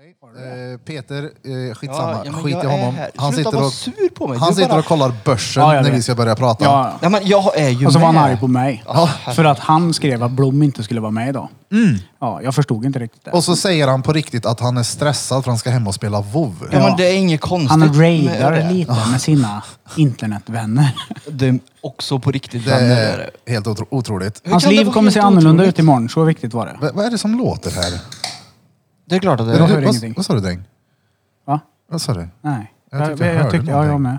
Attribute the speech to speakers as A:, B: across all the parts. A: Eh, Peter, eh, skitsamma.
B: Ja, ja, men
A: Skit
B: jag
A: i
B: är
A: honom.
B: här.
A: Han
B: Sluta
A: sitter,
B: vara
A: och,
B: sur på mig.
A: han
B: Du
A: sitter
B: bara-
A: och kollar börsen
C: Ja, jag
A: när vi
C: vet.
A: ska börja prata.
C: Ja,
B: Nej, men jag är ju
C: och så var
B: med.
C: han arg på mig.
A: Ja.
C: För att han skrev att Blom inte skulle vara med idag.
B: Mm.
C: Ja, jag förstod inte riktigt det.
A: Och så säger han på riktigt att han är stressad för han ska hem och spela WoW.
B: Ja,
C: Ja.
B: men det är inget konstigt
C: Han
B: med det.
C: raidar lite med sina internetvänner.
B: Det är också på riktigt
A: Det
B: vänner. är det.
A: är helt otro- otroligt.
B: Hur
C: Hans
B: kan det
C: liv
B: vara
C: kommer
B: helt
C: se annorlunda
B: otroligt?
C: ut imorgon, så viktigt var det.
A: V- vad är det som låter här?
B: Det är klart att det
A: Är
B: är.
C: hör
A: det, vad,
C: ingenting.
A: vad sa du dräng?
C: Va?
A: Vad sa du?
C: Nej.
A: Jag tyckte jag hörde
C: ja, jag
A: någonting.
C: med.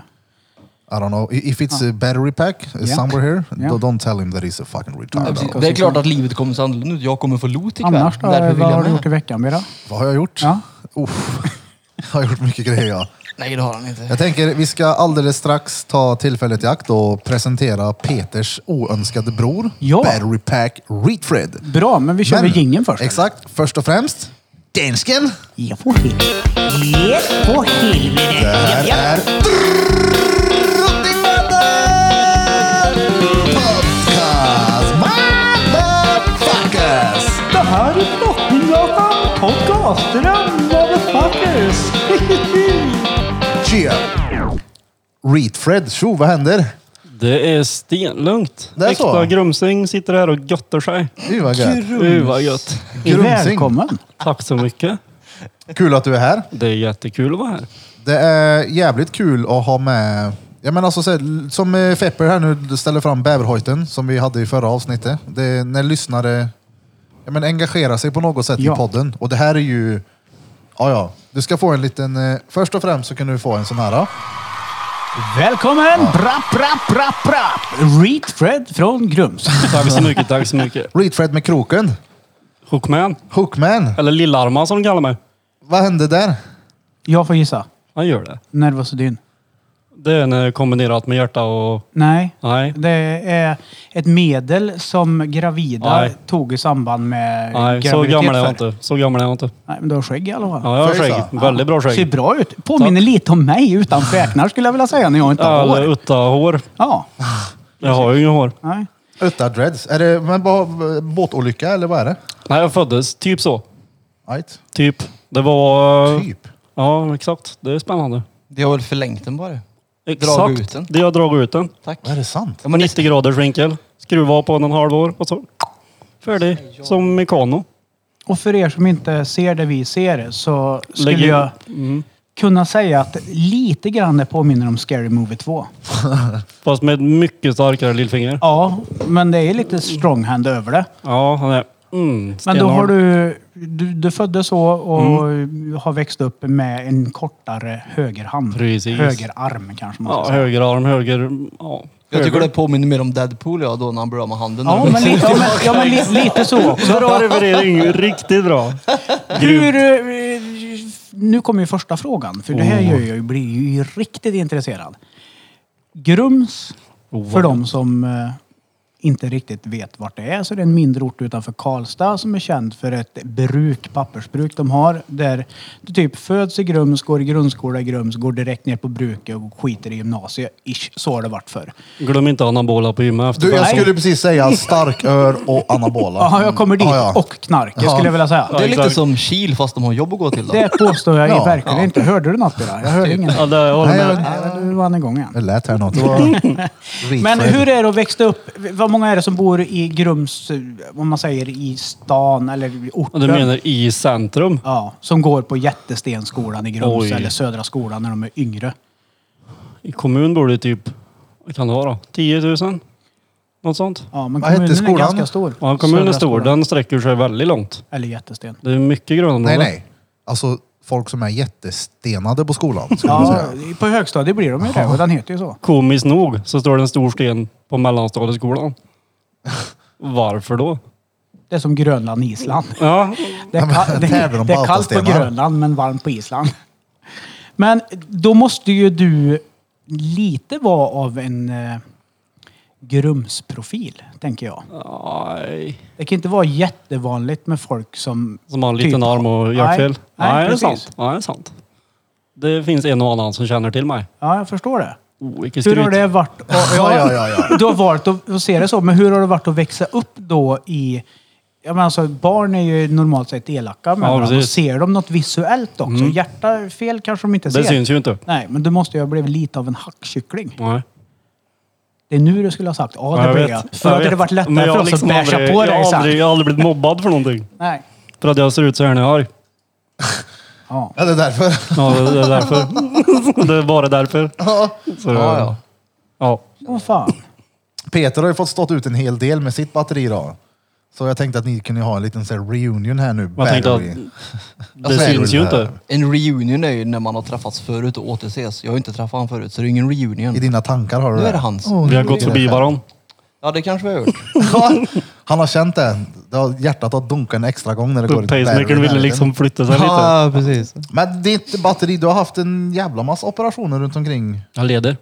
A: I don't know. I- If it's a battery pack uh,
C: Ja.
A: somewhere here,
C: Ja.
A: do- don't tell him that he's a fucking retard.
C: precis.
B: Det är klart att livet kommer se annorlunda ut. Jag kommer få lot ikväll.
C: Annars då?
B: Därför vill
C: Vad
B: jag
C: har du
B: med.
C: gjort i veckan, Bira?
A: Vad har jag gjort?
C: Ja.
A: Uff. Jag har gjort mycket grejer ja.
B: Nej, det har han inte.
A: Jag tänker vi ska alldeles strax ta tillfället i akt och presentera Peters oönskade bror,
C: Ja.
A: Battery Pack Reedfred.
C: Bra, men vi kör väl jingeln först? eller?
A: Exakt. Först och främst, dansken.
C: Ja, för helvete. Ja, för helvete.
A: Det här är Drottninggatan Podcast Motherfuckers!
C: Det här är Drottninggatan Podcast. Motherfuckers.
A: Tja! Reedfred, tjo vad händer?
D: Det är stenlugnt.
A: Det är så?
D: Äkta grumsing sitter här och göttar sig.
A: Fy vad gött.
D: Uh, vad gött.
A: Grumsing.
C: Välkommen.
D: Tack så mycket.
A: Kul att du är här.
D: Det är jättekul att vara här.
A: Det är jävligt kul att ha med... Jag menar alltså, så här, som eh, Fepper här nu ställer fram bäverhojten som vi hade i förra avsnittet. Det är när lyssnare ja, men engagerar sig på något sätt
C: Ja.
A: i podden. Och det här är ju... Ja, ja. Du ska få en liten... eh, Först och främst så kan du få en sån här. ah, Då.
C: Välkommen! Brapp, brapp, brapp, brapp. Reed Fred från Grums.
D: Tack så mycket, tack så mycket.
A: Reedfred med kroken.
D: Hookman,
A: Hookman.
D: eller Lillarma som de kallar mig.
A: Vad hände där?
C: Jag får gissa.
D: Han gör det.
C: Nervosodyn.
D: Det är när det är kombinerat med hjärta och...
C: Nej.
D: Nej.
C: Det är ett medel som gravida
D: Nej.
C: tog i samband med
D: Nej,
C: graviditet
D: så
B: typ
D: gammal är jag
C: förr.
D: inte. Så gammal är jag inte.
C: Nej, men du har skägg i alla fall.
D: Ja, jag har
A: Får jag
D: skägg. Väldigt bra
C: Ser
D: skägg.
C: bra ut. Påminner lite om mig utan fräknar skulle jag vilja säga när jag inte har
D: Eller
C: hår.
D: utta hår.
C: Ja.
D: Jag har ju inga hår.
C: Nej.
A: Utta dreads. Är det men, ba- båtolycka eller vad är det?
D: Nej, jag föddes typ så.
A: Right.
D: Typ. Det var...
A: Typ.
D: Ja, exakt. Det är spännande.
B: Det har väl förlängt den bara. Drag ut
D: Exakt.
B: den.
D: Det jag dragit ut den.
B: Tack.
A: Är det sant?
B: Ja, men det,
D: 90 graders vinkel. Skruva på en halv år och så. Färdig. Som Mekano.
C: Och för er som inte ser det vi ser så skulle
D: Lägg in- Mm.
C: jag kunna säga att lite grann det påminner om Scary Movie 2.
D: Fast med mycket starkare lillfinger.
C: Ja, men det är lite stronghand över det.
D: Ja, han är... Mm,
C: Men då
D: stenhård.
C: har du, du, du föddes så och
D: Mm.
C: har växt upp med en kortare högerhand.
D: Precis.
C: Högerarm kanske man ska
D: Ja,
C: säga.
D: höger arm, höger... Ja,
B: jag tycker det
D: höger.
B: påminner mer om Deadpool ja, då när han blir av med handen.
C: Ja, men, lite, ja, men, ja, men li, lite så också.
D: Bra referering. Riktigt bra.
C: Hur, eh, nu kommer ju första frågan, för det här gör jag, ju- blir ju riktigt intresserad. Grums,
D: Oh,
C: för
D: vad-
C: de som eh, inte riktigt vet vart det är, så är det en mindre ort utanför Karlstad som är känd för ett bruk, pappersbruk de har, där du typ föds i Grums, går i grundskola i Grums, går direkt ner på bruket och skiter i gymnasiet. Ish, så har det varit förr.
D: Glöm inte anabola på gymmet efter.
A: Du, jag
D: fem
A: skulle precis säga starkör och anabola.
C: Ja, jag kommer dit.
A: Ah, Ja, ja.
C: Och knark,
A: Ja.
C: skulle jag vilja säga.
B: det är lite
D: exakt.
B: som Kil fast de har jobb att gå till. Då.
C: Det påstår jag
A: Ja.
C: verkligen inte. Hörde du något Bira? Jag hörde inget.
D: Ja, det jag
A: Nej,
D: håller
A: jag-
D: med.
C: Nej, men du vann igång igen.
A: Det lät här något. Det var Reedfred.
C: Men hur är det att växa upp? Vad många är det som bor i Grums, eh, om man säger i stan eller i
D: Ja,
C: orten?
D: Du menar i centrum?
C: Ja, som går på Jättestenskolan i Grums
D: Oj.
C: eller Södra skolan när de är yngre.
D: I kommun bor det typ... Vad kan det vara? 10 000? Något sånt?
C: Ja, men
A: Vad hette
C: kommunen
A: skolan?
C: är ganska stor.
D: Ja, kommunen är
C: Södra
D: stor.
C: skolan.
D: Den sträcker sig väldigt långt.
C: Eller Jättesten.
D: Det är mycket
A: Nej,
D: grönområde.
A: nej. Alltså folk som är jättestenade på skolan. Skulle jag
C: Ja,
A: säga.
C: på högstadiet blir de ju det och den heter ju så.
D: Komiskt nog så står det en stor sten på mellanstadieskolan. Varför då?
C: Det är som Grönland, Island.
D: Ja,
C: Det är, ka- det,
A: Tävlar de
C: det är kallt på
A: Baltastenar?
C: Grönland men varmt på Island. Men då måste ju du lite vara av en eh, Grumsprofil, tänker jag.
D: nej.
C: Det kan inte vara jättevanligt med folk som...
D: Som har en liten
C: Typ.
D: arm och hjärtfel.
C: Nej,
D: Nej,
C: nej,
D: det är
C: precis.
D: sant. Nej, det är sant. Det finns en och annan som känner till mig.
C: Ja, jag förstår det.
D: Oh, vilket
C: Hur har
D: skryt.
C: det varit?
A: Ja, ja, ja, ja.
C: Du har valt att att se det så, men hur har det varit att växa upp då i... Ja, men alltså, barn är ju normalt sett elaka med
D: Ja,
C: varandra. Och
D: precis. Mm.
C: ser de något visuellt också, hjärtafel kanske de inte
D: Det
C: ser.
D: syns ju inte.
C: Nej, men du måste ju ha blivit lite av en hackkyckling.
D: Nej.
C: Det är nu du skulle ha sagt ja, det
D: jag
C: blev
D: vet.
C: jag. För då hade
D: vet.
C: det varit lättare
D: Men jag
C: för
D: har
C: oss
D: liksom
C: att basha
D: aldrig-
C: på dig
D: Jag har
C: sen.
D: aldrig, jag har aldrig blivit mobbad för någonting.
C: Nej.
D: För att jag ser ut så här när jag är arg.
C: Ja.
A: Ja, det är därför.
D: Ja, det det är därför. det är bara därför.
A: Ja.
D: Så,
B: Ja, ja.
D: ja.
C: Åh fan.
A: Peter har ju fått stått ut en hel del med sitt batteri idag. Så jag tänkte att ni kunde ha en liten så här, reunion här nu.
D: Jag tänkte att
A: Battery.
D: det
A: Alltså,
D: syns ju
A: det här.
D: inte.
B: En reunion är ju när man har träffats förut och återses. Jag har ju inte träffat han förut, så det är ingen reunion.
A: I dina tankar har du
B: Nu är det hans.
A: Åh,
D: Vi har
A: nu
D: gått
A: är det
D: förbi
A: här.
D: varandra.
B: Ja, det kanske vi har gjort.
A: Ja, Han har känt det. det har, hjärtat har dunkat en extra gång när det går ett battery i
D: Pacemakern ville
A: närheten.
D: liksom flytta sig lite.
B: Ja, precis.
A: Men ditt batteri, du har haft en jävla massa operationer runt omkring.
D: Jag leder.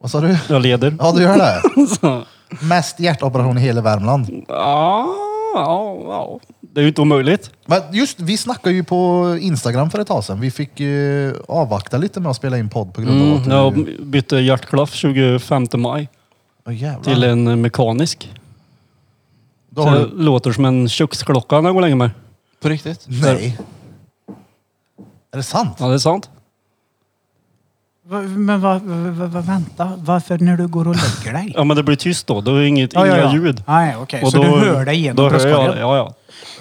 A: Vad sa du?
D: Jag leder.
A: Ja, du gör det.
D: Så.
A: Mest hjärtoperation i hela Värmland.
D: Ja, ja, ja. Det är ju inte omöjligt.
A: Men just, vi snackade ju på Instagram för ett tag sedan. Vi fick eh, avvakta lite med att spela in podd på grund av att
D: Mm,
A: du...
D: jag bytte hjärtklaff 25 maj
A: Åh, jävlar.
D: till en mekanisk.
A: Då
D: Så
A: har
D: det
A: du...
D: låter som en köksklocka när jag går länge med.
B: På riktigt?
A: Nej. Är det sant?
D: Ja, det är sant.
C: Va- Men va, va, va, vänta, varför när du går och lägger dig?
D: Ja, men det blir tyst då. Då är det inget, inga ljud.
C: Nej, okej. Så du hör det
D: Då
C: genom
D: hör jag det.
C: bröstkorgen.
D: Ja, ja.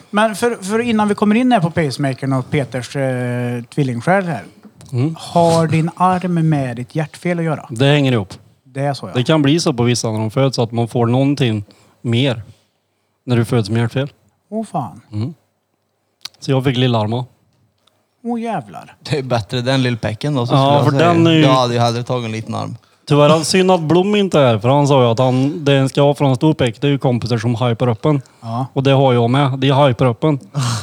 C: Men för, för innan vi kommer in här på pacemakern och Peters eh, tvillingsjäl här.
D: Mm.
C: Har din arm med ditt hjärtfel att göra?
D: Det hänger ihop.
C: Det är så
D: Det
C: ja.
D: kan bli så på vissa när de föds att man får någonting mer när du föds med hjärtfel.
C: Åh fan.
D: Mm. Så jag fick lillarma.
C: Åh jävlar.
B: Det är bättre den lillpäcken då. Så
D: Ja,
B: skulle jag
D: för
B: säga.
D: den är ju-
B: Jag hade ju hellre tagit en liten arm.
D: Tyvärr har- synd att Blom inte är här, för han sa ju att han, det en ska ha från Storpek, det är ju kompisar som hypar upp en.
C: Ja. Ah,
D: Och det har jag med. De hypar upp en.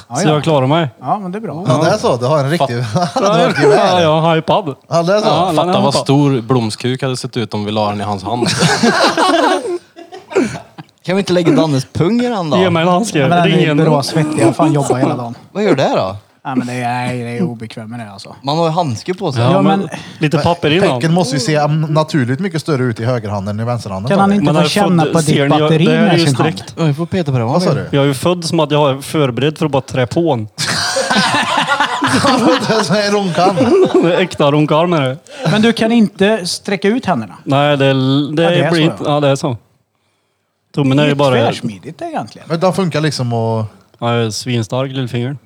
C: Ja,
D: Så
C: ja.
D: jag klarar mig.
C: Ja men det är bra.
A: Ja, det är så. Du har en riktig... du har ett
D: Ja,
A: gevär.
D: jag är hypad.
A: Ja, det är så.
D: Ja.
E: Fatta
D: han
E: vad
D: tar-
E: stor blomskuk hade sett ut om vi la den i hans hand.
B: Kan vi inte lägga Dannes pung i den då?
D: Ge mig en handske.
C: Men den
D: Ring
C: är
D: in.
C: bra svettig. Jag fan jobbar hela dagen.
B: Vad gör det då?
C: Nej men det är, nej, det är obekvämt med det alltså.
B: Man har ju handske på sig.
D: Ja,
C: Ja,
D: men,
C: men-
D: lite papper innan.
A: Pecken måste ju se am- naturligt mycket större ut i högerhanden än i vänsterhanden.
C: Kan
A: sa
C: han
A: du.
C: inte
D: Man
C: få
D: hade
C: känna
D: fått-
C: på
D: ser
C: ditt
D: ni, jag-
C: batteri
D: det här är
C: med
D: ju
C: sin hand?
D: sträckt.
B: Jag får peta på det.
A: Vad sa du?
D: Jag är ju född som att jag är förberedd för att bara trä på en.
A: Det är sån här ronkan.
D: Äkta runkarm är det.
C: Men du kan inte sträcka ut händerna?
D: Nej, det, det,
C: Ja, det är
D: blir
C: så,
D: inte...
C: ja.
D: Ja, det är så. Tummen är ju
C: Det
D: bara...
C: är tvärsmidigt egentligen.
A: Men den funkar liksom och...
D: Ja, jag är svinstark, lillfingern.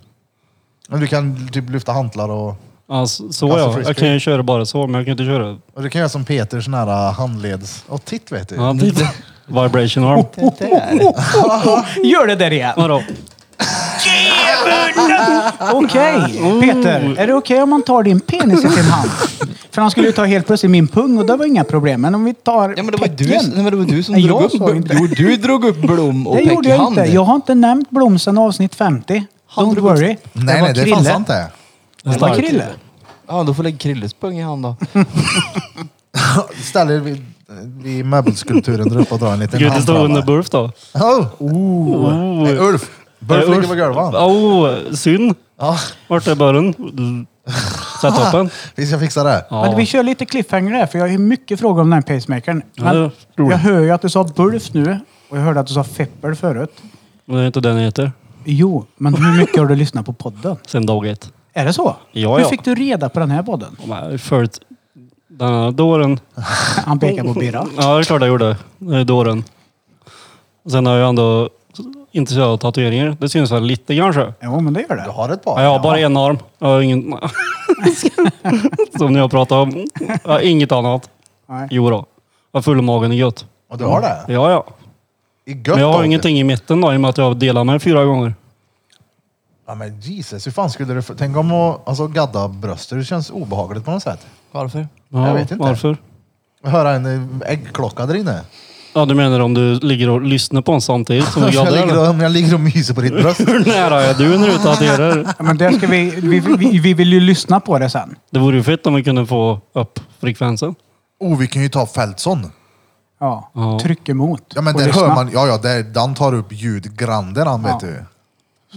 A: Du kan typ lyfta hantlar och...
D: Ja, så,
A: Alltså
D: så ja.
A: frisbee.
D: Jag kan ju köra bara så, men jag kan inte köra...
A: och du kan göra som Peter, sån här äh, handleds... Och titt vet du.
D: Ja, titta. Vibration arm.
B: Det där.
C: Gör det där igen!
D: Vadå?
C: Okej,
D: Oh.
C: Peter. Är det okej om man tar din penis i sin hand? För han skulle ju ta helt plötsligt min pung och det var inga problem. Men om vi tar
B: Ja, men det var ju du,
C: pecken.
B: nej, men det var du som
C: Nej,
B: drog
C: jag
B: upp...
C: sa inte.
B: Jo, du drog upp Blom och
C: det
B: Peck
C: gjorde
B: i
C: jag
B: handen.
C: inte. Jag har inte nämnt Blom sedan avsnitt 50.
B: Han
C: Don't
B: drog-
C: worry.
A: Nej,
C: var
A: nej, det är
C: Krille.
A: fan sant det.
C: Det var
D: Stark.
C: Krille.
B: Ja, då får lägga Krilles pung i handen då.
A: Ställer vi, vi möbelskulpturen där uppe och drar en liten
D: Gud, det står
A: handtrava.
D: under Burf då.
A: Oh!
D: Oh.
A: Nej, Ulf! Burf ligger på golvet.
D: Åh, oh, synd.
A: Ja,
D: Vart är börren? Sätt upp den.
A: vi ska fixa det.
C: Men vi kör lite cliffhanger där, för jag har ju mycket frågor om den här pacemakern.
D: Ja,
C: Men
D: det är roligt.
C: jag hör ju att du sa bulf nu och jag hörde att du sa feppel förut.
D: Men det är inte den jag heter.
C: Jo, men hur mycket har du lyssnat på podden?
D: Sen dag ett.
C: Är det så?
D: Ja,
C: Hur
D: ja.
C: fick du reda på den här podden?
D: Jag har följt den här dåren.
C: Han pekar på Birra.
D: Ja, det är klart jag gjorde. Det är dåren. Sen har jag ändå inte så jag har tatueringar. Det syns väl lite kanske.
C: Jo, men det gör
A: Du
C: det.
A: har ett
D: Ja,
A: par.
D: jag har bara en arm. Jag har ingen... Som ni har pratat om. Jag har inget annat.
C: Nej.
D: Jo då. Jag har full magen i gött.
A: Och du har det?
D: Ja, ja.
A: I gött
D: Men jag har
A: ålder.
D: ingenting i mitten då, i och med att jag delar mig fyra gånger.
A: Ja, men Jesus, hur fan skulle du... få- Tänk om att alltså, gadda bröster. Det känns obehagligt på något sätt.
B: Varför?
D: Ja,
A: Jag vet inte.
D: Varför?
A: Höra en eh, äggklocka där inne.
D: Ja, du menar om du ligger och lyssnar på en samtidigt som
A: Om
D: du
A: jag,
D: gaddar?
A: ligger
D: eller?
A: och, om jag ligger och myser på ditt bröst.
D: Hur nära är du när du tatuerar?
C: Ja, men det ska vi, vi, vi, vi vill ju lyssna på det sen.
D: Det vore ju fett om vi kunde få upp frekvensen.
A: Oh, vi kan ju ta Fältson.
C: Ja.
D: Ja.
C: Tryck emot.
A: Ja, men
C: och
A: där
C: lyssna.
A: hör man. Ja, ja, där, Dan tar upp ljud grande, han vet
C: Ja.
A: du.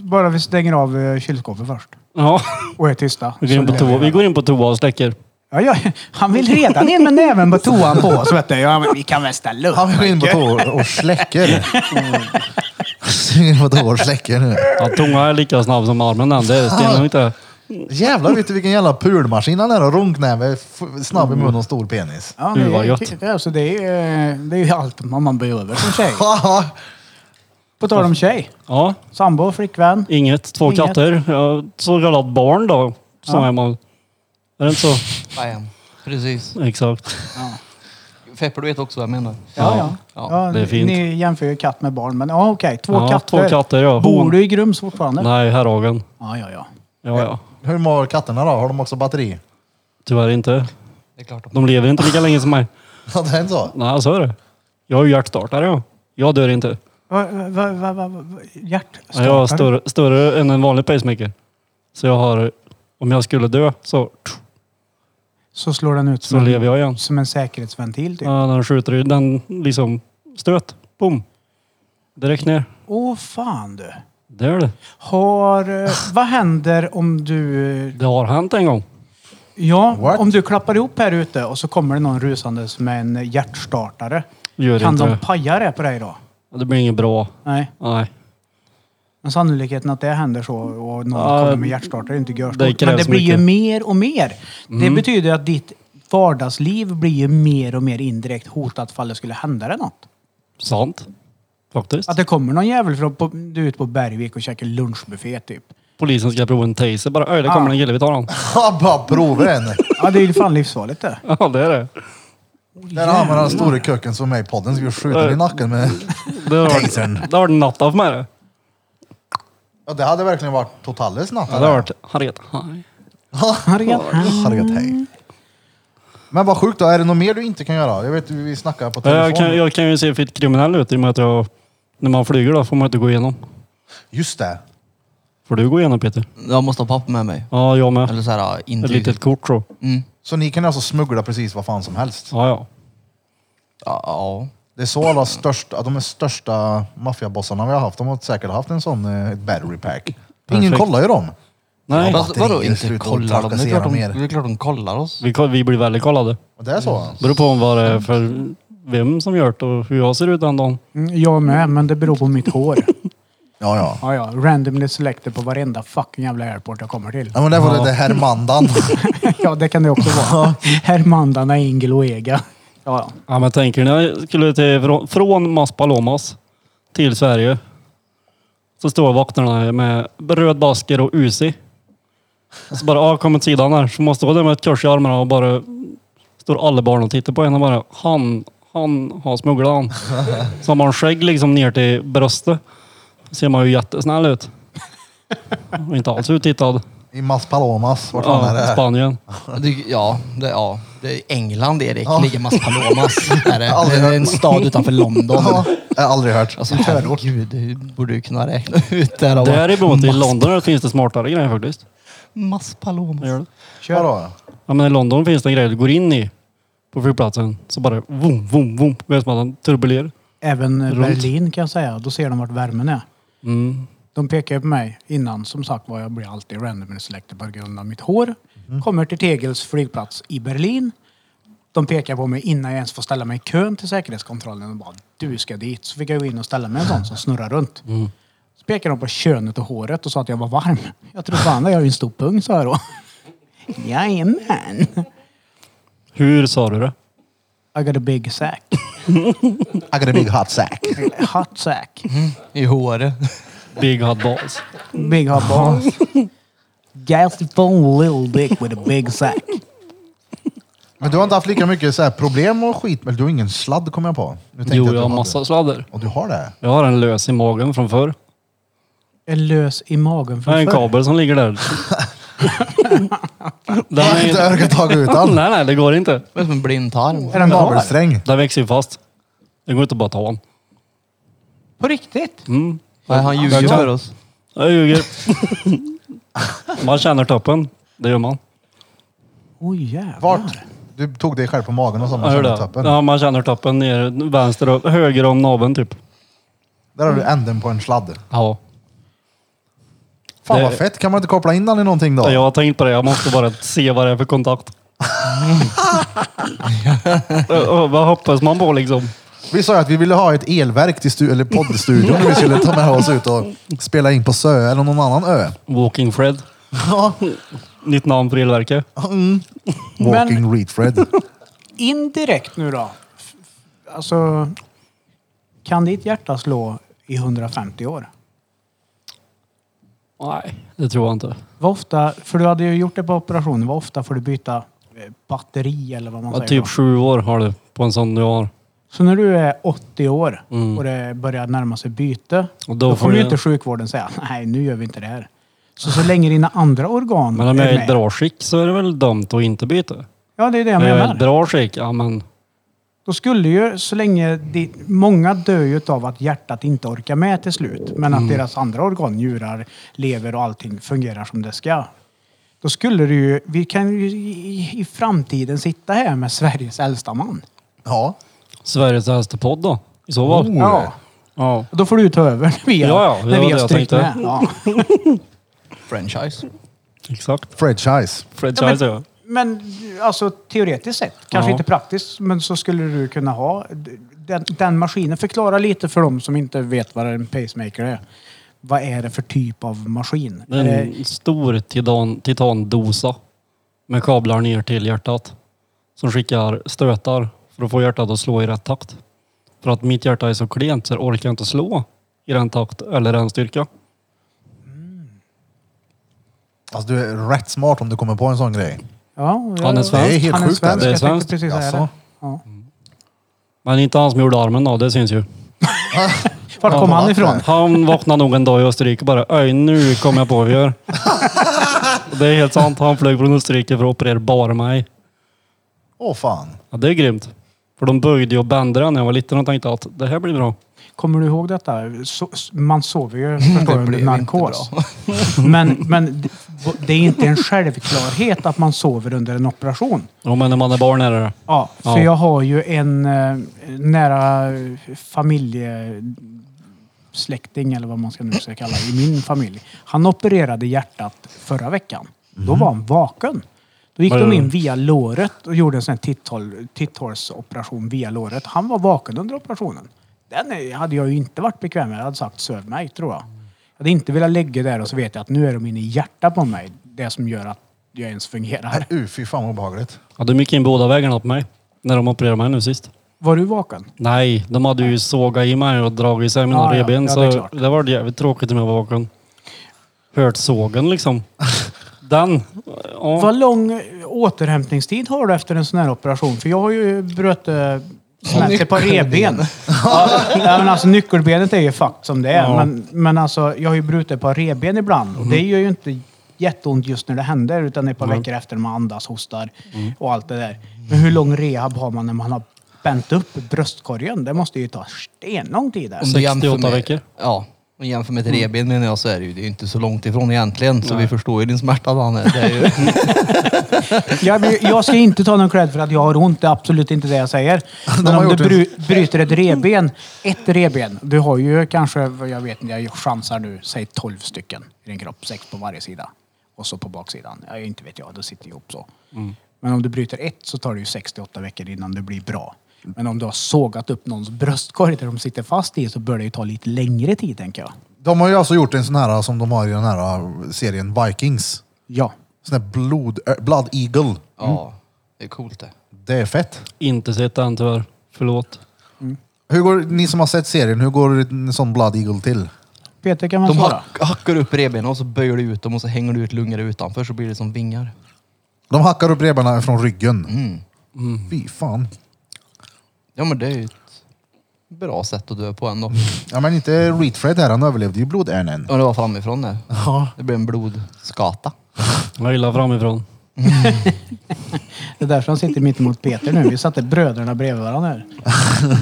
C: Bara vi stänger av eh, kylskåpet först.
D: Ja,
C: Och är tysta.
D: vi går in på toa, vi går in på toa och släcker.
C: Ja, ja, han vill redan in med näven på toan på oss. Vet du. Ja, men vi kan väl ställa upp.
A: Han går in på
C: Mike.
A: toa och släcker. Springer vadå och släcker nu?
D: Ja, tungan är lika snabb som armen den. Det är stenhårt inte.
A: Jävlar vet du vilken jävla pulmaskin han är och runknäve, f- snabb i mun och stor penis.
C: Ja,
D: Gud,
C: det,
D: vad
C: är-
D: gött.
C: det, alltså, det, är, det är ju allt man man behöver som tjej.
A: Haha.
C: På tal om tjej.
D: Ja,
C: Sambo, flickvän.
D: inget. Två
C: Inget.
D: katter. Ja, så kallat barn då. Som är man. Är det inte så?
B: Bam. Precis.
D: Exakt.
B: Fepper, du vet också vad jag menar.
C: Ja, ja.
B: Ja.
C: ja.
D: det är fint.
C: Ni jämför ju katt med barn, men ja, okej. Två
D: ja,
C: katter.
D: Två katter ja.
C: Bor du i Grums fortfarande?
D: Nej, Härhagen.
C: Ja, ja, ja.
D: Ja, ja.
A: Hur mår katterna då? Har de också batteri?
D: Tyvärr inte.
B: Det är klart.
D: De lever inte lika länge som mig.
A: Ja, det är inte så.
D: Nej, så är det. Jag är ju hjärtstartare jag. Jag dör inte.
C: Va, va, va, va, va, hjärt?
D: Ja, Jag är större, större än en vanlig pacemaker. Så jag har... Om jag skulle dö så,
C: Så slår den ut
D: så
C: som,
D: lever
C: en,
D: jag igen.
C: som en säkerhetsventil typ.
D: Ja, den skjuter ju den liksom stöt. Boom. Direkt ner.
C: Åh fan du.
D: Det är det.
C: Har, eh, vad händer om du,
D: Det har hänt en gång.
C: ja,
A: What?
C: om du klappar ihop här ute och så kommer det någon rusandes med en hjärtstartare?
D: Gör
C: Kan
D: inte
C: de
D: det.
C: paja det på dig då?
D: Det blir inget bra.
C: Nej.
D: Nej.
C: Men sannolikheten att det händer så och någon
D: Ja,
C: kommer med hjärtstartare är inte
D: det
C: görstort.
D: krävs
C: Men det blir ju
D: mycket. Mm.
C: mer och mer. Det betyder att ditt vardagsliv blir ju mer och mer indirekt hotat fall det skulle hända det något.
D: Sant. Faktiskt.
C: Att det kommer någon jävel från på, du är ute på Bergvik och käkar lunchbuffé typ.
D: Polisen ska prova en taser bara. Oj, det kommer
C: Ah.
D: en kille. Vi tar honom.
A: Ja, bara prova den.
C: Ja, det är ju fan livsfarligt det.
D: Ja, det är det.
A: Där har man den stora köken som är med i podden. Ska vi skjuta den i nacken med...
D: Det har varit,
A: Tasern.
D: det har varit natt av med det.
A: Ja, det hade verkligen varit totalt snabbt.
D: Ja, det har varit... Han vet. Nej.
A: Harriet, hej. Men vad sjukt då. Är det något mer du inte kan göra? Jag vet vi snackade på telefon.
D: Jag kan, jag kan ju se fit kriminell ut i och med att jag... När man flyger då får man inte gå igenom.
A: Just det.
D: Får du gå igenom Peter?
B: Jag måste ha papper med mig.
D: Ja, jag med.
B: Eller så här
D: Ett
B: intyg.
D: litet kort så.
B: Mm.
A: Så ni kan alltså smuggla precis vad fan som helst?
D: Ja, ja.
B: Ja, ja.
A: Det är så alla största, de största maffiabossarna vi har haft, de har säkert haft en sån eh, ett battery pack. Ingen
D: Perfekt.
A: kollar ju dem.
D: Nej.
A: Ja,
B: Fast vadå
A: batterier,
B: inte
A: sluta
B: kollar de? Det är,
A: trakassera
B: klart de
A: mer.
B: det är klart de kollar oss.
D: Vi, ko- vi blir väldigt kollade.
A: Och det är så?
D: Beror på vad det är för vem som gjort det och hur jag ser ut den dagen.
C: Mm, Jag med, men det beror på mitt hår.
A: Ja, ja.
C: Ja, ja. Randomly selected på varenda fucking jävla airport jag kommer till.
A: ja men det var det där Hermandan.
C: Ja, det kan det också vara. Hermandana, Ingel och Ega. Ja, ja.
D: Ja, men tänker ni, jag skulle till, från, från Maspalomas till Sverige. Så står vakterna med röd basker och Uzi. Och Så bara, ja, kom åt sidan här. Så måste jag stå där med ett kors i armarna och bara... Står alla barn och tittar på en och bara, han, han har smugglat han. Så har man skägg liksom ner till bröstet. Då ser man ju jättesnäll ut. Och inte alls uttittad.
A: I Mas Palomas. Vart fan är
D: Ja,
A: det?
D: Spanien.
B: Det, ja, det, ja. Det är England Erik. Ligger Mas Palomas. Är det. det är en stad utanför London.
A: Ja, jag har aldrig hört.
B: Alltså herregud, du borde ju kunna räkna ut det här.
D: Däremot i London finns det smartare grejer faktiskt.
B: Mas Palomas.
D: Det gör det.
C: Kör.
A: Vadå?
D: Ja, men i London finns det en grej du går in i på flygplatsen. Så bara vum, vum, vum. Det är som att den turbulerar.
C: Även eh,
D: Runt.
C: Berlin kan jag säga. Då ser de vart värmen är.
D: Mm.
C: De pekar ju på mig innan. Som sagt var, jag blir alltid randomly selected på grund av mitt hår.
D: Mm.
C: Kommer till Tegels flygplats i Berlin. De pekar på mig innan jag ens får ställa mig i kön till säkerhetskontrollen. Och bara, du ska dit. Så fick jag gå in och ställa mig en sån som snurrar runt.
D: Mm.
C: Så pekade de på könet och håret och sa att jag var varm. Jag trodde fan, jag har ju en stor pung, sa jag då. Jajamän.
D: Hur sa du det?
C: I got a big sack.
A: I got a big hot sack.
C: Hot sack.
B: I håret.
D: Big hot balls.
C: Big hot balls. Gassy phone little dick with a big sack.
A: Men du har inte haft lika mycket så här problem och skit? Men du har ingen sladd kommer jag på. Nu tänkte
D: Jo,
A: att du
D: jag har
A: hade.
D: massa sladder.
A: Och du har det?
D: Jag har en lös i magen från förr.
C: Är lös i magen
D: Jag har
C: från
D: en
C: förr.
D: kabel som ligger där. den
A: Jag har inte
D: är...
A: orkat ta ut den.
D: Nej, nej, det går inte.
B: Det är som en blindtarm.
C: Är den kvar?
A: Navelsträng.
D: Den växer ju fast. Det går inte bara att ta den.
C: På riktigt?
D: Mm.
B: Nej, han ljuger för oss.
D: Jag ljuger. man känner toppen. Det gör man.
C: Oj jävlar.
A: Vart? Du tog dig själv på magen och så
D: Ja,
A: man
D: hur
A: kände
D: det?
A: toppen.
D: Ja, man känner toppen ner, vänster och höger om naveln typ.
A: Där har du änden på en sladd.
D: Ja.
A: Fan
D: Det-
A: vad fett. Kan man inte koppla in den i någonting då?
D: Jag har tänkt på det. Jag måste bara se vad det är för kontakt. Ö, ö, vad hoppas man på liksom?
A: Vi sa ju att vi ville ha ett elverk till stu- eller poddstudion när vi skulle ta med oss ut och spela in på Sö eller någon annan ö.
D: Walking Fred. Nytt namn på elverket.
A: Walking Reed Fred.
C: Indirekt nu då. F- f- Alltså, kan ditt hjärta slå i 150 år?
D: Nej, det tror jag inte.
C: Vad ofta, för du hade ju gjort det på operationen, vad ofta får du byta eh, batteri eller vad man
D: Ja,
C: säger?
D: typ
C: då?
D: sju år har du på en sån du har.
C: Så när du är 80 år
D: Mm.
C: och det börjar närma sig byte,
D: Och
C: då,
D: då
C: får
D: får
C: ju
D: du-
C: inte sjukvården säga nej nu gör vi inte det här. Så så länge dina andra organ
D: Men om jag är i bra skick så är det väl dumt att inte byta.
C: Ja, det är det jag
D: Om jag är i
C: menar.
D: bra skick, ja men
C: Då skulle ju, så länge... di- många dör ju av att hjärtat inte orkar med till slut. Men att
D: Mm.
C: deras andra organ, njurar, lever och allting fungerar som det ska. Då skulle det ju... Vi kan ju i, i framtiden sitta här med Sveriges äldsta man.
A: Ja.
D: Sveriges äldsta podd då. I så fall.
C: Ja.
D: Oh, Ja.
C: Då får du ta över när vi har,
D: Ja, ja, det
C: när
D: var
C: vi har
D: det jag
C: strykt
D: tänkte.
C: med. Ja.
B: Franchise.
D: Exakt.
A: Franchise.
D: Franchise ja.
C: Men alltså teoretiskt sett, kanske
D: Ja.
C: inte praktiskt, men så skulle du kunna ha d- den, den maskinen. Förklara lite för dem som inte vet vad en pacemaker är. Vad är det för typ av maskin? Eh,
D: Det
C: Är
D: är
C: det,
D: en stor titan, titandosa med kablar ner till hjärtat som skickar stötar för att få hjärtat att slå i rätt takt. För att mitt hjärta är så klent så jag orkar inte slå i den takt eller den styrka.
A: Alltså du är rätt smart om du kommer på en sån grej.
C: ja,
D: Han är svensk.
A: Det är helt
C: han är
A: sjukt,
C: svensk.
D: det är
C: Jag tänkte
D: svenskt.
C: precis säga
A: Jaså.
C: det. Ja.
D: Men inte han som gjorde armen då, det syns ju.
A: alltså.
C: Vart kom han ifrån?
D: Han vaknade nog en dag i Österrike och bara Öj, nu kom jag på vad vi gör. Och det är helt sant. Han flög från Österrike för att operera bara mig.
A: Åh fan.
D: Ja, det är grymt. För de böjde ju och bände den när jag var liten och tänkte att det här blir bra.
C: Kommer du ihåg detta? Så, man sover ju förstår du, under
B: blev inte
C: narkos.
B: bra.
C: Men, men det- det är inte en självklarhet att man sover under en operation.
D: Ja, men när man är barn är det det
C: Ja, för
D: Ja.
C: jag har ju en eh, nära familjesläkting eller vad man ska nu ska kalla i min familj. Han opererade hjärtat förra veckan. Då var han vaken. Då gick
D: Mhm. Vad
C: de
D: gör
C: in
D: du?
C: via låret och gjorde en sån här titthål- titthålsoperation via låret. Han var vaken under operationen. Den är- hade jag ju inte varit bekväm med. Jag hade sagt söv mig, tror jag. Jag hade inte velat lägga där och så vet jag att nu är de inne i hjärtat på mig. Det som gör att jag ens fungerar.
A: Uh, fy fan vad obehagligt.
D: Ja, de gick in båda vägarna på mig. När de opererade mig nu sist.
C: Var du vaken?
D: Nej, de hade ju sågat i mig och dragit isär mina
C: Ja, ja.
D: revben.
C: Ja,
D: så
C: det är
D: det,
C: klart.
D: var jävligt tråkigt om jag var vaken. Hört sågen liksom. Den. Ja.
C: Vad lång återhämtningstid har du efter en sån här operation? För jag har ju bröt eh, snett på revben. ja, nej, men alltså nyckelbenet är ju fakt som det är.
D: Ja.
C: Men, men alltså, jag har ju brutit på revben ibland. Och det gör ju inte jätteont just när det händer. Utan det är ett par veckor efter när man andas, hostar och allt det där. Men hur lång rehab har man när man har bänt upp bröstkorgen? Det måste ju ta stenlång tid. Där.
B: Om du jämför
D: 68
B: med-
D: veckor.
B: Ja. Och jämför med ett revben menar jag så är det ju det är ju inte så långt ifrån egentligen. Så vi förstår ju din smärta Danne. Det är ju...
C: Jag, men jag ska inte ta någon cred för att jag har ont. Det är absolut inte det jag säger. Men
A: har
C: om du
A: gjort en-
C: bry, bryter ett revben, ett revben. Du har ju kanske, vad jag vet inte, jag chansar nu, säg 12 stycken i din kropp. Sex på varje sida. Och så på baksidan. Ja, inte vet jag, det sitter ihop så.
A: Mm.
C: Men om du bryter ett så tar det ju 68 veckor innan det blir bra. Men om du har sågat upp någons bröstkorg där de sitter fast i så bör det ju ta lite längre tid, tänker jag.
A: De har ju alltså gjort en sån här som de har i den här äh, serien Vikings.
C: Ja.
A: Sån här blod, äh, Blood Eagle.
D: Mm.
B: Ja, det är coolt det.
A: Det är fett.
D: Inte sett den tyvärr. Förlåt.
A: Hur går, ni som har sett serien, hur går en sån Blood Eagle till?
C: Peter, kan man
B: De
C: svara?
B: hack, hackar upp revbenen och så böjer du ut dem och så hänger du ut lungorna utanför så blir det som vingar.
A: De hackar upp revbenen från ryggen.
B: Mm.
A: Fy fan.
B: Ja men det är ju ett bra sätt att dö på ändå.
A: Ja men inte Reedfred här, han överlevde ju blodärnen.
B: Ja det var framifrån det.
A: Ja.
B: Det blev en blodskata.
D: Jag gillar framifrån.
C: Det är därför han sitter mitt emot Peter nu. Vi satte bröderna bredvid varandra här.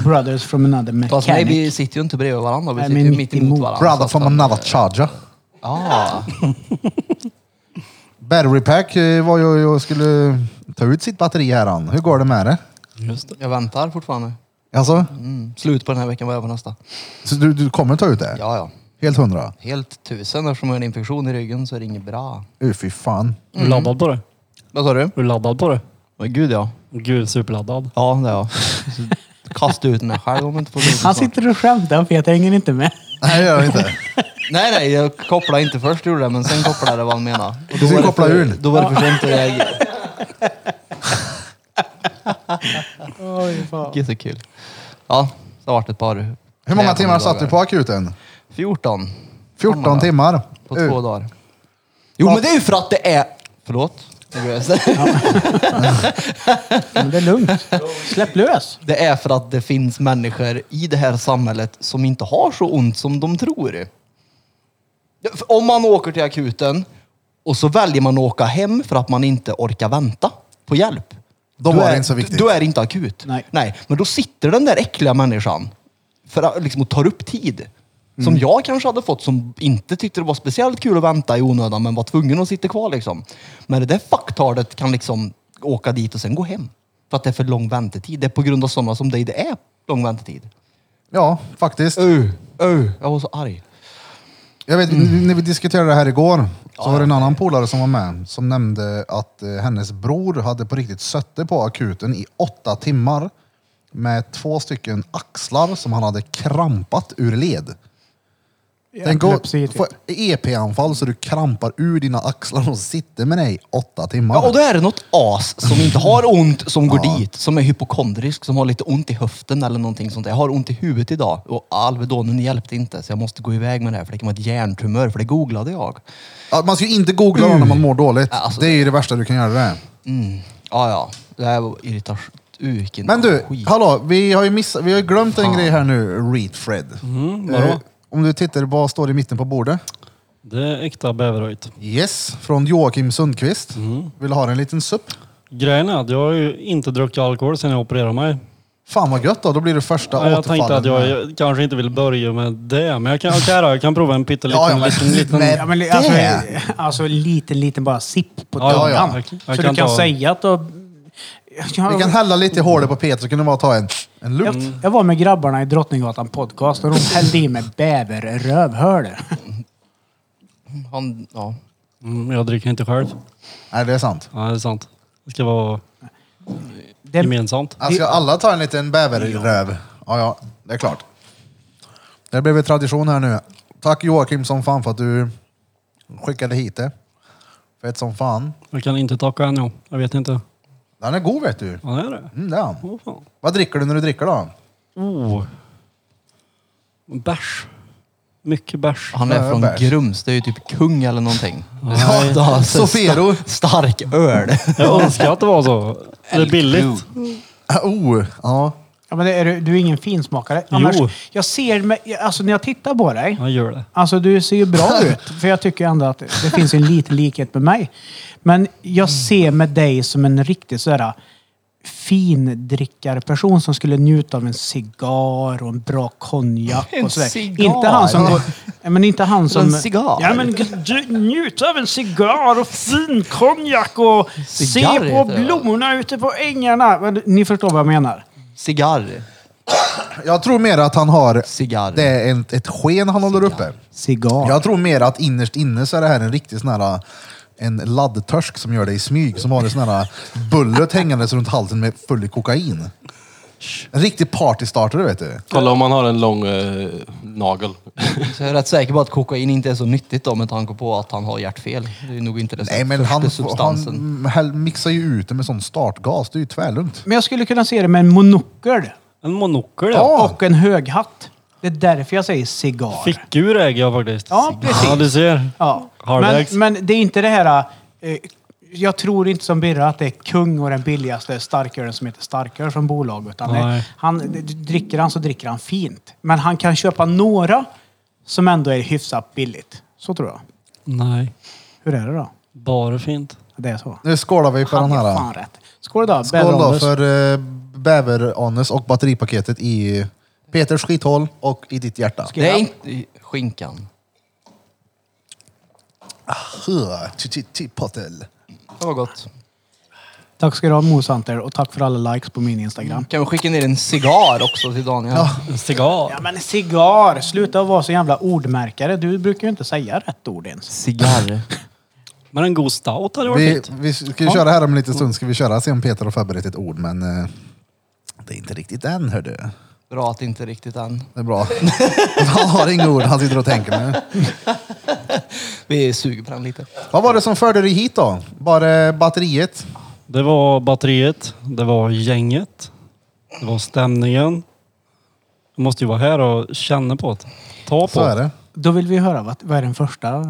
C: Brothers from another
B: Fast nej,
C: mechanic.
B: vi sitter ju inte bredvid varandra. Vi
C: Nej,
B: sitter
C: men
B: ju mitt emot
C: mittemot.
B: varandra.
A: Brother
B: Så
A: from
B: att-
A: another charger.
B: Ja.
A: Battery pack eh, var ju jag skulle ta ut sitt batteri här han. Hur går det med det?
D: Just det.
B: Jag väntar fortfarande.
A: Alltså,
B: Mm. Slut på den här veckan, börjar på nästa.
A: så du, du kommer ta ut det?
B: Ja, ja.
A: Helt hundra?
B: Helt tusen. Eftersom jag har en infektion i ryggen så är det inget bra.
A: Uh, fy fan.
D: Är
C: Mm.
D: du laddad på det?
B: Vad sa du?
D: Är du laddad på det?
B: Men gud ja.
D: Gud, superladdad.
B: Ja, det är jag. kasta ut mig själv om jag inte får bli
C: Han sitter och skämtar för jag hänger inte med.
A: Nej, det gör vi inte.
B: Nej, nej, jag kopplade inte först gjorde det, men sen kopplade jag det vad han menade. Och
A: Du ska
B: var det
A: koppla
B: för-
A: ur.
B: Då var det för sent att reagera.
C: Oj, fan.
B: Gud så kul. Ja, så vart det ett par.
A: Hur många
B: kläder
A: timmar satt
B: dagar.
A: du på akuten?
B: 14.
A: 14 timmar.
B: På
A: Uh,
B: två dagar. Jo, men det är ju för att det är... Förlåt? Nu börjar jag säga.
C: Men det är lugnt. Släpp lös.
B: Det är för att det finns människor i det här samhället som inte har så ont som de tror. För Om man åker till akuten och så väljer man att åka hem för att man inte orkar vänta på hjälp.
A: Då
B: då
A: var
B: är,
A: det inte så viktigt.
B: Då är det inte akut.
C: Nej.
B: Men då sitter den där äckliga människan för att, liksom, och tar upp tid. Som jag kanske hade fått som inte tyckte det var speciellt kul att vänta i onödan men var tvungen att sitta kvar liksom. Men det där fucktardet kan liksom åka dit och sen gå hem. För att det är för lång väntetid. Det är på grund av sådana som dig det är lång väntetid.
A: Ja, faktiskt.
B: Uh, uh. Jag var så arg.
A: Jag vet,
B: Mm.
A: när vi diskuterade det här igår så var det en annan polare som var med som nämnde att eh, hennes bror hade på riktigt suttit på akuten i åtta timmar med två stycken axlar som han hade krampat ur led. Tänk att
C: Epilepsi, typ.
A: få EP-anfall så du krampar ur dina axlar och sitter med dig i åtta timmar.
B: Ja, och då är det något as som inte har ont som går dit, som är hypokondrisk, som har lite ont i höften eller någonting sånt där. Jag har ont i huvudet idag och Alvedonen hjälpte inte så jag måste gå iväg med det här för det kan vara ett hjärntumör, för det googlade jag.
A: Ja, man ska ju inte googla mm. när man mår dåligt.
B: Ja, alltså-
A: det är ju det värsta du kan göra. Det.
B: Mm. Ja, ja. Det här var irritation. Vilken
A: Men du,
B: skit.
A: hallå, vi har ju missat, vi har ju glömt en grej här nu, Reed Fred.
B: Mm,
A: Eh, om du tittar, vad står det i mitten på bordet?
D: Det är äkta bäverhöjt.
A: Yes, från Joakim Sundqvist.
D: Mm.
A: Vill du ha en liten supp?
D: Grejen är att jag har ju inte druckit alkohol sedan jag opererade mig.
A: Fan vad gött då, då blir det första
D: Ja, jag
A: återfallen.
D: tänkte att jag, jag kanske inte vill börja med det, men jag kan, okay, då, jag kan prova en pytteliten
A: Ja, ja, men-
D: liten, liten...
A: men-
C: Ja, men, li-
A: Det-
C: alltså, alltså liten, liten bara sipp på
D: Ja, ja,
A: ja.
C: tungan.
D: Jag kan- jag
C: Så
D: kan
C: du kan
D: ta- Mm,
C: säga att du... Jag,
A: Vi kan hälla lite i hålet på Peter så kan du bara ta en, en lukt.
D: Mm.
C: jag, jag var med grabbarna i Drottninggatan podcast och de hällde i mig bäverröv, hör du?
B: Han, ja.
D: Mm, jag dricker inte själv.
A: Nej, det är sant.
D: Ja, det är sant. Det ska vara
C: Det,
D: gemensamt.
A: Ja, Ska alla ta en liten bäverröv? Ja, ja, det är klart. Det blev en tradition här nu. Tack Joakim som fan för att du skickade hit det. Fett som fan.
D: Jag kan inte tacka ännu. Jag vet inte.
A: Den är god vet du.
D: Ja, det är det.
A: Mm, det är han.
D: Åh, fan.
A: Vad dricker du när du dricker då?
D: Oh. Bärs. Mycket bärs.
B: Han är
A: Ja,
B: från
A: bärs.
B: Grums, det är ju typ kung eller någonting.
A: Ja,
B: Ja, så
A: Sofero.
B: sta- Stark öl.
D: Jag önskar att det var så. Det är billigt.
A: Ah, Oh, ja.
C: ja, men det är, du- du är ingen finsmakare. Annars,
D: Jo.
C: Jag ser med, alltså när jag tittar på dig,
D: Jag gör det.
C: Alltså du ser ju bra ut. För jag tycker ändå att det finns en liten likhet med mig. Men
B: Mm.
C: jag ser med dig som en riktig sådär äh, findrickarperson som skulle njuta av en cigarr och en bra konjak
B: En
C: och sådär.
B: cigarr?
C: Inte han som går... Ja, Men inte han som...
B: En cigarr?
C: Ja men g- dr- njut av en cigarr och fin konjak och
B: Cigarr
C: se på
B: heter det.
C: blommorna ute på ängarna. Men Ni förstår vad jag menar.
B: Cigarr.
A: Jag tror mer att han har...
B: Cigarr.
A: Det är en, ett sken han håller uppe.
C: Cigarr.
A: Jag tror mer att innerst inne så är det här en riktig sån här... En laddtörsk som gör det i smyg. Som har en sån här bullet hängandes runt halsen med full i kokain. En riktig partystarter vet du.
E: Kolla om man har en lång eh, nagel.
B: Så jag är rätt säker på att kokain inte är så nyttigt då med tanke på att han har hjärtfel. Det är nog inte det
A: Nej men
B: första
A: han,
B: substansen.
A: han, han mixar ju ut det med sån startgas. Det är ju tvärlugnt.
C: Men jag skulle kunna se det med en monokel.
D: En monokel ja.
A: Ja,
C: och en hög hatt. Det är därför jag säger cigarr.
D: Fickur äger jag faktiskt.
C: Ja, precis.
D: Ja, du ser.
C: Ja. Men,
D: Halvvägs.
C: men det är inte det här... Eh, jag tror inte som Birra att det är kung och den billigaste starkölen som heter starköl från bolag. Utan det,
D: Nej.
C: han, d- d- dricker han så dricker han fint. Men han kan köpa några som ändå är hyfsat billigt. Så tror jag.
D: Nej,
C: Hur är det då?
D: bara fint.
C: Det är så.
A: nu skålar vi på den
C: Han är
A: här.
C: fan rätt. Skål då.
A: Skål då
C: Bäveråndes.
A: för eh, bäver-anus och batteripaketet i Peters skithål och i ditt hjärta.
B: Det är inte skinkan.
A: Huh, ty- ty- ty- Patel.
B: Det var gott.
C: Tack ska du ha Mosanter och tack för alla likes på min Instagram.
B: Kan vi skicka ner en cigarr också till Daniel?
D: En cigarr.
C: Ja men cigarr! Sluta vara så jävla ordmärkare. Du brukar ju inte säga rätt ord ens.
B: Cigarr.
D: Men en god stout hade varit
A: Vi,
D: fint. Mm.
A: vi ska ju köra här om en liten stund, ska vi köra se om Peter har förberett ett ord, men eh, Det är inte riktigt än hördu.
B: Bra att inte riktigt än.
A: Det är bra. Han har inga ord, han sitter och tänker nu.
B: Vi suger på den lite.
A: Vad var det som förde dig hit då? Bara batteriet?
D: Det var batteriet, det var gänget, det var stämningen. Du måste ju vara här och känna på det. Ta på
A: Så är
D: det.
A: det.
C: Då vill vi höra vad, vad är den första? eh,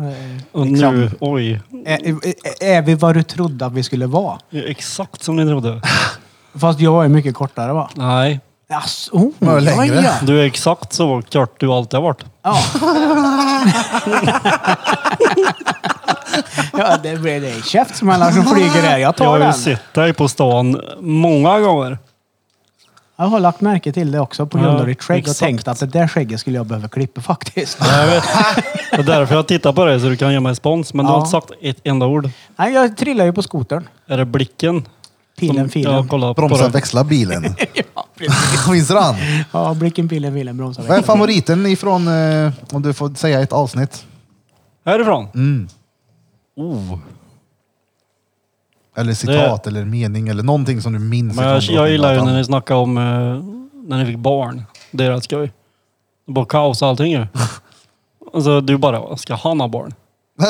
D: Och
C: liksom,
D: nu, oj.
C: Är, är, är vi vad du trodde att vi skulle vara?
D: Exakt som ni trodde.
C: Fast jag är mycket kortare va?
D: Nej,
C: Jaså? Oh,
A: Vad är
C: ja,
A: längre?
C: ja.
D: du är exakt så kort du alltid har varit.
C: Ja. ja, det blir det är käftsmällar som flyger där. Jag
D: Jag
C: tar
D: har ju
C: den.
D: sett dig på stan många gånger.
C: Jag har lagt märke till det också på grund
D: Ja,
C: av ditt skägg och
D: exakt.
C: tänkt att det där skägget skulle jag behöva klippa faktiskt.
D: Det är därför jag tittar på dig så du kan ge mig spons. Men du har
C: Ja.
D: inte sagt ett enda ord.
C: Nej, jag trillar ju på skotern.
D: Är det blicken?
C: Pilen, filen.
D: Jag kollar på
A: Bromsa,
D: dig.
A: växla bilen. Minns du den?
C: Ja, blicken, pilen, filen, bromsar.
A: Vad är favoriten ifrån, eh, om du får säga ett avsnitt? Mm.
D: Härifrån?
E: Oh.
A: Eller citat eller mening eller någonting som du minns.
D: Men jag,
A: ifrån
D: jag gillar ju
A: Drottninggatan.
D: när ni snackar om eh, när ni fick barn. Det är rätt skoj. Det är bara kaos och allting ju. Alltså du bara, ska han ha barn?
C: Va?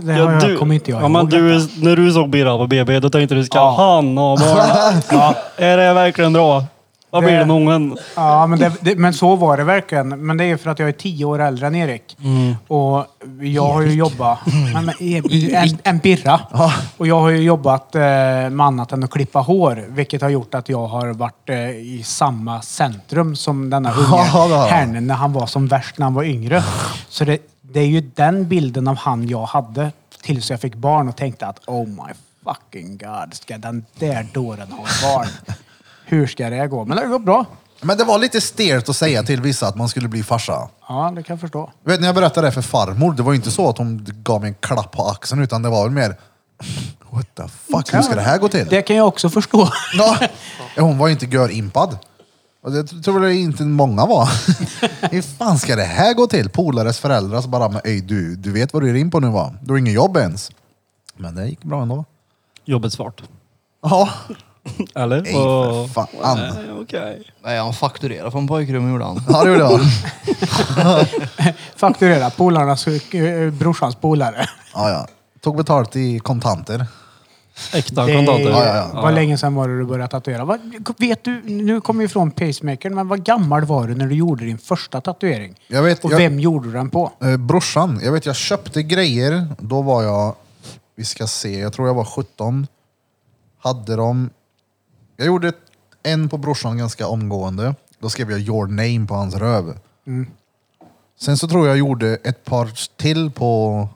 C: Det har jag,
D: du,
C: kommer inte jag
D: ja, men
C: ihåg.
D: du, När du såg Birra på BB, då tänkte du, ska
C: Ja.
D: han ha barn? Är det verkligen bra? Vad blir
C: Det-
D: det med ungen?
C: Ja, men, det, det, men så var det verkligen. Men det är för att jag är tio år äldre än Erik.
A: Mm.
C: Och jag har ju jobbat... Nej, men E- En, en birra. Och jag har ju jobbat eh, med annat än att klippa hår. Vilket har gjort att jag har varit eh, i samma centrum som denna unge
A: Ja, det har jag.
C: herren när han var som värst när han var yngre. Så det, det är ju den bilden av han jag hade tills jag fick barn och tänkte att oh my fucking god, ska den där dåren ha barn? Hur ska det gå? Men det har gått bra.
A: Men det var lite stelt att säga till vissa att man skulle bli farsa.
C: Ja, det kan jag förstå.
A: Jag Vet när jag berättade det för farmor, det var ju inte så att hon gav mig en klapp på axeln utan det var väl mer What the fuck, hur ska det här gå till?
C: Det kan jag också förstå.
A: Ja. Hon var ju inte görimpad. Och det tror jag inte många var. Hur fan ska det här gå till? Polares föräldrar så bara, men ey, du, du vet vad du är in på nu va? Du har ingen jobb ens. Men det gick bra ändå.
D: Jobbet svart.
A: Ja.
D: Eller?
A: Ej, för
D: Och-
A: fan.
D: Nej, Okej.
B: Nej, han fakturerade från pojkrummet gjorde han.
A: Ja, det gjorde jag.
C: Fakturera polarnas, eh, brorsans polare.
A: Ja, ja. Tog betalt i kontanter.
D: Äkta
C: Det-
D: kontanter.
A: Ja, ja, ja.
C: Vad länge sedan var det du började tatuera? Vad, vet du, nu kommer vi ifrån pacemakern, men vad gammal var du när du gjorde din första tatuering?
A: Jag vet,
C: Och
A: jag-
C: vem gjorde du den på?
A: Eh, brorsan, jag vet jag köpte grejer. Då var jag, vi ska se, jag tror jag var 17. Hade dem. Jag gjorde ett- en på brorsan ganska omgående. Då skrev jag your name på hans röv. Sen så tror jag gjorde ett par till på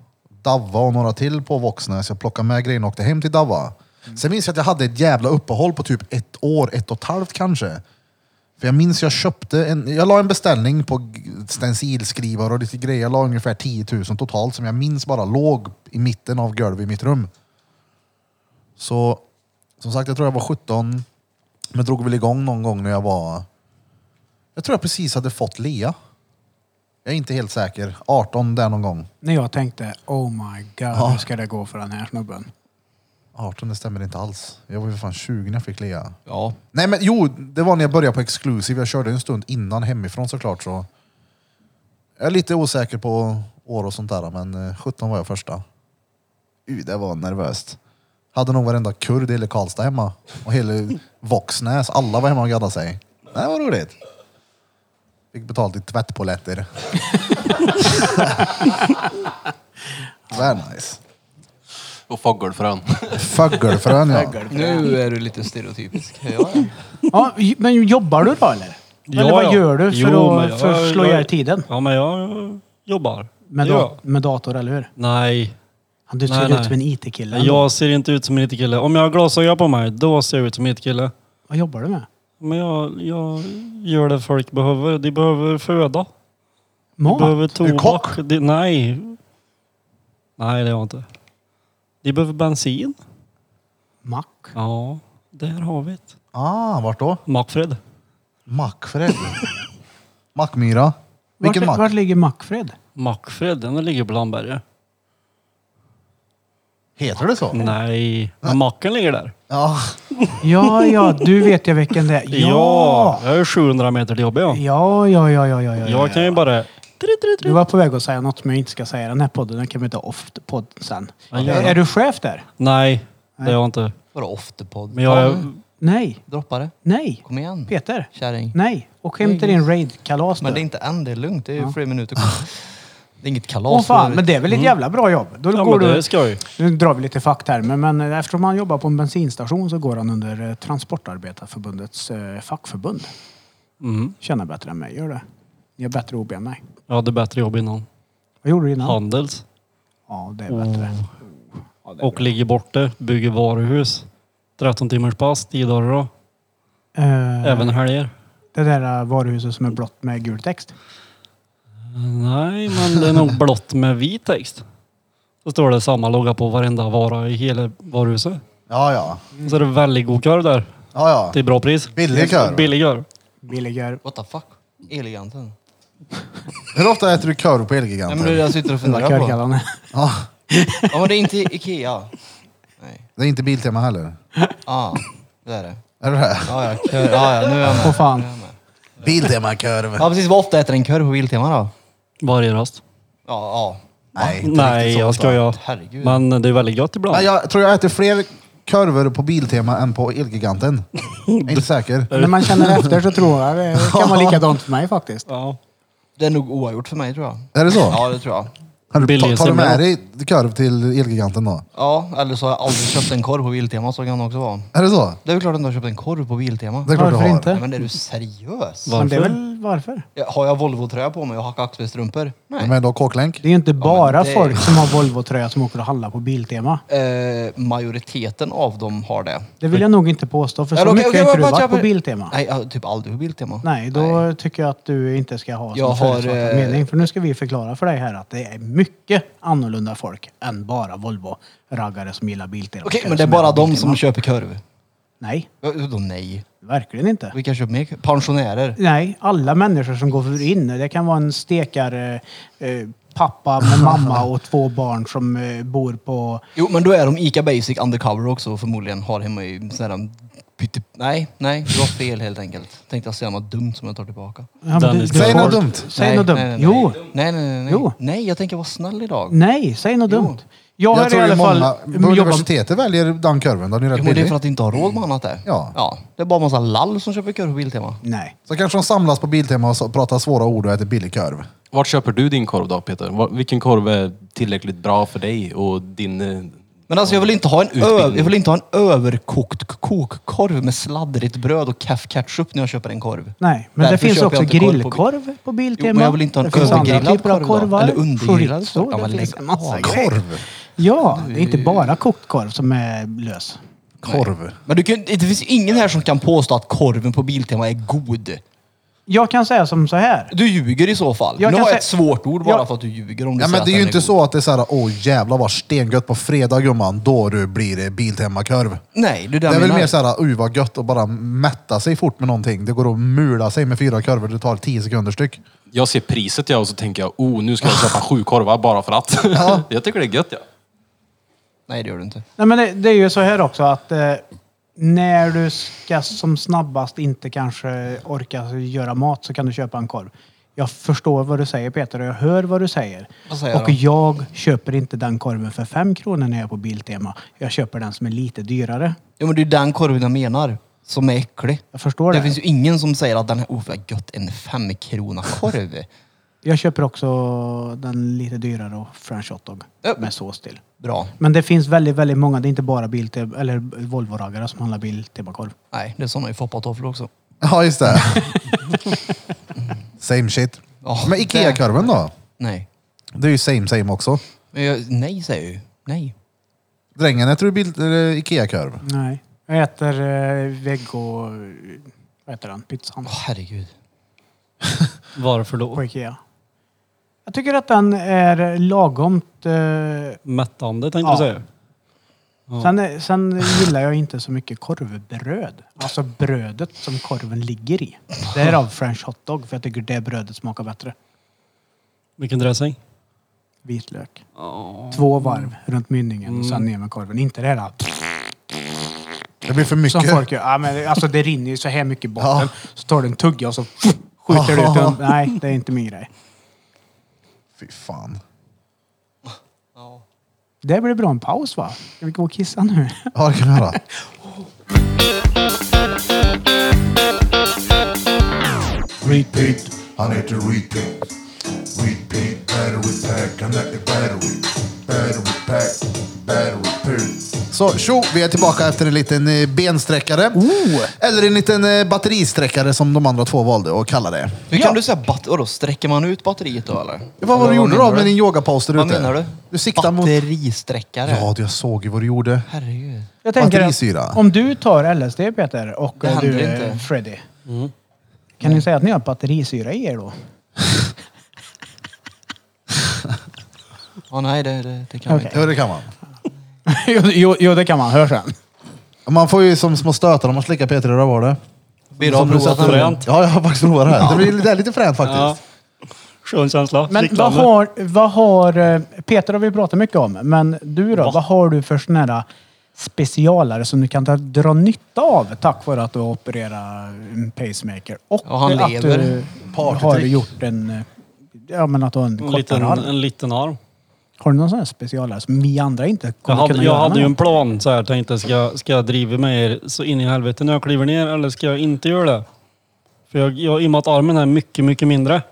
A: Davva och några till på Våxnäs. Jag plockade med grejerna och åkte hem till Davva. Sen minns jag att jag hade ett jävla uppehåll på typ ett år, ett och ett halvt kanske. För jag minns jag köpte en, jag la en beställning på g- stencilskrivare och lite grejer. Jag la ungefär 10 000 totalt som jag minns bara låg i mitten av golvet i mitt rum. Så som sagt, jag tror jag var 17. Men drog väl igång någon gång när jag var... Jag tror jag precis hade fått Lea. Jag är inte helt säker. 18 där någon gång.
C: När jag tänkte, oh my god, hur ska det gå för den här snubben?
A: 18, det stämmer inte alls. Jag var ju för fan 20 när jag fick Lea.
B: Ja.
A: Nej men jo, det var när jag började på Exclusive. Jag körde en stund innan hemifrån såklart. Så jag är lite osäker på år och sånt där, men eh, 17 var jag första. Uy, det var nervöst. Hade nog varenda kurd i hela Karlstad hemma. Och hela Våxnäs. Alla var hemma och gaddade sig. Det var roligt. Fick betalt i tvättpoletter. Very nice.
E: Och fågelfrön.
A: Fågelfrön ja.
B: Nu är du lite stereotypisk. Ja, ja.
C: Ja, j- men jobbar du då eller? eller
D: Ja,
C: vad
D: ja.
C: gör du för
D: Jo, men
C: att
D: jag-
C: för att slå
D: jag-
C: ihjäl tiden?
D: Ja, men jag jobbar.
C: Med,
D: Det gör
C: da-
D: jag.
C: med dator, eller hur?
D: Nej,
C: Ja, Du ser
D: Nej,
C: ut
D: nej.
C: som en IT-kille. ändå.
D: jag ser inte ut som en IT-kille. Om jag har glasögon på mig, då ser jag ut som en IT-kille.
C: Vad jobbar du med?
D: Men jag, jag gör det folk behöver. De behöver föda. De
C: Mat?
D: behöver
A: du kock?
D: tobak. De, nej. Nej, det är jag inte. De behöver bensin.
C: Mack?
D: Ja, där har vi det.
A: Ah, vart då?
D: Mackfred.
A: Mackfred. Mackmyra. Vilken
C: vart,
A: mack?
C: vart ligger Mackfred?
D: Mackfred, den ligger på Landberget.
A: Heter det så?
D: Nej, men macken ligger där.
A: Ja.
C: Ja, ja, du vet ju vilken det är.
D: Ja,
C: Ja!
D: jag är 700 meter till jobbet. Ja.
C: Ja, ja, ja, ja, ja, ja. ja.
D: Jag kan ju bara...
C: Du var på väg att säga något som jag inte ska säga i den här podden. Den kan vi ta off podden sen.
D: Ja, gör det.
C: Är du chef där?
D: Nej, det är jag inte.
B: Vadå ofterpodd?
D: Men jag är...
B: Tom,
C: Nej,
B: Droppa det.
C: nej.
B: Kom igen.
C: Peter?
B: Kärring.
C: Nej. Och hämta din raid-kalas
B: Men
C: du.
B: det är inte än, det är lugnt. Det är ju
C: Ja.
B: flera minuter kvar. Det är inget kalas.
C: Åh fan,
B: det är-
C: men det är väl ett jävla bra jobb? Då
D: Ja,
C: går
D: men det
C: du...
D: är skoj.
C: Nu drar vi lite facktermer, men eh, eftersom han jobbar på en bensinstation så går han under eh, Transportarbetarförbundets eh, fackförbund.
D: Mm.
C: Känner bättre än mig, gör det. Jag är bättre OB än mig.
D: Jag hade bättre jobb innan.
C: Vad gjorde du innan?
D: Handels.
C: Ja, det är bättre.
D: Och ligger borta, bygger varuhus. 13 timmars pass, 10 dagar då.
C: Eh,
D: Även helger.
C: Det där eh, varuhuset som är blått med gul text.
D: Nej, men det är nog blått med vit text. Så står det samma logga på varenda vara i hela varuhuset.
A: Ja, ja.
C: Mm.
D: Och så är det väldigt god korv där.
A: ja, ja.
D: Till bra pris.
A: Billig korv.
D: Billig korv.
C: Billigare.
B: What the fuck? Eleganten.
A: Hur ofta äter du korv på
B: Nej
A: Elgiganten?
B: men det är det jag sitter och funderar på.
C: Körkallande.
A: ja,
B: Ja men det är inte Ikea. Nej.
A: det är inte Biltema heller.
B: Ah, det är det.
A: Är det det?
B: Ja ja, kör. Ja ja, nu är jag med.
C: Åh fan.
B: Nu är jag med.
A: Biltema-korv.
B: Ja precis, vad ofta äter en korv på Biltema då?
D: Varje rast.
B: Ja, ja.
A: Nej.
D: Nej, jag
B: sant.
D: skojar.
B: Herregud.
D: Men det är väldigt gott ibland.
A: Nej, jag tror jag äter fler korvar på Biltema än på Elgiganten. Jag är inte säker.
C: När man känner efter så tror jag det kan vara likadant för mig faktiskt.
D: Ja.
B: Det är nog oavgjort för mig tror jag.
A: Är det så?
B: Ja det tror jag.
A: Har du,
D: Billig
A: ta, tar du
D: semla.
A: med dig korv till Elgiganten då?
B: Ja, eller så har jag aldrig köpt en korv på Biltema så kan det också vara.
A: Är det så?
B: Det är väl klart att du har köpt en korv på Biltema.
A: Det är klart
C: Varför
A: du har.
C: inte?
B: Nej, men är du seriös?
D: Va?
C: Men det är
D: Varför?
C: väl varför?
B: Ja, Har jag Volvo-tröja på mig och hackar axelstrumpor? Nej.
A: Men då kåklänk?
C: Det är ju inte bara
B: det-
C: folk som har Volvo-tröja som åker och handlar på Biltema.
B: Eh, majoriteten av dem har det.
C: Det vill jag nog inte påstå, för så
B: Eller okej,
C: mycket
B: okej,
C: har inte
B: jag
C: du
B: bara-
C: varit
B: jag
C: på
B: bara-
C: Biltema. Nej,
B: Nej, jag har typ aldrig på Biltema.
C: då tycker jag att du inte ska ha
B: Jag
C: som
B: har,
C: förutfattad
B: eh,
C: mening. För nu ska vi förklara för dig här att det är mycket annorlunda folk än bara Volvo-raggare som gillar Biltema.
B: Okej,
C: Eller
B: men det är
C: som
B: bara
C: på
B: de
C: Biltema.
B: som köper korv.
C: Nej,
B: Ja, Då nej.
C: verkligen inte.
B: Vilka köper mer korv? Pensionärer.
C: Nej, alla människor som går för in. Det kan vara en stekare, eh, pappa med mamma och två barn som eh, bor på...
B: Jo, men då är de Ica Basic undercover också och förmodligen har hemma i sådana pytte... Nej, nej. Du har fel helt enkelt. Tänkte jag säga något dumt som jag tar tillbaka.
C: Ja, men
D: Dennis,
C: du- du-
A: Säg något
C: folk-
A: dumt.
C: Säg
B: Nej,
C: något dumt.
B: nej, nej, nej.
C: Jo.
B: Nej, nej, nej. Nej,
C: Jo. Mm.
B: nej jag tänker vara snäll idag.
C: Nej, säg något dumt. Jag, har
A: Jag tror
C: i
A: ju
C: alla
A: många
C: fall
A: på
C: jobbat...
A: universitetet väljer den korven. Den är ju
B: Jo,
A: rätt
B: men det är
A: billig.
B: för att du inte har
C: Mm.
B: råd med annat där.
A: Ja.
B: ja. Det är bara massa lall som köper korv på Biltema.
C: Nej.
A: Så kanske de samlas på Biltema och så- pratar svåra ord och äter billig korv.
E: Vart köper du din korv då Peter? Var- Vilken korv är tillräckligt bra för dig och din... eh,
B: Men alltså jag vill inte ha en,
E: Utbildning.
B: över, jag vill inte ha en överkokt k- kokkorv med sladdrigt bröd och keff ketchup när jag köper en korv.
C: Nej, men
B: Därför
C: det finns
B: köper
C: också
B: jag inte korv på-
C: grillkorv på Biltema.
B: Jo, men jag vill inte ha en
C: Det finns andra
B: övergrillad
C: typer av
B: korv då.
C: korvar.
B: Eller undergrillad
C: Chorizo,
B: korv. Ja, men
C: Det finns en
B: lägg
C: massa
B: av.
C: grejer.
A: Korv?
C: Ja, det är inte bara kokt korv som är lös.
A: Korv.
B: Men du kan, det finns ingen här som kan påstå att korven på Biltema är god.
C: Jag kan säga som så här.
B: Du ljuger i så fall.
C: Jag
B: nu
C: kan
B: har jag
C: sä-
B: ett svårt ord bara
C: Jag-
B: för att du ljuger om du
A: Ja,
B: säger
A: men
B: att
A: det är
B: den
A: ju inte
B: god.
A: så att det är såhär, åh jävlar vad stengött på fredag gumman, då du blir det Biltema-korv.
B: Nej, det är det
A: Det
B: jag
A: är väl
B: menar.
A: mer såhär, oj vad gött att bara mätta sig fort med någonting. Det går att mula sig med fyra korvar, det tar tio sekunder styck.
E: Jag ser priset jag och så tänker jag, oh nu ska jag köpa sju korvar bara för att. jag tycker det är gött ja.
B: Nej, det gör du inte.
C: Nej, men det, det är ju så här också att eh, när du ska som snabbast inte kanske orka göra mat så kan du köpa en korv. Jag förstår vad du säger Peter och jag hör vad du säger.
B: Vad säger
C: och
B: han?
C: jag köper inte den korven för fem kronor när jag är på Biltema. Jag köper den som är lite dyrare.
B: Ja, men det är den korven jag menar. Som är äcklig.
C: Jag förstår
B: Det
C: det.
B: finns ju ingen som säger att den här, oh vad gött, en femkrona-korv.
C: Jag köper också den lite dyrare och french hotdog
B: Ja.
C: med sås till.
B: Bra.
C: Men det finns väldigt, väldigt många. Det är inte bara Biltema eller Volvo-raggare som handlar Biltema-korv.
B: Nej, det är såna i foppatofflor också.
A: Ja, just det. same shit.
B: Ja,
A: men Ikea-korven då?
B: Nej.
A: Det är ju same same också.
B: Men jag, nej säger jag ju. Nej.
A: Drängen, äter du Bil- eller Ikea-korv?
C: Nej. Jag äter eh, vego... Vad heter den? Pizzan.
B: Åh herregud.
D: Varför
C: På
D: då?
C: Ikea. Jag tycker att den är lagomt... Eh,
D: Mättande tänkte
C: Ja.
D: du säga.
C: sen, är- sen gillar jag inte så mycket korvbröd. Alltså brödet som korven ligger i. Därav french hotdog, för jag tycker det brödet smakar bättre.
D: Vilken dressing?
C: vitlök. Två varv runt mynningen och sen ner med korven. Inte det där
A: Det blir för
C: som
A: mycket.
C: folk gör. Ja, men, det- alltså det rinner ju så här mycket i botten. Så tar du en tugga och så skjuter du ut
A: Ja.
C: den. Nej, det är inte min grej.
A: Fy fan.
C: Det blir bra en paus va? Ska vi gå och kissa nu?
A: Ja, det kan vi göra.
F: Repeat, I need to repeat. Repeat, battery pack, I need the battery. Battery pack, battery pack.
A: Så tjo, vi är tillbaka efter en liten eh, bensträckare.
B: Oh.
A: Eller en liten eh, batteristräckare som de andra två valde att kalla det.
B: Hur kan du säga bat- vadå, sträcker man ut batteriet då eller?
A: Vad var det du gjorde då
B: menar
A: med din yogapaus där
B: Vad
A: ute?
B: menar du?
A: Du siktar mot-
B: Batteristräckare?
A: Ja, jag såg ju vad du gjorde.
B: Herregud.
C: Jag tänker
A: Batterisyra.
C: att om du tar LSD Peter och
B: Det
C: eh, du
B: händer
C: är
B: inte.
C: Freddy. Kan ni säga att ni har batterisyra i er då?
B: Ja, nej, det, det, det kan vi
C: Okej.
B: inte.
A: Ja, det kan man.
C: jo, jo, jo, det kan man. Hör sen.
A: Man får ju som små stötar om man slickar Peter i rövhålet.
B: Blir det avprovat
A: satte-
B: nu?
D: fränt.
A: Ja, jag har faktiskt provat det här. Det, blir, det är lite fränt faktiskt.
D: Ja. Skön känsla.
C: Men vad
D: Kittlande.
C: har, vad har... eh, Peter har vi pratat mycket om, men du då?
D: Va?
C: Vad har du för såna här eh, specialare som du kan ta, dra nytta av tack vare att du har opererat en pacemaker? Och
B: Ja, han
C: att
B: lever.
C: du har
A: Partytrick.
C: gjort en... eh, Ja, men att du har en
D: en,
C: kortare
D: liten,
C: arm.
D: en liten arm.
C: Har du någon sån här specialare som vi andra inte
D: Jag
C: kommer
D: hade,
C: kunna
D: jag
C: göra
D: hade
C: med?
D: ju en plan så här. Tänkte ska, jag- ska jag driva med er så in i helvete när jag kliver ner eller ska jag inte göra det? För jag, jag, i och med att armen är mycket, mycket mindre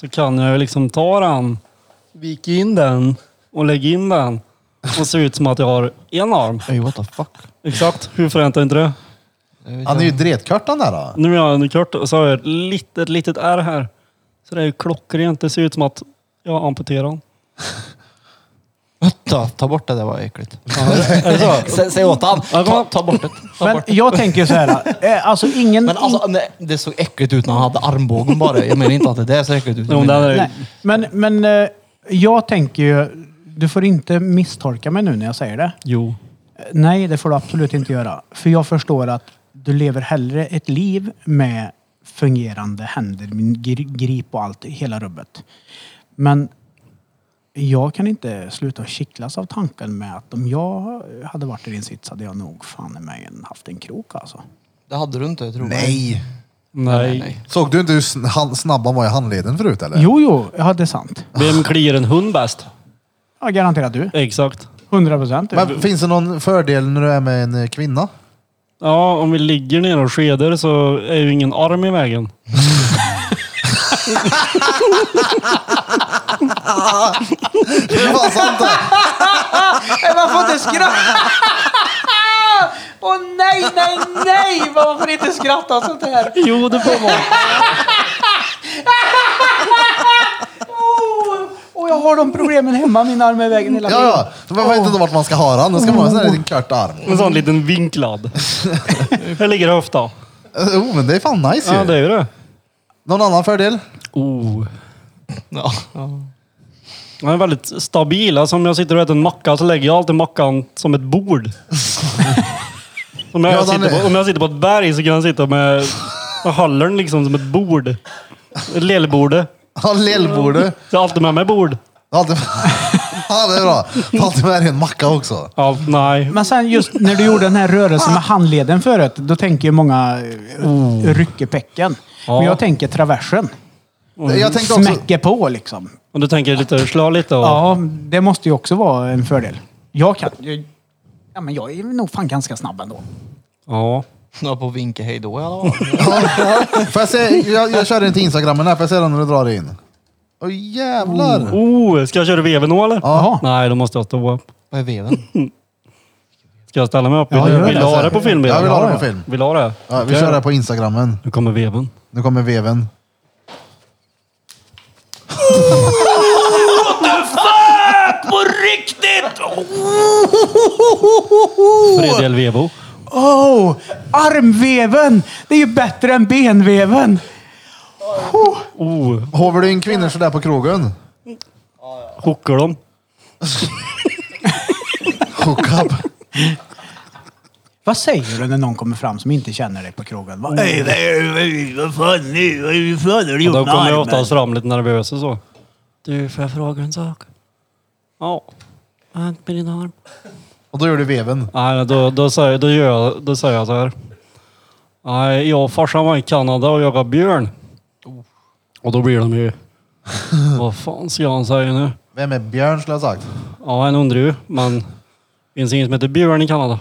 D: så kan jag ju liksom ta den, vika in den och lägga in den och se ut som att jag har en arm.
B: Oj, what the fuck.
D: Exakt. Hur fränt är inte det?
B: Jag vet
A: Han är
B: inte.
A: ju dretkört den där. Då.
D: Nu är jag under kort och så har jag ett litet, ett litet R här. Så det är ju klockrent. Det ser ut som att jag amputerar den.
B: Ta, ta bort det, det var äckligt. Sä- Säg åt han. Ta, ta bort det. Ta
C: Men
B: bort det.
C: jag tänker så här, eh, alltså ingen...
B: Men alltså, nej, det såg äckligt ut när han hade armbågen bara. Jag menar inte att det där ser äckligt ut.
D: Jo, den är-
C: Nej, men, men eh, jag tänker ju... Du får inte misstolka mig nu när jag säger det.
D: Jo.
C: Nej, det får du absolut inte göra. För jag förstår att du lever hellre ett liv med fungerande händer, min gri- grip och allt, hela rubbet. Men jag kan inte sluta att kittlas av tanken med att om jag hade varit i din sits hade jag nog fan i mig en- haft en krok alltså.
B: Det hade du inte, tror jag.
A: Nej.
D: Nej.
A: Såg du inte hur sn- han- snabb han var i handleden förut eller?
C: Jo, jo, ja det är sant.
D: Vem kliar en hund bäst?
C: Jag garanterar du.
D: Exakt.
C: 100 procent.
A: Men finns det någon fördel när du är med en eh, kvinna?
D: Ja, om vi ligger ner och skedar så är ju ingen arm i vägen.
A: Det är fan sant det!
C: Varför inte skratta? Åh nej, nej, nej! Varför inte skratta åt sånt här?
D: Jo, det får man.
C: Oh, Och jag har de problemen hemma, min arm är i vägen hela
A: Ja, ja. Så Man vet inte vart man ska ha den. Då ska man ha en sån här liten kört arm.
D: En sån liten vinklad. Här ligger höfta.
A: Jo, Eh, oh, men det är fan nice ju.
D: Ja, det är ju det.
A: Någon annan fördel?
D: Oh.
B: Ja.
D: Den är väldigt stabil. Alltså, om jag sitter och äter en macka så lägger jag alltid mackan som ett bord. Om jag,
A: Ja, den
D: sitter,
A: är-
D: på, om jag sitter på ett berg så kan jag sitta med, med hallern liksom som ett bord. Ett lillbordet.
A: Ja, lillbordet.
D: Så Jag har alltid med mig bord.
A: Alltid... Ja, det är bra. Ta alltid med dig en macka också.
D: Ja, nej.
C: Men sen just när du gjorde den här rörelsen med handleden förut, då tänker ju många Ah. oh. ryckepäcken. Men jag tänker traversen.
A: Jag tänkte också...
C: Smäcker på liksom.
D: Om du tänker lite, slå lite och...
C: Ja, det måste ju också vara en fördel. Jag kan... Jag, ja, men jag är nog fan ganska snabb ändå.
D: ja.
B: Ja, på vinka hej då i alla fall.
A: Får jag se? Jag, jag kör inte Instagrammen här. Får jag se den när du drar in? Åh jävlar!
D: Oh, ska jag köra veven då eller?
C: Jaha.
D: Nej, då måste jag stå upp.
B: Vad är veven?
D: Ska jag ställa mig upp?
C: Ja,
D: vill
C: gör
D: vill
A: det.
D: du ha det på film?
A: Jag vill ha
D: Ja,
A: det på
D: ja.
A: film.
D: Vill du ha det?
A: Ja, vi kör det här på Instagrammen.
D: Nu kommer veven.
A: Nu kommer veven.
D: Fredrik Elvevo.
C: Oh, armveven! Det är ju bättre än benveven.
D: Oh,
A: Hovar du in kvinnor sådär på krogen?
D: hookar dem.
A: Hook up.
C: Vad säger du när någon kommer fram som inte känner dig på krogen? Vad Ey, vad är det? Vad fan är det? Vad fan har du gjort
D: Då
C: med
D: kommer jag
C: armen?
D: oftast fram lite nervös och så. Du, får jag fråga en sak? Ja. Jag på din arm.
A: Och då gör du veven.
D: Nej, då, då, säger, då, gör jag, då säger jag så här. Nej, jag och farsan var i Kanada och jagade björn. Och då blir de ju... Vad fan ska han säga nu?
G: Vem är Björn skulle jag ha sagt?
D: Ja, en undrar ju, men finns inget som heter björn i Kanada.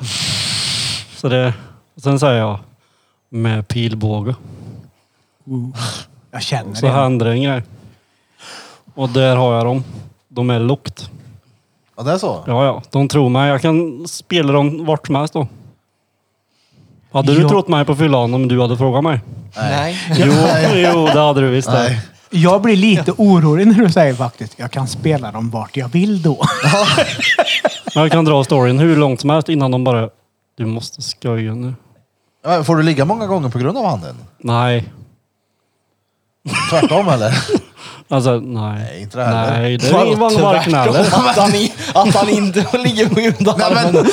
D: Så det... och Sen säger jag med pilbåge.
C: Jag känner
D: Så
C: det.
D: händer det en grej. Och där har jag dem. De är lukt.
G: Ja, det är så?
D: Ja, ja. De tror mig. Jag kan spela dem vart som helst då. Hade du
C: Ja.
D: trott mig på fyllan om du hade frågat mig?
B: Nej.
D: Jo, jo det hade du visst. det.
G: Nej.
C: Jag blir lite orolig när du säger faktiskt jag kan spela dem vart jag vill då.
D: Men jag kan dra storyn hur långt som helst innan de bara... Du måste skoja nu.
G: Men Får du ligga många gånger på grund av handen?
D: Nej.
G: Tvärtom eller?
D: Alltså, nej.
G: Nej, inte det heller.
D: Nej, det är ingen varken heller.
B: Att han, i- att han inte ligger på grund av armen.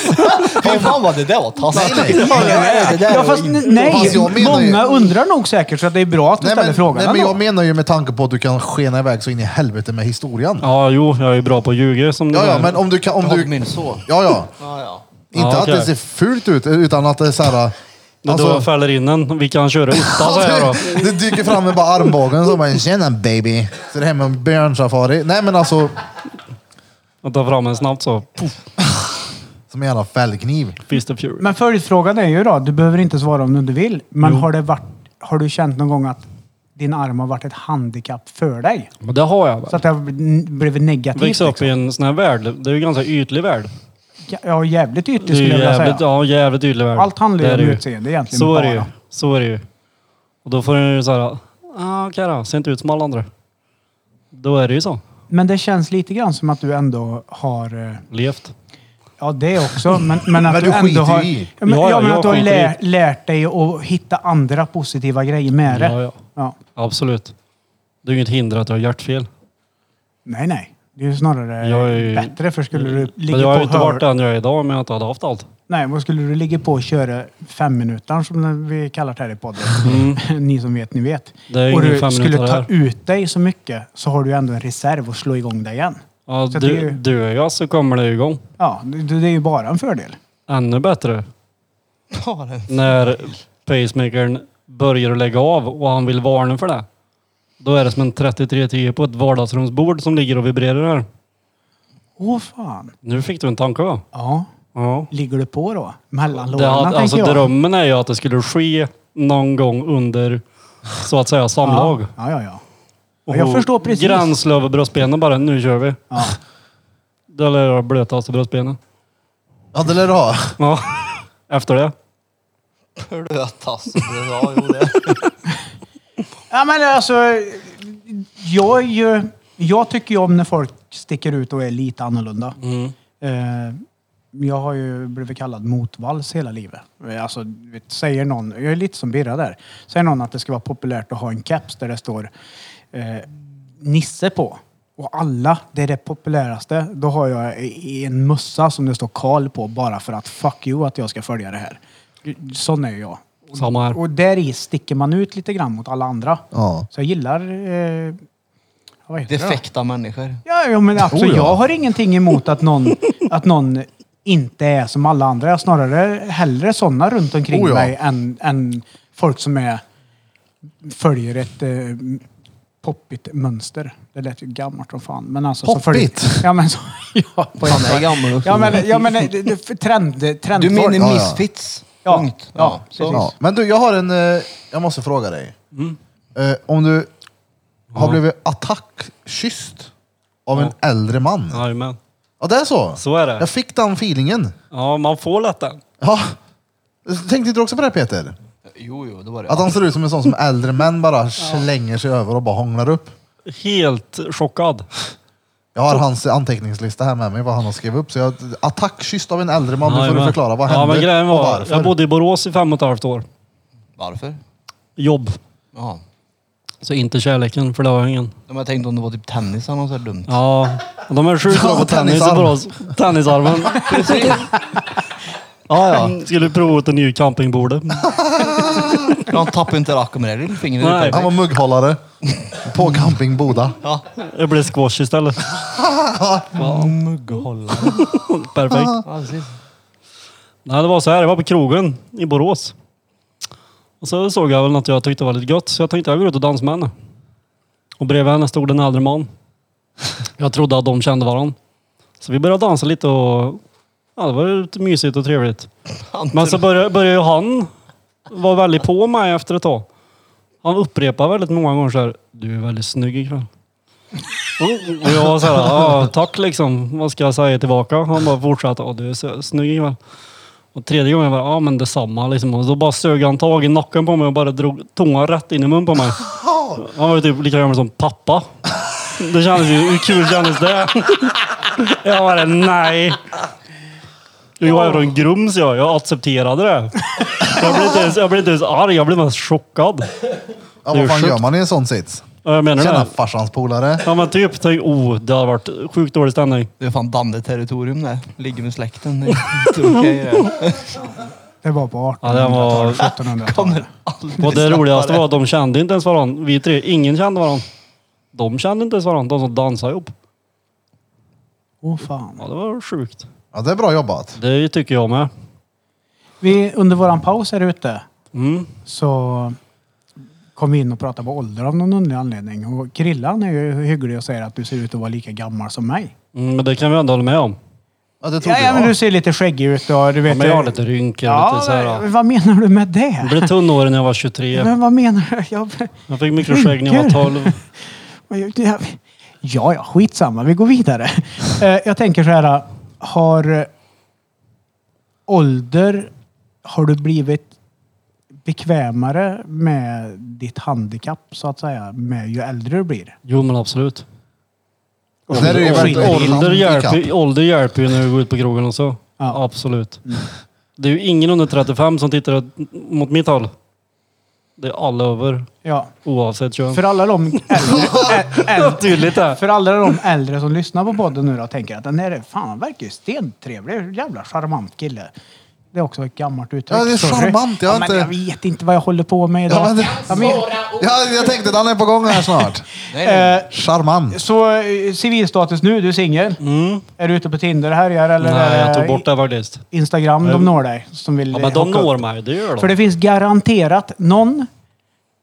B: Fy fan vad det där var taskigt.
G: Nej, nej.
B: Det där
C: Ja,
B: var
C: fast
B: inte-
C: n- nej,
A: Fast jag menar ju-
C: många undrar nog säkert så att det är bra att du
G: Nej,
C: ställer
G: men,
C: frågan.
G: nej, men
C: ändå.
G: jag menar ju med tanke på att du kan skena iväg så in i helvete med historien. Ja,
D: Ja, jo, jag är bra på att ljuga som du
G: ja,
D: säger.
G: men om du kan... Om
B: Jag har
G: du,
B: min så.
G: ja, ja.
B: Ja, ja.
G: Inte
D: Ja,
G: att det
D: okej.
G: ser fult ut, utan att det är så här... alltså-
D: Det är då
C: alltså-
D: jag fäller in en. Vi kan köra utta säger jag då.
G: det, det dyker fram med bara armbågen så bara “Tjena baby!” Så det här med björnsafari. Nej men alltså,
D: Jag tar fram en snabbt så. Puff,
G: som en jävla fällkniv.
D: Fist of Fury.
C: Men följdfrågan är ju då, du behöver inte svara om du inte vill, men har, det varit, har du känt någon gång att din arm har varit ett handikapp för dig?
D: Men det har jag
C: Så
D: väl.
C: att det har bl- blivit negativt?
D: Växa upp
C: liksom?
D: i en sån här värld. Det är ju ganska ytlig värld.
C: Ja, jävligt
D: Det
C: ytligt
D: är
C: skulle
D: ju
C: jag vilja
D: jävligt,
C: säga.
D: ja, jävligt ytlig värld.
C: Allt handlar
D: Det
C: ju
D: är
C: om
D: det
C: utseende egentligen
D: Så är
C: bara.
D: det ju. Så är det ju. Och då får du ju såhär, ah, okej då, ser inte ut som alla andra. Då är det ju så.
C: Men det känns lite grann som att du ändå har... eh,
D: Levt.
C: Ja, det också. Men, men att
G: Men
C: du
G: du
C: ändå
G: skiter
C: har...
G: ju i.
C: Ja, men, ja,
D: Ja, ja,
C: men
D: jag
C: att du har
D: skiter
C: lär, lärt dig att hitta andra positiva grejer med det.
D: Ja, ja.
C: Ja.
D: Absolut. Det är ju inget hinder att jag har hjärtfel.
C: Nej, nej. Det är ju snarare
D: Jag är ju-
C: bättre. För skulle du ligga
D: Men jag har
C: på
D: ju inte
C: hör-
D: varit den jag är idag om jag inte hade haft allt.
C: Nej, vad skulle du ligga på och köra fem minuter som vi kallar det här i podden?
D: Mm.
C: ni som vet, ni vet.
D: Det är
C: och
D: ingen
C: du
D: fem
C: skulle
D: minuter
C: ta
D: här.
C: ut dig så mycket så har du ändå en reserv att slå igång dig igen.
D: Ja,
C: Så det är
D: du,
C: ju-
D: du och jag så kommer det igång.
C: Ja, det, det är ju bara en fördel.
D: Ännu bättre
B: Ja, det-
D: när pacemakern börjar att lägga av och han vill varna för det. Då är det som en 3310 på ett vardagsrumsbord som ligger och vibrerar här.
C: Åh fan.
D: Nu fick du en tanke va?
C: Ja,
D: Ja.
C: ligger du på då? Mellan
D: Det,
C: lådorna
D: hade-
C: tänker
D: alltså,
C: jag.
D: drömmen är ju att det skulle ske någon gång under så att säga samlag.
C: Ja, ja, ja. ja. Jag förstår precis.
D: Gränsle över bröstbenen bara. Nu kör vi.
C: Ja.
D: Det lär jag ha blötaste bröstbenen.
G: Ja det lär du ha.
D: Ja. Efter det.
B: Blötass. Ja, jo det.
C: ja, men alltså. Jag, är ju, jag tycker ju om när folk sticker ut och är lite annorlunda. Eh, jag har ju blivit kallad motvalls hela livet. Eh, Alltså, vet, säger någon, jag är lite som Birra där, säger någon att det ska vara populärt att ha en keps där det står eh, Nisse på. Och alla, det är det populäraste. Då har jag i- en mössa som det står Karl på bara för att fuck you att jag ska följa det här. Sån är jag.
D: Samma här.
C: Och där i sticker man ut lite grann mot alla andra.
G: Ja.
C: Så jag gillar... Eh, vad heter det då?
B: Defekta människor.
C: Ja, ja men alltså,
G: Oh, ja.
C: jag har ingenting emot att någon, att någon inte är som alla andra. Jag snarare hellre sådana runt omkring
G: Oh, ja.
C: mig än, än folk som är, följer ett eh, poppigt mönster. Det lät ju gammalt som fan. Men alltså, så följer-
G: Poppigt?
C: Ja, men så... Ja, på
B: Han är gammal också.
C: ja, men, ja, men eh, det, det, för trend, trend,
B: Du menar
G: ja.
B: misfits?
C: Ja,
B: Punkt.
C: ja,
B: så.
C: precis.
G: Ja. Men du, jag har en... eh, Jag måste fråga dig. Eh, Om du har blivit attackkysst av en äldre man.
D: Jajamän.
G: Ja det är så.
D: Så är det.
G: Jag fick den feelingen.
D: Ja, man får lätt den.
G: Ja. Tänkte inte du också på det Peter?
B: Jo, jo, det var det.
G: Att han ser ut som en sån som äldre män bara slänger sig över och bara hånglar upp.
D: Helt chockad.
G: Jag har hans anteckningslista här med mig, vad han har skrivit upp. Så jag, attackkyst av en äldre man. Nu får du
D: Jajamän.
G: förklara, vad
D: Ja,
G: hände
D: men grejen
G: och
D: var,
G: varför?
D: jag bodde i Borås i fem och ett halvt år.
B: Varför?
D: Jobb.
B: Ja.
D: Så inte kärleken, för det har jag ingen.
B: Men jag tänkte om det var typ tennis eller något så här dumt.
D: Ja, de är sjukt bra på
G: Ja,
D: tennis i
G: tennisarm.
D: Borås. Tennisarmen.
B: Ja, ja.
D: Skulle prova ut en ny campingbordet.
B: Han tappar inte racken med det lillfingret.
D: Nej.
G: Han var mugghållare på camping Boda.
D: Det blev squash istället.
B: Mm. Mugghållare.
D: Perfekt. Nej, det var så här. Jag var på krogen i Borås. Och så såg jag väl något jag tyckte var lite gött, så jag tänkte jag går ut och dansar med henne. Och bredvid henne stod en äldre man. Jag trodde att de kände varandra. Så vi började dansa lite och ja, det var ju lite mysigt och trevligt. Men så började, började ju han vara väldigt på mig efter ett tag. Han upprepade väldigt många gånger så här, du är väldigt snygg ikväll. Och jag var så här, ja tack liksom. Vad ska jag säga tillbaka? Han bara fortsatte, ja du är så snygg ikväll. Och tredje gången var det, ja men detsamma liksom. Och då bara sög han tag i nacken på mig och bara drog tungan rätt in i munnen på mig. Han var ju typ lika gammal som pappa. Det kändes ju, hur kul kändes det? Jag bara, nej. Jag är från Grums jag, jag accepterade det. Jag blev inte ens, jag blev inte ens arg, jag blev mest chockad.
G: Ja,
D: Det är
G: vad fan
D: sjukt.
G: gör man i en sån sits?
D: Ja, Jag menar
G: Tjena
D: det.
G: farsans polare.
D: Ja men typ, tänk, oh det har varit sjukt dålig stämning.
B: Det är fan Danne-territorium det. Ligger med släkten. Det är inte okej det.
C: Det var på
D: Ja, det var-
C: 1800-talet, 1700-talet.
B: Kommer aldrig
D: Och det
B: släppa
D: roligaste
B: det.
D: var att de kände inte ens varandra. Vi tre, ingen kände varandra. De kände inte ens varandra, de som dansade ihop.
C: Åh fan.
D: Ja, det var sjukt.
G: Ja, det är bra jobbat.
D: Det tycker jag med.
C: Vi, under våran paus här ute
D: Mm.
C: så kom vi in och pratade om ålder av någon underlig anledning. Och Krillan är ju hygglig och säger att du ser ut att vara lika gammal som mig.
D: Mm, men det kan vi ändå hålla med om.
G: Ja, det trodde
C: Ja, ja, men du
G: jag.
C: ser lite skäggig ut och du
D: Ja,
C: vet...
D: men jag har lite rynkor och
C: Ja,
D: lite så här.
C: men vad menar du med det?
D: Jag blev tunnhårig när jag var 23.
C: Men vad menar du? Jag,
D: Jag fick mycket skägg när jag var 12.
C: jag, jag, ja, ja, skitsamma. Vi går vidare. Eh, jag tänker så här. Har eh, ålder... Har du blivit bekvämare med ditt handikapp så att säga, med ju äldre du blir?
D: Jo men absolut.
G: Och där är det ju
C: Ålder-
G: verkligen
D: Ålder
G: handikapp.
D: hjälper, ålder hjälper ju när du går ut på krogen och så.
C: Ja.
D: Absolut.
G: Mm.
D: Det är ju ingen under 35 som tittar åt- mot mitt håll. Det är alla över,
C: Ja.
D: oavsett kön.
C: För alla de äldre, ä- äldre,
D: Tydligt det.
C: för alla de äldre som lyssnar på podden nu då tänker att den här är- fan han verkar ju stentrevlig. Jävla charmant kille. Det är också ett gammalt uttryck.
G: Ja, det är
C: sorry.
G: charmant, jag har
C: ja, men
G: inte-
C: jag vet inte vad jag håller på med idag.
G: Ja, men det-
C: Ja, men-
G: Ja, jag tänkte att han är på gång här snart.
B: Nej, nej.
C: eh,
G: Charmant.
C: så eh, civilstatus nu, du är singel. Är du ute på Tinder här eller
D: Mm. Nej, jag tog
C: eh,
D: bort det faktiskt.
C: Instagram de når dig? Som vill
D: Ja, men de
C: hooka upp?
D: når mig, det gör de.
C: För det finns garanterat någon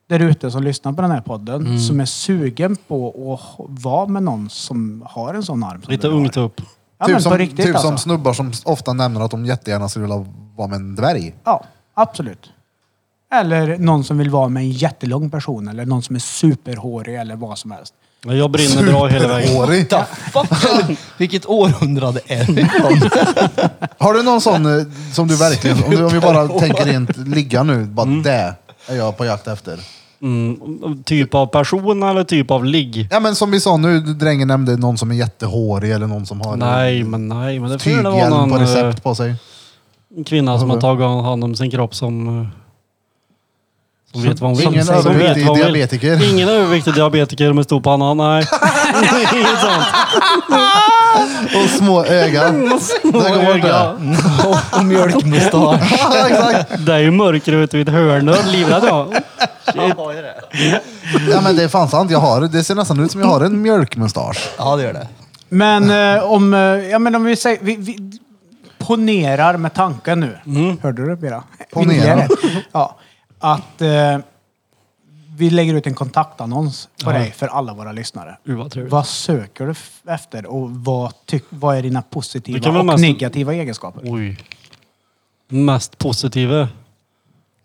C: där ute som lyssnar på den här podden
G: Mm.
C: som är sugen på att vara med någon som har en sån arm. Som
D: Lite
C: du har.
D: ungt upp.
C: Ja,
G: typ
C: men
G: som,
C: på riktigt
G: typ
C: alltså.
G: som snubbar som ofta nämner att de jättegärna skulle vilja vara med en dvärg.
C: Ja, absolut. Eller någon som vill vara med en jättelång person eller någon som är superhårig eller vad som helst.
D: Men Jag brinner bra hela vägen.
G: Hårig.
B: What the fuck? Vilket århundrade är vi ifrån?
G: Har du någon sån eh, som du verkligen, om, du, om vi bara tänker rent ligga nu, bara det är jag på jakt efter.
D: Mm, typ av person eller typ av ligg?
G: Ja men som vi sa nu, drängen nämnde någon som är jättehårig eller någon som har
D: Nej, men nej. Men det får ju vara
G: tyghjälm
D: någon
G: på
D: eh,
G: recept på sig.
D: kvinna som har tagit hand om sin kropp som... eh, Som vet vad hon vill.
G: ingen
D: Som vet
G: överviktig
D: vad hon vill.
G: diabetiker.
D: Ingen överviktig diabetiker med stor panna, nej. Inget sånt.
G: Och små ögon. Det går inte.
B: Och- Och mjölkmustasch.
G: Ja, exakt.
D: Det är ju mörker ute vid ett hörn. och Livrädd jag.
G: Ja men det är fan sant, jag har, det ser nästan ut som jag har en mjölkmustasch.
B: Ja, det gör det.
C: Men eh, om, eh, ja, men om vi säger... Vi, vi ponerar med tanken nu.
D: Mm.
C: Hörde du Bera?
G: Ponera.
C: Ytterligare. Ja. Att eh, vi lägger ut en kontaktannons på dig för alla våra lyssnare.
D: Gud, vad trevligt.
C: Vad söker du f- efter och vad, tyck, vad är dina
D: Det kan
C: positiva
D: väl
C: och
D: mest-
C: negativa egenskaper?
D: Oj. Mest positiva.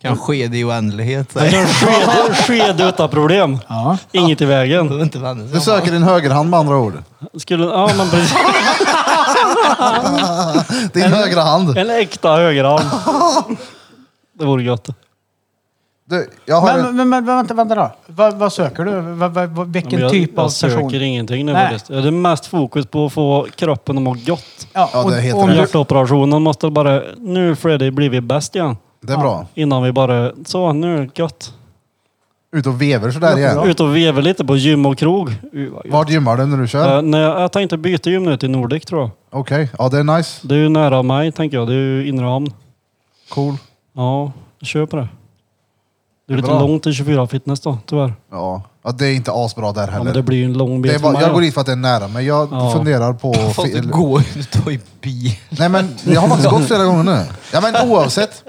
B: Kan ske det i oändlighet.
D: Det är en sked- Sked utan problem.
C: Ja.
D: Inget i vägen.
B: Du är inte vänner.
G: Du söker din högerhand med andra ord.
D: Skulle, ja, men precis.
G: Din högra hand.
D: En äkta högerarm. Det vore gött.
G: Du, jag har
C: Men,
G: en,
C: men, men vänta, vänta då. Vad, vad söker du? Vad, vad, vad, vilken
D: Men jag,
C: typ av
D: jag söker
C: person?
D: ingenting nu
C: Nej.
D: faktiskt. Jag hade mest fokus på att få kroppen att må gott.
G: Ja,
C: och,
G: det heter
C: om
G: det.
C: du,
D: Hjärtoperationen måste bara... Nu Freddy blir vi bäst igen.
G: det är bra.
D: Innan vi bara... Så, nu är det gött.
G: Ut och vever sådär igen.
D: Ut och veva lite på gym och krog. Uh, vad gött.
G: Vart gymmar du när du kör?
D: Eh, nej, jag tänkte byta gym nu till Nordic tror jag.
G: Okej, ja det är nice.
D: Det är ju nära mig tänker jag. Det är ju inre hamn.
A: Cool.
D: Ja, kör på det. Det är lite
A: Bra.
D: långt till 24 fitness då, tyvärr.
A: Ja. ja, det är inte asbra där
D: Ja,
A: heller.
D: men det blir ju en lång
A: Det
D: bit
A: är bara,
D: för mig
A: jag
D: då.
A: går dit för att det är nära, men jag
D: Ja.
A: funderar på...
B: Fast det
A: fel-
B: går ju inte att ta i bil.
A: Nej men jag har faktiskt gått flera gånger nu. Ja men oavsett.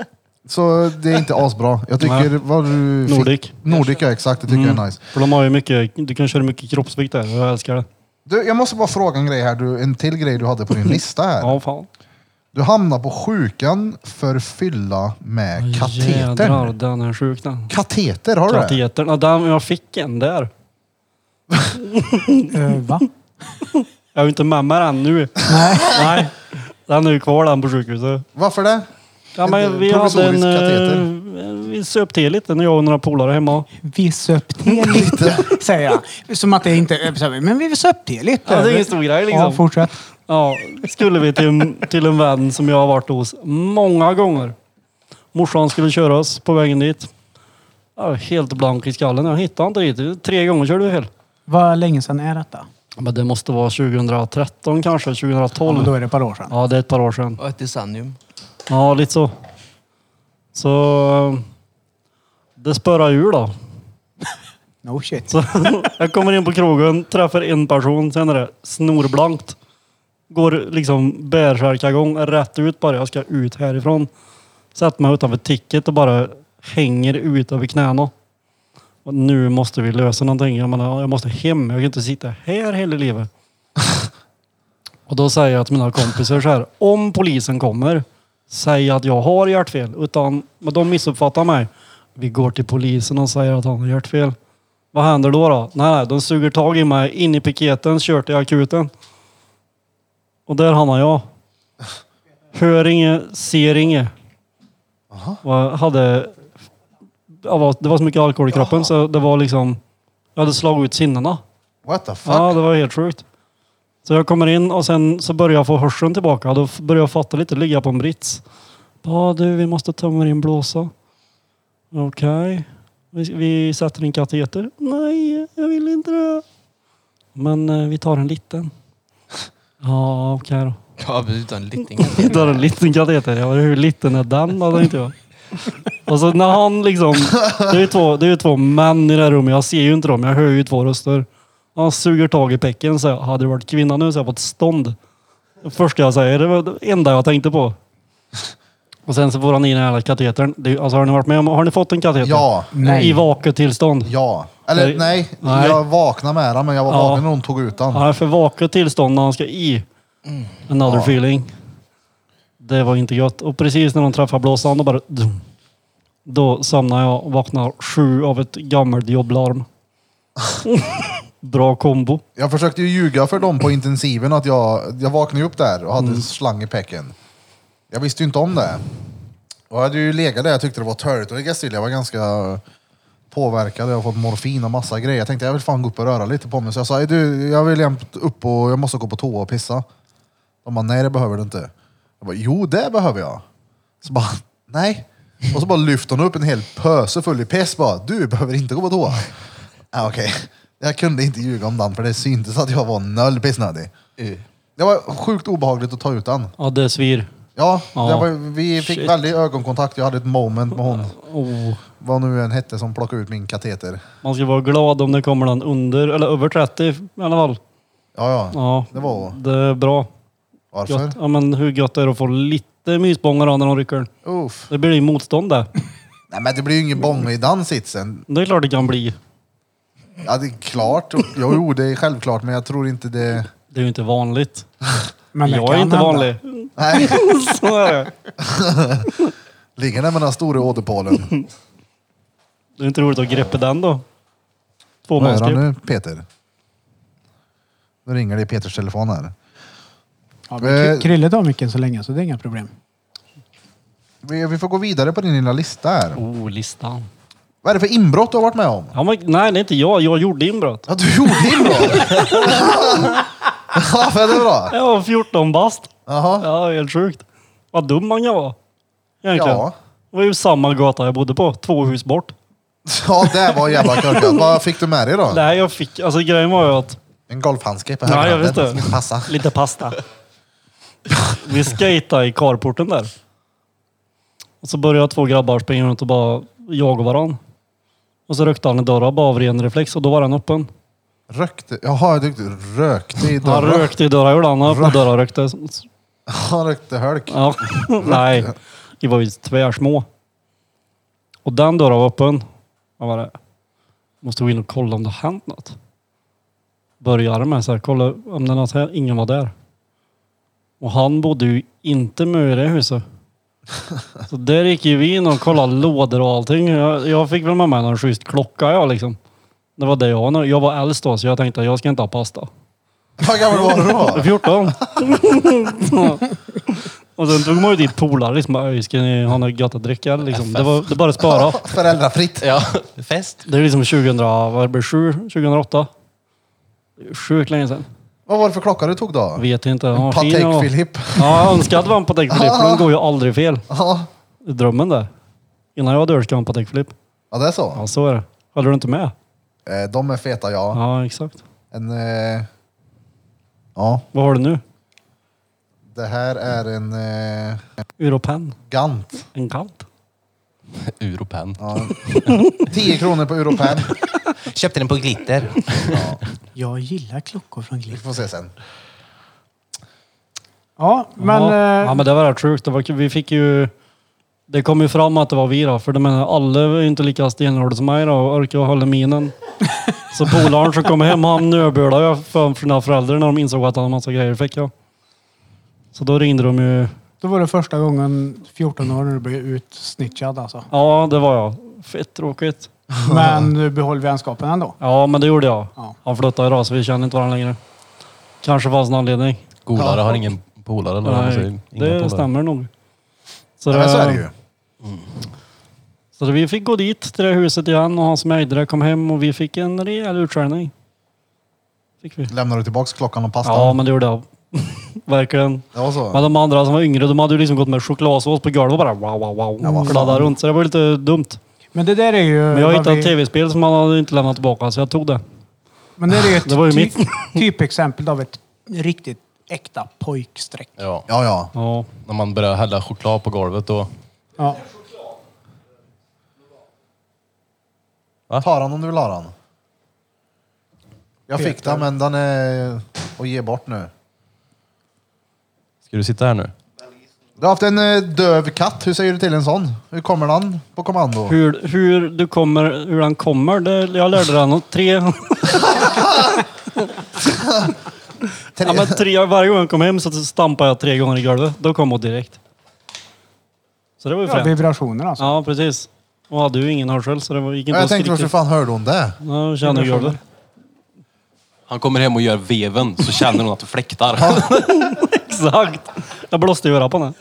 A: Så det är inte asbra. Jag tycker
D: Nej.
A: vad du fick-
D: Nordic. Mm.
A: Nordic ja, exakt. Det tycker jag är nice.
D: För de har ju mycket, du kan köra mycket kroppsvikt där. Jag älskar det.
A: Du, jag måste bara fråga en grej här. Du, en till grej du hade på din lista här.
D: Ja, fan.
A: Du hamnar på sjukan för fylla med
D: Jädrar,
A: kateter.
D: den är sjuk den.
A: Kateter, har du det?
D: Katetern, ja, den jag fick en där.
C: Eh, va?
D: Jag är ju inte med mig den nu. Nej. Nej. Den är ju kvar den på sjukhuset.
A: Varför det?
D: Ja, men
A: En
D: vi hade en...
A: provisorisk kateter.
D: eh, Vi söp till lite när jag och några polare hemma.
C: Vi söp till lite, säger jag. Som att det inte är... så här, Men vi söp till lite.
D: Ja, det är ingen stor grej, liksom.
C: Ja, fortsätt.
D: Ja, skulle vi till, till en vän som jag har varit hos många gånger. Morsan skulle köra oss på vägen dit. Jag var helt blank i skallen. Jag hittade inte dit. Tre gånger körde vi fel.
C: Vad länge sedan är detta?
D: Men det måste vara 2013 kanske,
C: Ja, men
D: 2012.
C: då är det ett par år sedan.
D: Ja, det är ett par år sedan.
B: Och ett decennium.
D: Ja, lite så. Så eh, det spörar ur då.
C: No shit.
D: Så jag kommer in på krogen, träffar en person, sen är det snorblankt. Går liksom bärsärkagång rätt ut bara. Jag ska ut härifrån. Sätter mig utanför ticket och bara hänger ut över knäna. Och nu måste vi lösa någonting. Jag menar, jag måste hem. Jag kan inte sitta här hela livet. och då säger jag till mina kompisar så här. Om polisen kommer, säg att jag har hjärtfel. Utan, men de missuppfattar mig. Vi går till polisen och säger att han har hjärtfel. Vad händer då? då? Nej, nej, de suger tag i mig in i piketen, kör till akuten. Och där hamnar jag. Hör inget, ser inget. Och jag hade... jag var- Det var så mycket alkohol i kroppen så det var liksom... Jag hade slagit ut sinnena.
A: What the fuck?
D: Ja, det var helt sjukt. Så jag kommer in och sen så börjar jag få hörseln tillbaka. Då f- börjar jag fatta lite, ligga på en brits. Ja du, vi måste tömma din blåsa. Okej. Vi, vi sätter en kateter. Nej, jag vill inte det. Men eh, vi tar en liten. Ja, okej då.
B: Ja, men utan liten
D: Vi tar en liten kateter. Ja, hur liten är den då? Tänkte jag. Och så när han liksom... Det är ju två, det är ju två män i det här rummet. Jag ser ju inte dem. Jag hör ju två röster. Han suger tag i pecken. Så jag, hade det varit kvinna nu så hade jag fått stånd. Det första jag säger. Det var det enda jag tänkte på. Och sen så får han i den här katetern. Det är, ju- alltså, har ni varit med om... Har ni fått en kateter?
A: Ja.
D: I
C: Nej.
D: vaket tillstånd.
A: Ja. Eller
D: Nej.
A: nej,
D: Nej.
A: jag vaknade med den men jag var
D: Ja.
A: vaken när hon tog ut den.
D: Han är för vaket tillstånd när han ska i. Another
A: Ja.
D: feeling. Det var inte gött. Och precis när de träffar blåsan, då bara... dum. Då somnar jag och vaknar sju av ett gammalt jobblarm. Bra kombo.
A: Jag försökte ju ljuga för dem på intensiven att jag, jag vaknade upp där och hade en slang i pecken. Jag visste ju inte om det. Och jag hade ju legat där jag tyckte det var törligt och jag jag var ganska påverkad. Jag har fått morfin och massa grejer. Jag tänkte jag vill fan gå upp och röra lite på mig. Så jag sa, "Ey, du, jag vill jämt upp och jag måste gå på toa och pissa. De bara, nej det behöver du inte. Jag bara, jo det behöver jag. Så bara, nej. Och så bara lyfter hon upp en hel pöse full i piss bara, du behöver inte gå på toa. Ja, Okej, jag kunde inte ljuga om den för det syntes att jag var noll pissnödig. Det var sjukt obehagligt att ta ut den.
D: Ja, det svir.
A: Ja,
D: Ja.
A: Det var, vi fick
D: Shit.
A: väldigt ögonkontakt. Jag hade ett moment med hon,
D: Oh.
A: vad nu en hette, som plockade ut min kateter.
D: Man ska vara glad om det kommer någon under, eller över 30 i alla fall.
A: Ja, ja.
D: Ja,
A: Det var
D: det är bra.
A: varför?
D: Gött. Ja, men hur gött är det att få lite mysbångar då när de rycker?
A: Uff.
D: Det blir ju motstånd där.
A: Nej, men det blir ju ingen bång i den sitsen.
D: Det är klart det kan bli.
A: Ja, det är klart. Jo, Jo, det är självklart, men jag tror inte det...
D: Det är ju inte vanligt.
C: Men det
D: jag
C: kan
D: är inte
C: hända.
D: vanlig.
A: Nej,
D: Så är det.
A: ligger där med den stora åderpålen.
D: Det är inte roligt att greppa den då. Två
A: Vad är han
D: mansgrepp.
A: nu, Peter? Nu ringer det i Peters telefon här.
C: Ja, men
A: Eh.
C: Kry- Krille tar mycket så länge, så det är inga problem.
A: Vi, vi får gå vidare på din lilla lista här.
D: Oh, listan.
A: Vad är det för inbrott du har varit med om?
D: Ja, men, nej, det är inte jag. Jag gjorde inbrott.
A: Ja, du gjorde inbrott! ja, för det är bra.
D: Jag var 14 bast.
A: Jaha.
D: Ja, helt sjukt. Vad dum man kan vara. Egentligen.
A: Ja.
D: Det var ju samma gata jag bodde på, två hus bort.
A: ja, det var jävla korkat. Vad fick du med dig då?
D: Nej, jag fick... Alltså grejen var ju att...
A: En golfhandske på
D: Nej, jag
A: högerhanden.
D: vet
A: Det ska
D: inte.
A: inte passa.
D: Lite pasta. Vi skejtade i carporten där. Och så började två grabbar springa runt och bara jaga varann. Och så rökte han i dörren bara av ren reflex och då var den öppen.
A: Rökte? Jaha, jag tyckte rökte i
D: Han
A: dörren.
D: rökte i dörren gjorde han. Han öppnade dörren och rökte.
A: Han rökte hölk.
D: Ja. Nej, vi var ju tvärsmå. Och den dörren var öppen. Jag bara, måste gå in och kolla om det har hänt något. Började med så här, kolla om det är något här. Ingen var där. Och han bodde ju inte med i det huset. Så där gick ju vi in och kollade lådor och allting. Jag, jag fick väl med mig någon schysst klocka jag liksom. Det var det jag var. Jag var äldst då så jag tänkte jag ska inte ha pasta.
A: Vad gammal var du då?
D: 14. och sen tog man ju dit polare liksom. "Öj, Ska ni ha något gött att dricka? eller?" Liksom. Det, var, det bara att spara.
A: Föräldrafritt.
E: Ja, fest.
D: Det är liksom 2000, vad blir det, 7, 2008. Det är Sjukt länge sedan.
A: Vad var det för klocka du tog då?
D: Vet inte. Ja, fin jag
A: Patek
D: var.
A: Philip.
D: Ja, jag önskar att det var en Patek Philippe. för De går ju aldrig fel.
A: Ja.
D: Det är drömmen där. Innan jag dör ska jag ha en Patek Philippe.
A: ja, det är så.
D: Ja, så är det. Håller du inte med?
A: Eh, De är feta, ja.
D: Ja, exakt.
A: En, eh, ja,
D: Vad har du nu?
A: det här är en eh,
D: Europen?
A: Gant.
D: En kant?
E: Europen.
A: Ja. 10 kronor på Europen.
H: Köpte den på glitter.
C: Jag gillar klockor från
A: Vi
C: Glimt.
A: får se sen.
C: Ja, men...
D: ja.
C: eh,
D: ja, men det var rätt sjukt. Det var, kul. vi fick ju... Det kom ju fram att det var vi då, för de menar, alla är ju inte lika stenhårda som mig då och orkar hålla minen. Så polaren som kom hem, han nöbölade jag för mina föräldrar när de insåg att han hade massa grejer fick jag. Så då ringde de ju.
C: Då var det första gången 14 år när du blev utsnitchad alltså.
D: Ja, det var jag. Fett tråkigt.
C: Men du behöll vänskapen ändå.
D: Ja, men det gjorde jag.
C: Ja.
D: Han flyttade idag så vi känner inte varandra längre. Kanske fanns en anledning.
E: Golare har ingen polare eller vad man säger.
D: Nej,
E: Inga polare.
D: det stämmer nog. Så
A: Ja, men så är det ju.
D: Så då vi fick gå dit till det huset igen och han som ägde det kom hem och vi fick en rejäl utskällning. Fick vi.
A: Lämnar du tillbaks klockan och pastan?
D: Ja, men det gjorde jag. Verkligen.
A: Det var så?
D: Men de andra som var yngre, de hade ju liksom gått med chokladsås på golvet och bara wow, wow, wow. Kladdade runt. Så det var lite dumt.
C: Men det där är ju...
D: Men jag
C: vad
D: hittade
C: Eh, vi-
D: ett tv-spel som han hade inte lämnat tillbaka, så jag tog det.
C: Men det är ju ett
D: Det var ju
C: ty-
D: mitt.
C: typexempel av ett riktigt äkta pojkstreck.
E: Ja,
A: Ja, ja.
D: Ja.
E: när man börjar hälla choklad på golvet då.
C: Ja.
A: Ta den om du vill ha den. Jag fick den, men den är att ge bort nu.
E: Ska du sitta här nu?
A: Du har haft en eh, döv katt. Hur säger du till en sån? Hur kommer den på kommando?
D: Hur, hur, du kommer, hur han kommer, det, jag lärde den något. tre... ja, men tre, varje gång jag kom hem så stampade jag tre gånger i golvet. Då kom hon direkt. Så det var ju
C: Ja,
D: fränt.
C: vibrationer alltså.
D: Ja, precis. Och hade ju ingen hörsel så det var- gick
A: Ja,
D: inte
A: jag tänkte, varför
D: skrika.
A: fan hörde hon det?
D: Ja, jag känner golvet.
E: Han kommer hem och gör veven så känner hon att du fläktar.
D: Exakt. Jag blåste i örat på henne.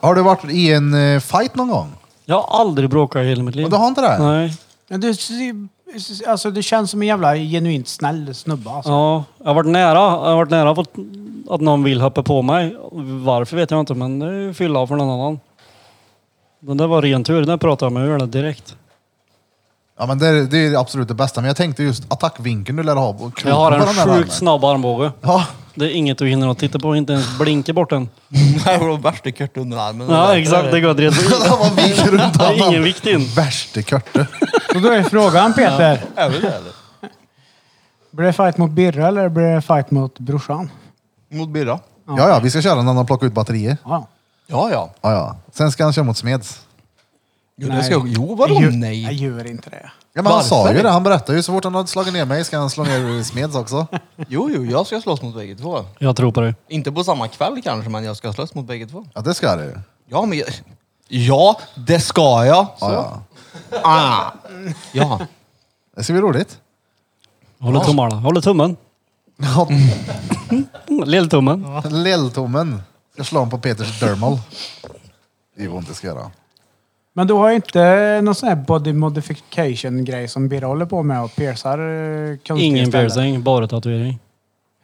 A: Har du varit i en eh, fight någon gång?
D: Jag har aldrig bråkat i hela mitt liv.
A: Och du har inte det?
D: Nej.
C: Ja, Du, alltså, du känns som en jävla genuint snäll snubbe alltså.
D: Ja, jag har varit nära. Jag har varit nära på att- att någon vill hoppa på mig. Varför vet jag inte, men det är ju fylla för någon annan. Den där var ren tur. Den pratade jag med ur den direkt.
A: Ja, men det, är, det är absolut det bästa. Men jag tänkte just attackvinkeln du lär ha. Och kroken
D: Jag har
A: på den där
D: en
A: armen.
D: sjukt snabb armbåge.
A: Ja,
D: Det är inget du hinner att titta på. Inte ens blinka bort den.
B: Det var värsta kört under armen.
D: Ja, exakt. Det går att resa
A: den var vik runt
D: Det är ingen
A: armen.
D: vikt in.
A: Värste körte.
C: Och då är frågan Peter. Blir det fight mot Birra eller blir det fight mot brorsan?
B: Mot Birra.
A: Ja, ja, vi ska köra den när de plockar ut batterier.
C: Ja.
B: Ja, ja.
A: Ja, ja. Sen ska han köra mot Smeds.
B: Jo,
C: Nej.
B: det ska jag, jo vadå
C: Jag gör- Jag
B: nej?
C: gör inte det.
A: Ja, men han sa
B: Varför?
A: ju det. Han berättade ju. Så fort han hade slagit ner mig ska han slå ner Smeds också.
B: Jo, jo, jag ska slåss mot bägge två.
D: Jag tror på dig.
B: Inte på samma kväll kanske, men jag ska slåss mot bägge två.
A: Ja, det ska du.
B: Ja, men jag, Ja, det ska jag. Så.
A: Ja, ja.
B: Ah. ja.
A: Det ska bli roligt.
D: Håller tummarna. Håller tummen.
A: Ja,
D: Mm, Lilltummen.
A: Lilltommen. Ska slå honom på Peters dermal. Det är ju ont det ska göra.
C: Men du har ju inte någon sån här body modification grej som Birra håller på med och piercar eh, konstiga
D: Ingen
C: ställen.
D: piercing, bara tatuering.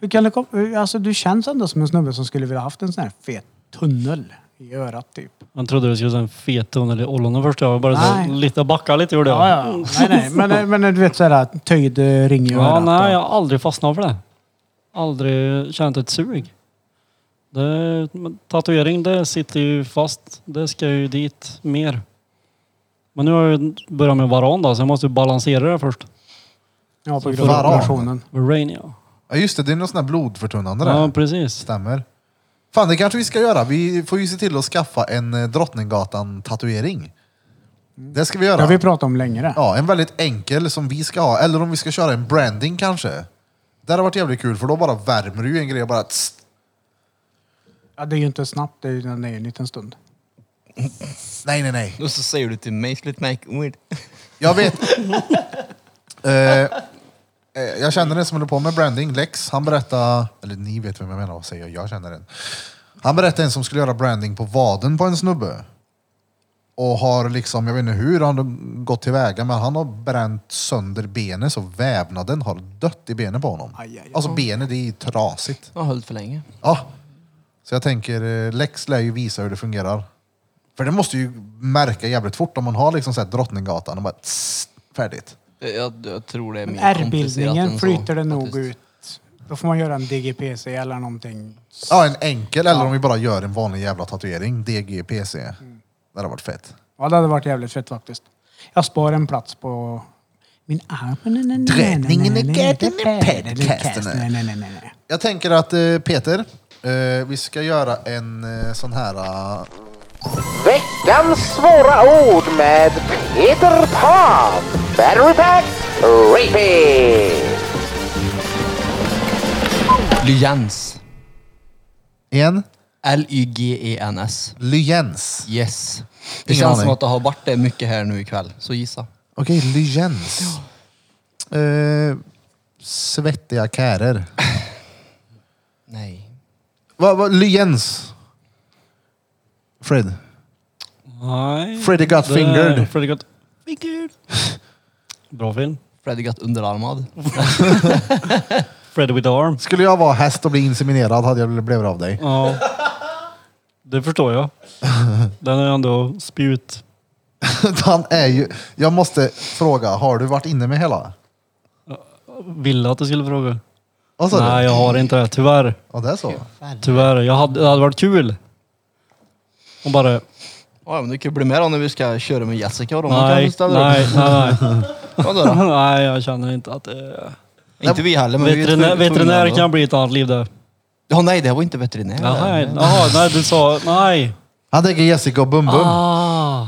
C: Hur kan det komma? hur- Alltså du känns ändå som en snubbe som skulle vilja haft en sån här fet tunnel i örat typ.
D: Jag trodde du skulle säga en fet tunnel i ollonen först. Jag var bara så
C: Nej.
D: lite backa lite gjorde jag.
C: Ja, ja. Nej, nej. Men, eh, men du vet sådär töjd eh, ring i
D: Ja,
C: örat.
D: nej,
C: och-
D: jag har aldrig fastnat för det. Aldrig känt ett sug. Det, men tatuering, det sitter ju fast. Det ska ju dit mer. Men nu har jag ju börjat med varan då, så jag måste ju balansera det först.
C: Ja, på
D: Så
C: grund av
A: varan.
C: operationen.
D: Rain, ja.
A: Ja just det, det är något sånt där blodförtunnande
D: Ja,
A: där.
D: precis.
A: Stämmer. Fan det kanske vi ska göra. Vi får ju se till att skaffa en eh, Drottninggatan-tatuering. Det ska vi
C: Det har vi
A: göra.
C: pratat om längre.
A: Ja, en väldigt enkel som vi ska ha. Eller om vi ska köra en branding kanske. Det hade varit jävligt kul för då bara värmer du ju en grej och bara... Tss.
C: Ja, det är ju inte snabbt, det är ju det är ju en liten stund.
A: Nej, nej, nej.
B: Och så säger du till mig, slut make weird.
A: Jag vet. Eh, eh, jag känner den som håller på med branding, Lex. Han berättade, eller ni vet vem jag menar, vad säger jag? Jag känner den. Han berättade en som skulle göra branding på vaden på en snubbe. Och har liksom, jag vet inte hur han har gått tillväga, men han har bränt sönder benet så vävnaden har dött i benet på honom.
C: Aj, aj, aj.
A: Alltså benet, det är trasigt.
B: Jag har hållit för länge.
A: Ja. Så jag tänker, eh, Lex lär ju visa hur det fungerar. För det måste ju märka jävligt fort om man har liksom så här Drottninggatan och bara tss, färdigt.
B: Jag, jag tror det är
C: Men
B: mer komplicerat än
C: R-bildningen
B: så,
C: flyter det nog
B: faktiskt.
C: ut. Då får man göra en DGPC eller någonting.
A: Ja, en enkel eller om vi bara gör en vanlig jävla tatuering. DGPC. Det hade varit fett.
C: Ja, det hade varit jävligt fett faktiskt. Jag spar en plats på min arm.
A: Drätningen är gärden i podcasten.
C: Nej, nej, nej, nej, nej.
A: Jag tänker att eh, Peter, eh, vi ska göra en eh, sån här... eh,
I: Veckans svåra ord med Peter Pan. Battery Pack Repeat.
B: Lyens.
A: en
B: L-Y-G-E-N-S.
A: lyens.
B: Yes. Det
A: Ingen
B: känns
A: aning.
B: som att det har varit det mycket här nu ikväll, så gissa.
A: Okej, lyens. Eh, svettiga kärer.
B: Nej.
A: Vad, vad, lyens? Fred.
D: Nej.
A: Freddy got
D: Det-
A: fingered.
D: Freddy got fingered. Bra film.
B: Freddy Gatt underarmad.
D: Freddy with arm.
A: Skulle jag vara häst och bli inseminerad hade jag blivit av dig.
D: Ja. Det förstår jag. Den är ändå spjut.
A: Han är ju... Jag måste fråga, har du varit inne med hela?
D: Ville att du skulle fråga.
A: Vad sa
D: Nej,
A: du?
D: jag har inte det. Tyvärr.
A: Ja, det är så.
D: Tyvärr. Jag hade, det hade varit kul. Och bara...
B: Ja, men du kan ju bli med då när vi ska köra med Jessica och de kan ju
D: Nej,
B: ställa
D: nej, nej. nej.
B: upp. Vadå då?
D: Nej, jag känner inte att det är...
B: Inte vi heller, men vi är
D: Veterinär,
B: tvungna-
D: veterinär
B: tvungna
D: kan bli ett annat liv det.
B: då. Ja, nej, det var inte veterinär.
D: Jaha, jaha, nej du sa... Nej.
A: Han tänker Jessica och Bum Bum.
D: Ah.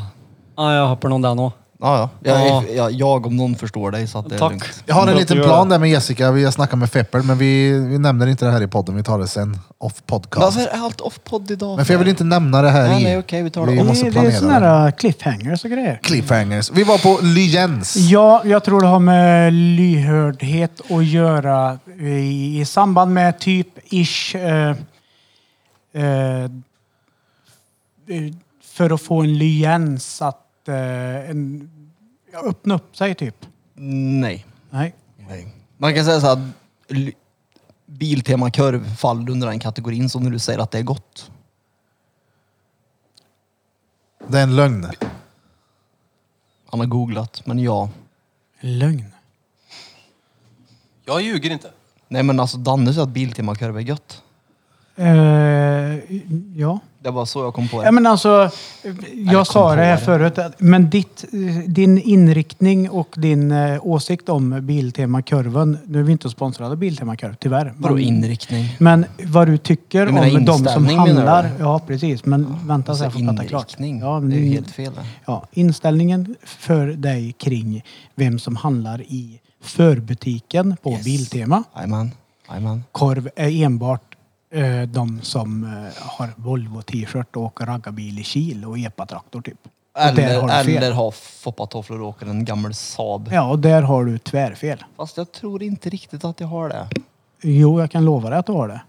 D: ah, jag hoppar någon där nå.
B: Ja, ja.
D: Ja.
B: Jag, jag, jag om någon förstår dig så att det är
D: Tack.
B: lugnt.
A: Jag har en
D: Låter
A: liten
D: jag-
A: plan där med Jessica. Vi har snackat med Feppel, men vi, vi nämner inte det här i podden. Vi tar det sen. Off podcast.
B: Varför är allt off-podd idag?
A: Men för jag vill inte nämna det här
B: Nej,
A: i...
B: nej, okej, vi tar det.
A: Vi
B: Jag
A: måste
C: Det, det är såna
A: planera. det.
C: här cliffhangers och grejer.
A: Cliffhangers. Vi var på Lyens.
C: Ja, jag tror det har med lyhördhet att göra i, i samband med typ ish eh, eh, för att få en lyens att eh, en, ja, öppna upp sig typ.
B: Nej.
C: Nej.
B: nej. Man kan säga så att l- Biltema korv faller under den kategorin som när du säger att det är gott.
A: Det är en lögn.
B: Han har googlat, men ja.
C: Lögn.
E: Jag ljuger inte.
B: Nej men alltså Danne sa att Biltema korv är gött.
C: Eh, ja.
B: Det var så jag kom på det.
C: Ja, men alltså, jag sa det här
B: kontor.
C: förut, att- men ditt, eh, din inriktning och din eh, åsikt om Biltema-kurven, nu är vi inte sponsrade av Biltema-kurv, tyvärr.
B: Vadå
C: Men-
B: inriktning?
C: Men vad du tycker
B: Du
C: om
B: menar
C: de som
B: inställning, menar
C: handlar.
B: du?
C: Ja, precis. Men vänta så jag
B: Alltså
C: får prata klart.
B: inriktning,
C: Ja,
B: det är ju
C: men-
B: helt fel. det.
C: Ja, inställningen för dig kring vem som handlar i förbutiken på
B: Yes.
C: Biltema.
B: Jajamän, jajamän.
C: Korv är enbart eh, de som eh, har Volvo-t-shirt och åker raggarbil i Kil och epatraktor typ. Och där har
B: Eller,
C: du fel.
B: eller ha foppatofflor och åka en gammal Saab.
C: Ja, och där har du tvärfel.
B: Fast jag tror inte riktigt att jag har det.
C: Jo, jag kan lova dig att du har det.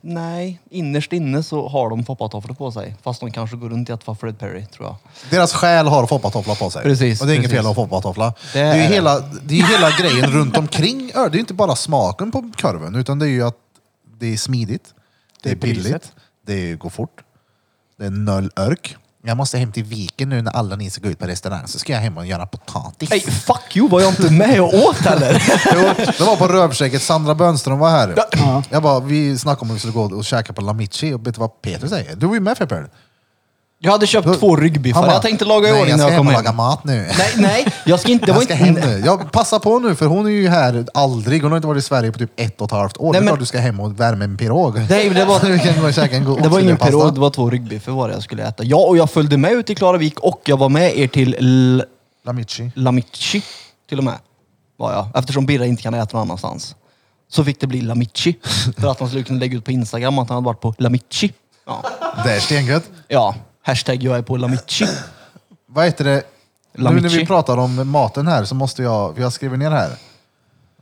B: Nej, innerst inne så har de foppatofflor på sig. Fast de kanske går runt i att vara Fred Perry, tror jag.
A: Deras själ har foppatoffla på sig.
B: Precis,
A: Och det är inget
B: precis.
A: fel att ha foppatoffla. Det
B: Det
A: är ju
B: är det.
A: hela, det är ju hela grejen runt omkring. ö, Det är ju inte bara smaken på korven, utan det är ju att det är smidigt. Det är
C: Det är priset.
A: billigt. Det går fort. Det är noll örk. Jag måste hem till Viken nu när alla ni ska gå ut på restaurang så ska jag hem och göra potatis.
B: Ej, fuck you, var jag inte med och åt heller?
A: Jo, det var på Rövskägget, Sandra Bönström var här. Jag bara, vi snackade om att vi skulle gå och käka på Lamichi och vet du vad Peter säger? Du var ju med Pepper.
B: Jag hade köpt två ryggbiffar. Jag tänkte laga i
A: "Nej,
B: ordning när jag kom
A: Jag ska hem och laga mat
B: hem.
A: nu.
B: Nej, nej, jag ska inte... Det var
A: Jag ska
B: inte
A: hem nu. Jag passar på nu för hon är ju här aldrig. Hon har inte varit i Sverige på typ ett och ett halvt år.
B: Nej,
A: det är
B: men-
A: klart du ska hem och värma en pirog.
B: Nej, det var-
A: du kan gå och käka en god
B: Det var ingen
A: oxfilépasta.
B: pirog, det var två ryggbiffar var det jag skulle äta. Ja, och jag följde med ut till Klaravik och jag var med er till L-
A: Lamichi.
B: Lamichi till och med. Var jag. Eftersom Birra inte kan äta någon annanstans. Så fick det bli Lamichi. För att han skulle kunna lägga ut på Instagram att han hade varit på Lamichi. Ja,
A: Det är stengött.
B: ja. hashtag jag är på Lamichi.
A: Vad heter det? Nu när
B: Lamichi.
A: vi pratar om maten här så måste jag, för jag skriver ner här.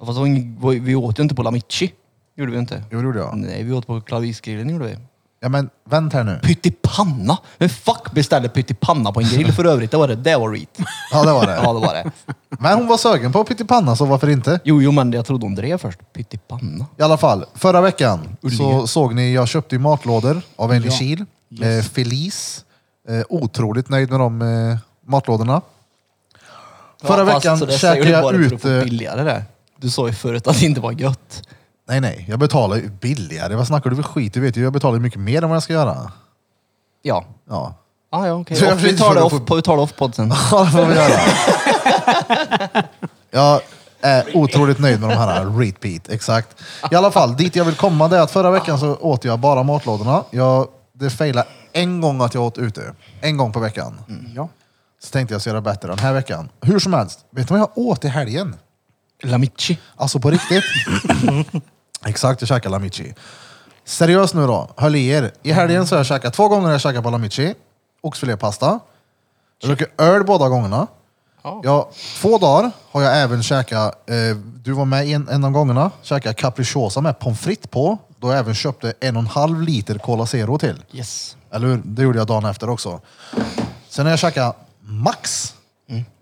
B: Fast det var ingen, vi åt ju inte på Lamichi. Gjorde vi inte.
A: Jo, det gjorde jag.
B: Nej, vi åt på Klaravik-grillen gjorde vi.
A: Ja men vänt här nu.
B: Pyttipanna! Hur fuck beställde pyttipanna på en grill för övrigt? Det var det, det var reet.
A: Ja det var det.
B: Ja, det var det.
A: Men hon var sögen på pyttipanna så varför inte?
B: Jo, jo, men jag trodde hon drev först. Pyttipanna.
A: I alla fall, förra veckan så såg ni, jag köpte ju matlådor av en i Kil. Eh, Felice. Eh, otroligt nöjd med de eh, matlådorna. Förra
B: Ja, fast
A: veckan
B: så det säger
A: käkade
B: du
A: jag
B: bara för att
A: ut...
B: få
A: eh,
B: billigare där. Du sa ju förut att det inte var gött.
A: Nej, nej. Jag betalar ju billigare. Vad snackar du för skit? Du vet ju, jag betalar ju mycket mer än vad jag ska göra.
B: Ja.
A: Ja,
B: Ah, ja, okej.
A: Så jag
B: Off- Vi
A: försökte
B: tar det
A: fråga
B: off, vi tar det off-podd sen.
A: Ja, det får vi göra. Jag är otroligt nöjd med de här repeat, exakt. I alla fall, dit jag vill komma det är att förra veckan så åt jag bara matlådorna. Jag, det failade en gång att jag åt ute. En gång på veckan.
C: Ja.
A: Så tänkte jag ska göra bättre den här veckan. Hur som helst, vet du vad jag åt i helgen?
B: Lamichi.
A: Alltså på riktigt. Exakt, jag käkade lamichi. Seriöst nu då, höll i er. I helgen så har jag käkat två gånger har jag käkat på lamichi. Oxfilépasta. Jag dricker öl båda gångerna. Ja, två dagar har jag även käkat, eh, du var med en, en av gångerna, käkat capricciosa med pommes frites på. Då jag även köpte en och en halv liter Cola Zero till.
B: Yes.
A: Eller hur? Det gjorde jag dagen efter också. Sen när jag käkade Max.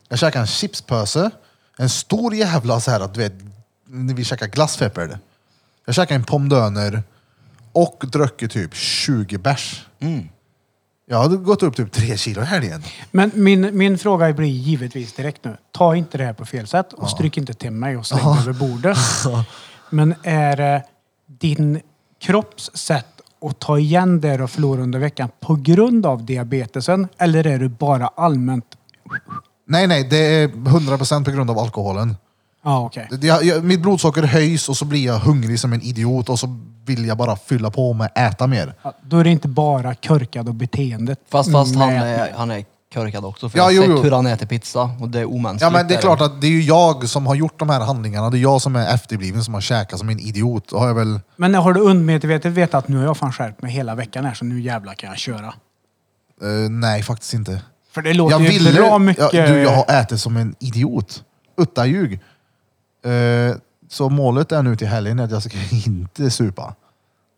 A: Jag käkade en chipspöse. En stor jävla så här att du vet, när vi käkade glassfeppel. Jag käkade en pomdöner och drack ju typ 20 bärs. Jag hade gått upp typ tre kilo i helgen.
C: Men min, min fråga blir givetvis direkt nu. Ta inte det här på fel sätt och stryk inte till mig och släng det över bordet. Men är det din kropps sätt att ta igen det du förlorar under veckan på grund av diabetesen? Eller är du bara allmänt...
A: Nej, nej, det är 100% på grund av alkoholen.
C: Ja, okej.
A: Det- Jag, jag, mitt blodsocker höjs och så blir jag hungrig som en idiot och så vill jag bara fylla på med äta mer.
C: Ja, Då är det inte bara körkad och beteendet.
B: Fast, fast han,
C: med-
B: är, han är körkad också. För
A: Ja,
B: jag har
A: jo,
B: sett
A: jo.
B: hur han äter pizza och det är omänskligt.
A: Ja men det är klart att det är ju jag som har gjort de här handlingarna. Det är jag som är efterbliven som har käkat som en idiot. Då har jag väl...
C: Men har du undermedvetet vetat att nu har jag fan skärpt mig hela veckan här så nu jävlar kan jag köra?
A: eh, nej, faktiskt inte.
C: För det låter ju bra mycket...
A: Jag, du, jag har ätit som en idiot. Utta ljug. Eh, så målet är nu till helgen att jag ska inte supa.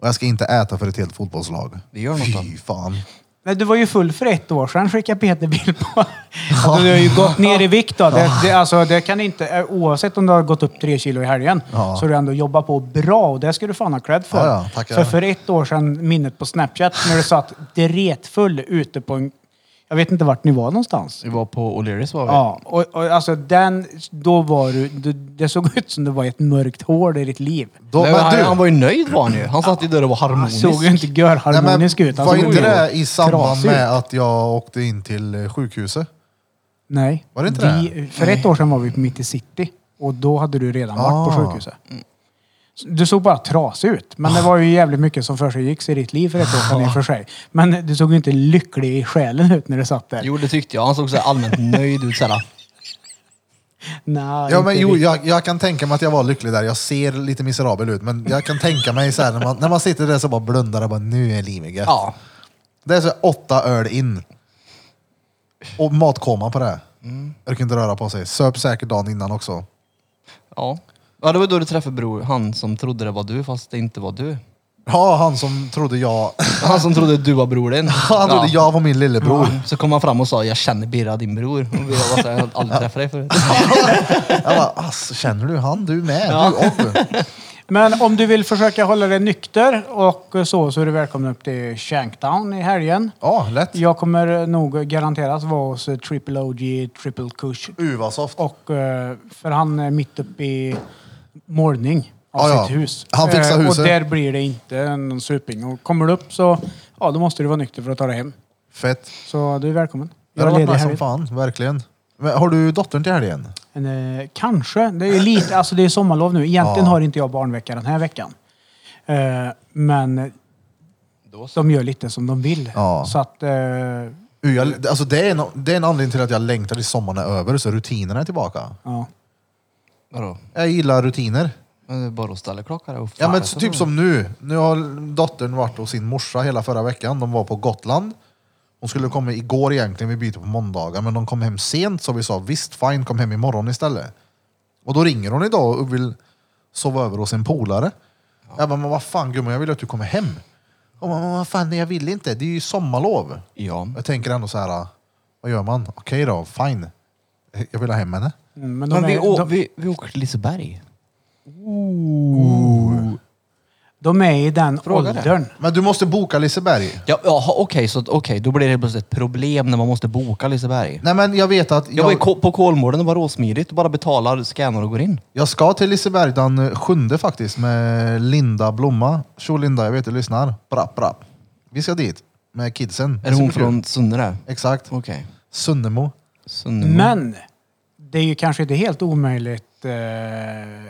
A: Och jag ska inte äta för ett helt fotbollslag.
B: Vi gör något
A: Fy
B: då.
A: fan.
C: Nej, du var ju full för ett år sedan skickade Peter bild på. Att du har ju gått ner i vikt då. Det, det, alltså, det kan inte, oavsett om du har gått upp tre kilo i helgen
A: Ja.
C: så har du ändå jobbat på bra och det ska du fan ha cred
A: Ja,
C: för.
A: ja, tackar.
C: för för ett år sedan, minnet på Snapchat, när du satt dretfull ute på en... Jag vet inte vart ni var någonstans.
B: Vi var på O'Learys var vi.
C: Ja, och, och alltså den, då var du, du, det såg ut som det var ett mörkt hål i ditt liv.
A: Då,
B: men
A: men,
B: han,
A: du,
B: han var ju nöjd var han ju. Han satt ju där och var harmonisk.
C: Han såg ju inte
A: nej, men,
C: görharmonisk ut. Han
A: var
C: såg
A: inte
C: ju
A: det i samband
C: trasig ut.
A: med att jag åkte in till eh, sjukhuset?
C: Nej.
A: Var det inte
C: vi, För ett år sedan var vi mitt i city och då hade du redan varit på
A: Ah.
C: sjukhuset. Så Du såg bara trasig ut. Men det var ju jävligt mycket som försegicks i ditt liv för ett år sedan i och för sig. Men du såg ju inte lycklig i själen ut när du satt där.
B: Jo, det tyckte jag. Han såg så här allmänt nöjd ut. Så här.
C: Nej,
A: Ja,
C: inte
A: men jo,
C: riktigt.
A: jag, jag kan tänka mig att jag var lycklig där. Jag ser lite miserabel ut, men jag kan tänka mig så här, när, man, när man sitter där så bara blundar och bara nu är livet gött.
B: Ja.
A: Det är så här åtta öl in. Och matkoma på det. Mm. Jag kan inte röra på sig. Söp säkert dagen innan också.
B: Ja. ja, det var då du träffade bror, han som trodde det var du fast det inte var du.
A: Ja, han som trodde jag,
B: Han som trodde du var bror din.
A: han trodde jag var min lillebror.
B: Så kom han fram och sa, jag känner Birra, din bror. Och jag var så här, jag har aldrig träffat dig förut.
A: Jag bara, alltså, känner du han? Du med? Du, om.
C: Men om du vill försöka hålla dig nykter och så, så är du välkommen upp till Shanktown i helgen.
A: Ja, lätt.
C: Jag kommer nog garanterat vara hos Triple OG, Triple Kush.
A: Uh, vad soft.
C: Och, eh, för han är mitt uppe i målning av
A: Ja, ja.
C: sitt hus.
A: Han fixar
C: Eh,
A: huset.
C: Och där blir det inte någon suping. Och kommer du upp så, ja då måste du vara nykter för att ta dig hem.
A: Fett.
C: Så du är välkommen.
A: Det
C: är
A: har varit
C: ledig i
A: nice som
C: helgen.
A: fan, verkligen. Men har du dottern till helgen?
C: Men, eh, kanske. Det är lite, alltså det är sommarlov nu. Egentligen
A: Ja.
C: har inte jag barnvecka den här veckan. Eh, men
B: Då så.
C: de gör lite som de vill.
A: Ja.
C: Så att, eh,
A: Uh, jag, alltså det, är en, det är en anledning till att jag längtar tills sommaren är över så rutinerna är tillbaka.
C: ja.
B: Vadå?
A: Jag gillar rutiner.
B: Men det är bara att ställa klockan här och
A: Ja, men
B: fan, så-
A: typ som nu. Nu har dottern varit hos sin morsa hela förra veckan. De var på Gotland. Hon skulle komma igår egentligen, vi byter på måndagar, men de kom hem sent så vi sa visst fine, kom hem imorgon istället. Och då ringer hon idag och vill sova över hos en polare. Jag bara, men vad fan gumman, jag vill att du kommer hem. Hon bara, men vad fan, nej, jag vill inte. Det är ju sommarlov.
B: Ja.
A: Jag tänker ändå så här, vad gör man? Okej då, fine. Jag vill ha hem henne.
C: Mm, Men de,
B: Men vi,
C: är,
B: å-
C: de,
B: vi, vi åker till Liseberg.
C: de är i den
B: Fråga det.
C: åldern.
A: Men du måste boka Liseberg.
B: Ja, jaha, okej, så okej, då blir det plötsligt ett problem när man måste boka Liseberg.
A: Nej men jag vet att...
B: Jag var ju ko- på Kolmården och var råsmidigt. Bara betalar, scannar och går in.
A: Jag ska till Liseberg den sjunde faktiskt med Linda Blomma. Tjo Linda, jag vet du lyssnar. Brapp, brapp. Vi ska dit med kidsen.
B: Är det hon
A: Superkul.
B: från Sunne
A: Exakt.
B: Okej.
A: Sunnemo.
B: Sunnemo.
C: Men det är ju kanske inte helt omöjligt eh,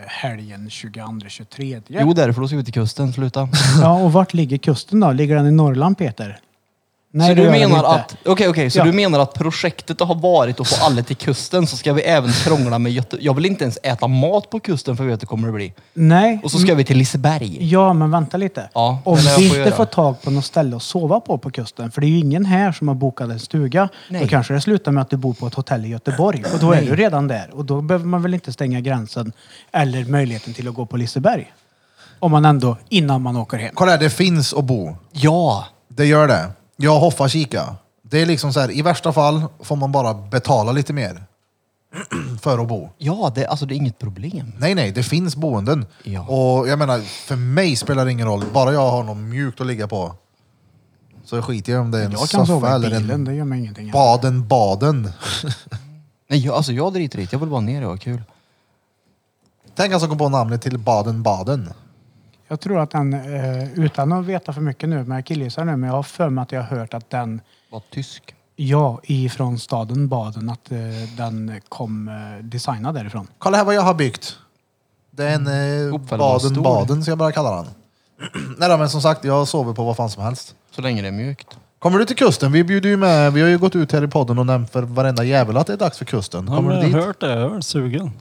C: helgen 22-23.
B: Jo, därför då ska vi till kusten. Sluta.
C: Ja, och vart ligger kusten då? Ligger den i Norrland, Peter? Nej,
B: så
C: det
B: du
C: gör den
B: menar
C: inte.
B: att, okej, okej, så
C: Ja.
B: du menar att projektet har varit att få alla till kusten så ska vi även krångla med Göte... Jag vill inte ens äta mat på kusten för jag vet att det kommer att bli.
C: Nej.
B: Och så ska vi till Liseberg.
C: Ja, men vänta lite.
B: Ja,
C: Om
B: det lär jag
C: vi
B: få
C: inte
B: göra.
C: får tag på något ställe att sova på på kusten, för det är ju ingen här som har bokat en stuga,
B: Nej.
C: då kanske det slutar med att du bor på ett hotell i Göteborg. Och då är du redan där. Och då behöver man väl inte stänga gränsen eller möjligheten till att gå på Liseberg. Om man ändå, innan man åker hem.
A: Kolla här, det finns att bo.
B: Ja!
A: Det gör det. Jag hoppar kika. Det är liksom så här, i värsta fall får man bara betala lite mer. för att bo.
B: Ja, det, alltså det är inget problem.
A: Nej, nej, det finns boenden.
B: Ja.
A: Och jag menar, för mig spelar det ingen roll. Bara jag har något mjukt att ligga på. Så skiter jag om det är en
C: Jag kan
A: soffa
C: sova i
A: eller
C: bilen,
A: en
C: det gör mig ingenting.
A: Baden-Baden.
B: Nej, jag, alltså jag driter i det. Jag vill bara ner och ha kul.
A: Tänk han som kom på namnet till Baden-Baden.
C: Jag tror att den, eh, utan att veta för mycket nu, men jag killgissar nu, men jag har för mig att jag har hört att den
B: Var tysk.
C: Ja, ifrån staden Baden, att eh, den kom eh, designad därifrån.
A: Kolla här vad jag har byggt. Det är en eh,
B: Uppfällbar stol.
A: Baden-Baden som jag bara kallar den. Nej då, men som sagt, jag sover på vad fan som helst.
B: Så länge det är mjukt.
A: Kommer du till kusten? Vi bjuder ju med. Vi har ju gått ut här i podden och nämnt för varenda jävel att det är dags för kusten.
D: Ja, men
A: Kommer
D: jag
A: du dit?
D: har hört det. Jag är sugen.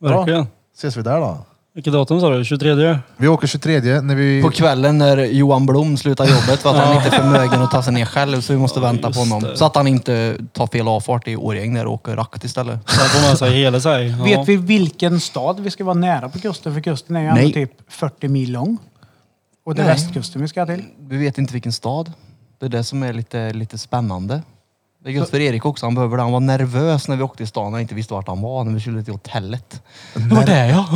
D: Verkligen.
A: Ses vi där då?
D: Vilket datum sa du? 23?
A: Vi åker 23 när vi...
B: På kvällen när Johan Blom slutar jobbet för att han inte är förmögen att ta sig ner själv så vi måste
D: Ja,
B: vänta
D: just
B: på honom.
D: det.
B: Så att han inte tar fel avfart i Årjäng där och åker rakt istället.
D: Sen får man säga hela sig. Ja.
C: Vet vi vilken stad vi ska vara nära på kusten? För kusten är ju ändå
B: Nej.
C: typ 40 mil lång. Och det är
B: Nej.
C: västkusten vi ska till.
B: Vi vet inte vilken stad. Det är det som är lite, lite spännande. Det är just för Erik också, han behöver det. Han var nervös när vi åkte till stan och inte visste vart han var när vi skulle till hotellet. Det var där ja.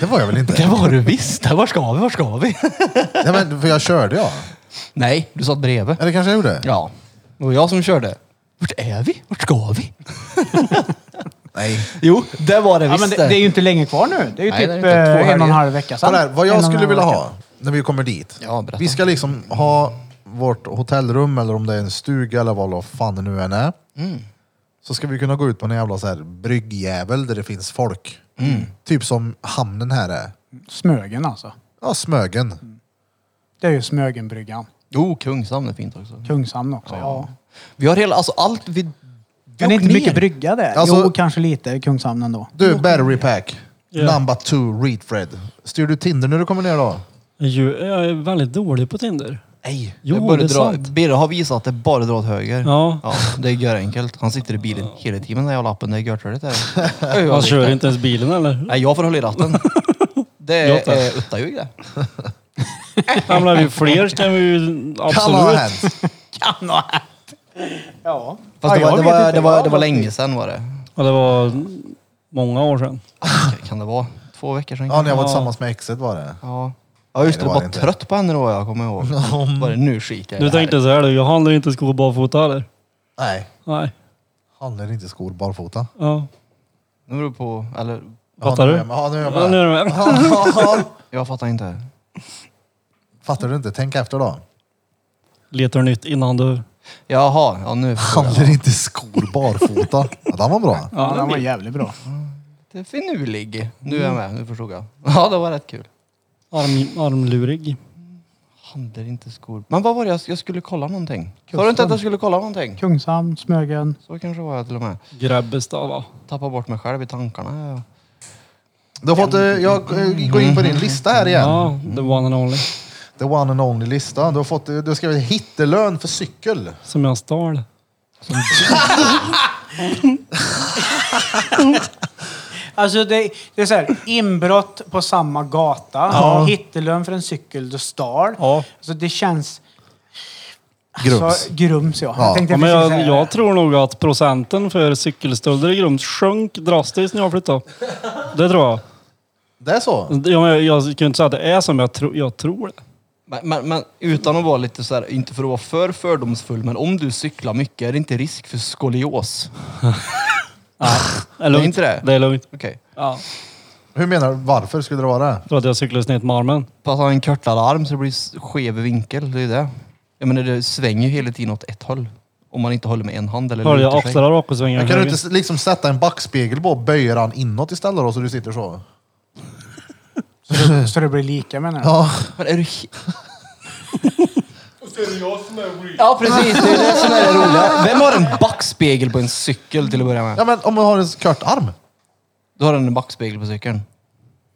A: Det var jag väl inte?
B: Det var du visst. Där, Vart ska vi? Vart ska vi?
A: Nej, men, för jag körde ja.
B: Nej, du satt bredvid.
A: Eller kanske jag gjorde?
B: Ja. Det var jag som körde. Vart är vi? Vart ska vi?
A: Nej.
B: Jo, det var det
C: Ja, men
B: visst.
C: det, det är ju inte länge kvar nu. Det är ju
B: Nej,
C: typ
B: det är inte. Två
C: eh, en och en
B: helger.
C: halv vecka sedan.
A: Kolla här, vad
C: En
A: jag
C: och en
A: skulle
C: halv
A: vilja
C: vecka.
A: ha när vi kommer dit.
B: Ja, berätta.
A: vi ska liksom ha vårt hotellrum eller om det är en stuga eller vad fan det nu än är.
C: Mm.
A: Så ska vi kunna gå ut på en jävla så här bryggjävel där det finns folk.
C: Mm.
A: Typ som hamnen här är.
C: Smögen alltså.
A: Ja, Smögen.
C: Det är ju Smögenbryggan.
B: Jo, Kungshamn är fint också.
C: Kungshamn också, ja.
B: Vi har hela, alltså allt vi... vi
C: Men det är
B: åker
C: inte
B: ner.
C: mycket brygga där.
A: Alltså-
C: jo, kanske lite Kungshamn ändå.
A: Du, battery pack.
D: Ja.
A: Number two, read Fred. Styr du Tinder när du kommer ner då?
D: Ju- Jag är väldigt dålig på Tinder.
B: Nej,
D: Jo,
B: jag började
D: det är
B: dra,
D: sant.
B: Birre har visat att det bara drar åt höger.
D: Ja.
B: det är görenkelt. Han sitter i bilen hela tiden med den här jävla appen. Det är görtröligt.
D: Han kör inte ens bilen eller?
B: Nej, jag får hålla i ratten. Det
D: Jag tar.
B: är eh, uttaljug det.
D: Hamnar vi fler så kan vi ju
A: Kan ha
D: absolut.
A: hänt.
C: Kan ha hänt. Ja.
B: Fast
C: Ja,
B: det var,
C: jag
B: det
C: vet
B: var,
C: inte.
B: det var,
C: Jag
B: det var
C: har
B: länge sedan var det.
D: Ja, det var många år sedan.
B: Kan det vara? två veckor sedan.
A: Ja, när jag var tillsammans med exet var det.
B: Ja. Ja just det,
A: Nej, det var
B: jag var
A: det inte.
B: trött på henne då jag kommer ihåg. Var det nu skikar jag
D: Du
B: i det här.
D: tänkte så här du, jag handlar inte skor barfota heller.
A: Nej,
D: Nej.
A: handlar inte skor barfota.
D: Ja.
B: Det beror på, eller
D: Fattar
A: ja,
D: du?
A: Ja, nu är jag
D: Ja, nu
A: med.
D: är du med.
B: jag fattar inte.
A: Fattar du inte? Tänk efter då.
D: Letar nytt innan du...
B: Jaha, ja nu förstår jag.
A: Handlar inte skor barfota. Ja, den var bra.
C: Ja, den var jävligt bra.
B: Det är finurlig. Nu är jag med, nu förstod jag. Ja, det var rätt kul.
D: Arm, armlurig.
B: Handlar inte skor. Men vad var det jag, jag skulle kolla någonting? Sa du inte att jag skulle kolla någonting?
C: Kungshamn, Smögen.
B: Så kanske var jag till och med.
D: Grebbestad va?
B: Tappa bort mig själv i tankarna. ja.
A: Du har fått, eh, jag eh, går in på din lista här igen.
D: Ja, the one and only.
A: The one and only lista. Du har, fått, eh, du har skrivit hittelön för cykel.
D: Som jag stal.
C: Alltså det, det är så här, inbrott på samma gata, hittelön för en cykel du stal.
D: Ja.
C: Alltså det känns...
A: Grums.
C: Så, grums ja. Jag tänkte
D: Ja, men
C: precis
D: jag,
C: säga
D: jag
C: det.
D: tror nog att procenten för cykelstölder i Grums sjönk drastiskt när jag flyttade. Det tror jag.
A: Det är så?
D: Alltså, Ja, men Jag, jag kan ju inte säga att det är som jag, tro, jag tror det.
B: Men, men, men utan att vara lite så här, inte för att vara för fördomsfull, men om du cyklar mycket, är det inte risk för skolios?
D: Är lugnt.
B: inte det?
D: Det är lugnt.
B: Okej.
D: Ja.
A: Hur menar du? Varför skulle det vara det?
D: För att jag cyklade snett med armen.
B: Fast har en kortare arm så det blir s- skev vinkel, det är det. Jag menar det svänger ju hela tiden åt ett håll. Om man inte håller med en hand eller
D: Hörde jag
B: lutar sig.
D: axlar och svängar.
A: Men kan du inte s- liksom sätta en backspegel på och böja den inåt istället då så du sitter så?
C: Så det blir lika menar jag.
A: Ja.
B: Men är du... he- Ja precis, det är det som är det roliga. Vem har en backspegel på en cykel till att börja med?
A: ja men om man har en kort arm.
B: Du har en backspegel på cykeln.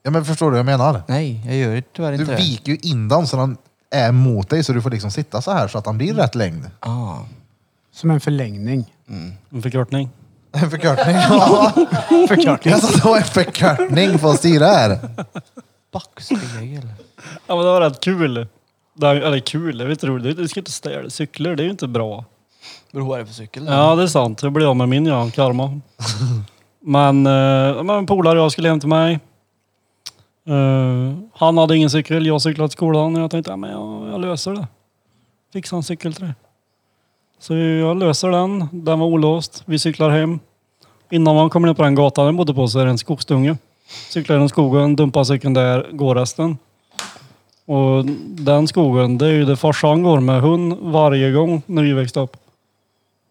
A: Ja men förstår du vad jag menar?
B: Nej, jag gör tyvärr
A: Du
B: inte det.
A: viker ju in den så den är mot dig så du får liksom sitta så här så att den blir rätt längd.
B: Ah.
C: Som en förlängning.
D: En förkortning.
A: En förkortning. Ja.
C: Förkortning.
A: Jag sa att det var en förkortning på att styra här.
B: Backspegel.
D: Ja men det var rätt kul. Det är, eller kul, det är inte roligt. Du ska inte ställa cyklar, det är ju inte bra.
B: Beror på vad det är för cykel?
D: Ja det är sant, jag blev av med min ja, karma. men, eh, men en polare jag skulle hem till mig. Eh, han hade ingen cykel, jag cyklade till skolan och jag tänkte ja, men jag, jag löser det. Fixar en cykel till det. Så jag löser den, den var olåst. Vi cyklar hem. Innan man kommer ner på den gatan jag bodde på så är det en skogsdunge. Cyklar genom skogen, dumpar cykeln där, går resten. Och den skogen, det är ju där farsan går med hund varje gång när vi växte upp.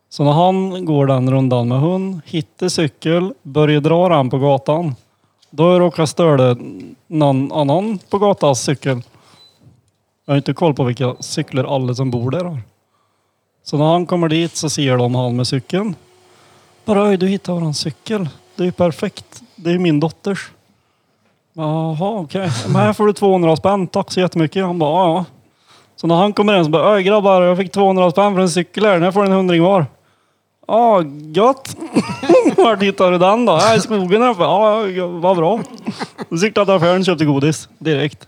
D: Så när han går den rundan med hund, hittar cykel, börjar dra den på gatan. Då råkar störa någon annan på gatans cykel. Jag har inte koll på vilka cyklar alla som bor där har. Så när han kommer dit så ser de han med cykeln. Bara oj, du hittade våran cykel. Det är ju perfekt. Det är ju min dotters. Jaha, okej. Men här får du 200 spänn. Tack så jättemycket. Han bara, "Ja, ja. Så när han kommer in så bara, oj grabbar, jag fick 200 spänn för en cykel här. Nu får ni en hundring var. Ja, gött. Vart hittade du den då? Här i skogen här uppe. Ja, ja, vad bra. Då cyklade jag till affären och köpte godis direkt.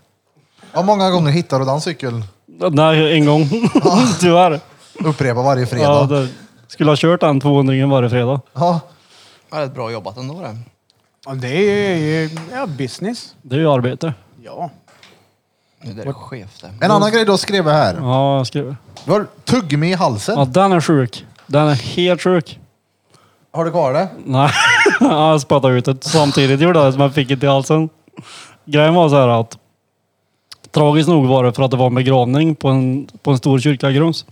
A: Hur många gånger hittar du den cykeln?
D: Nej, en gång. Tyvärr.
A: Upprepa varje
D: Ja,
A: fredag.
D: det skulle ha kört den 200 varje fredag.
A: Ja.
B: Ja, det är bra jobbat ändå det.
C: Ja, det är ju ja, business.
D: Det är ju arbete.
C: Ja.
B: Det där är skevt det.
A: En annan grej du har skrivit här.
D: Ja, jag skriver.
A: Du har tuggummi i halsen.
D: Ja, den är sjuk. Den är helt sjuk.
A: Har du kvar det?
D: Nej, Ja, jag spottade ut det samtidigt gjorde jag det, så man fick det i halsen. Grejen var så här att tragiskt nog var det för att det var en begravning på en, på en stor kyrka i Grums.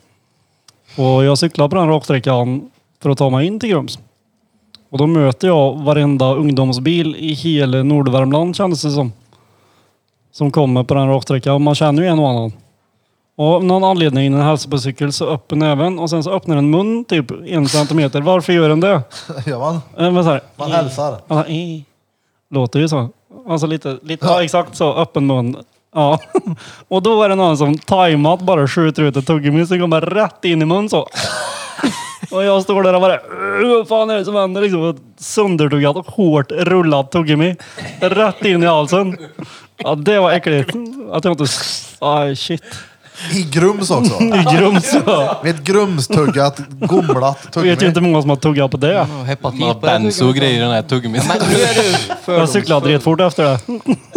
D: Och jag cyklade på den raksträckan för att ta mig in till Grums. Och då möter jag varenda ungdomsbil i hela Nordvärmland kändes det som. Som kommer på den raksträckan. Och Man känner ju en och annan. Och av någon anledning när den hälsar på cykel så öppen näven och sen så öppnar den mun typ en centimeter. Varför gör den det?
A: Gör man?
D: Eh, Men så här,
A: Man hälsar.
D: Alltså, eh. Låter ju så. Alltså lite, lite ja. exakt så. Öppen mun. Ja. Och då är det någon som tajmat bara skjuter ut ett tuggummi som kommer rätt in i mun så. Och jag står där och bara, "Ugh, vad fan är det som händer? Liksom ett söndertuggat och hårt rullat tuggummi. Rätt in i halsen. Ja, det var äckligt. Att jag inte... Aj, shit.
A: I Grums också.
D: I Grums. ja.
A: Med ett grumstuggat, gomlat
D: Vet ju inte
A: tuggummi.
D: många som har tuggat på det.
B: Hepatit
E: Man har
B: på det,
E: benzo
B: tycker
E: och
B: jag.
E: grejer i den här tuggummin.
B: Men nu är du
D: Jag cyklade
B: fördomsfull.
D: dretfort efter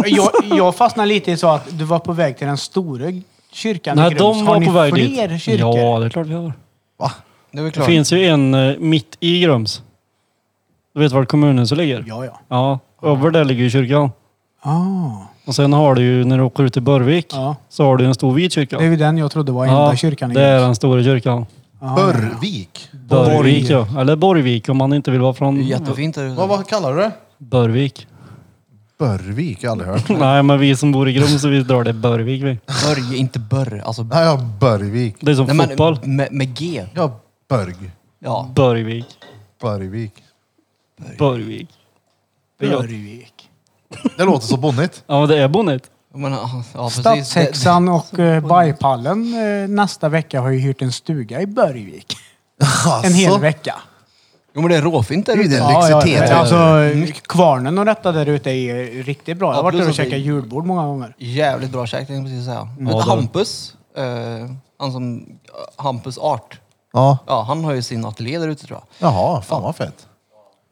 D: det.
C: Jag, jag fastnade lite i så att du var på väg till den stora kyrkan i
D: Nej,
C: Grums.
D: de
C: Har
D: var
C: ni
D: på väg
C: fler
D: dit.
C: kyrkor?
D: Ja, det är klart vi har.
B: Det är väl
D: Det
B: klart.
D: finns ju en eh, mitt i Grums. Du vet var kommunen så ligger?
C: Ja, ja.
D: Ja, över där ligger ju kyrkan.
C: Ah,
D: Och sen har du ju, när du åker ut till Börvik,
C: Ja.
D: så har du en stor vit kyrka.
C: det är ju den jag trodde var enda
D: ja,
C: kyrkan i
D: det är
C: Grums.
D: den stora kyrkan.
A: Börvik.
D: Börvik, ja. Eller Borvik om man inte vill vara
B: Det är
D: från
B: jättefint där
A: Vad,
B: ute.
A: vad kallar du det?
D: Börvik.
A: Börvik, jag har aldrig hört.
D: Nej, men vi som bor i Grums, så vi drar det Börvik. Vi.
B: Börje, inte Börre. Alltså,
A: Nej, ja, Börvik.
D: Det är som
B: nej, men,
D: fotboll.
B: Med, med G.
A: Ja, Börg.
B: Ja.
D: Börvik.
A: Börvik.
D: Börvik. Det är gott.
C: Örvik.
A: Det låter så bonnigt.
D: Ja, det är bonnigt.
B: Men, ja, precis.
C: Stadshäxan och eh, Bajpallen eh, nästa vecka har ju hyrt en stuga i Börjvik. En
A: Alltså.
C: hel vecka.
B: Jo men det är råfint där ute.
J: Det är
B: Ja.
J: lyxitet.
C: men alltså, kvarnen och detta där ute är riktigt bra. Jag har varit
B: plus
C: där och
B: att det-
C: käkat julbord många gånger.
B: Jävligt bra käk tänkte jag precis säga. Men
D: det-
B: Hampus, eh, han som, Hampus Art.
A: Ja.
B: Ja, han har ju sin ateljé där ute tror jag.
A: Jaha, fan vad fett.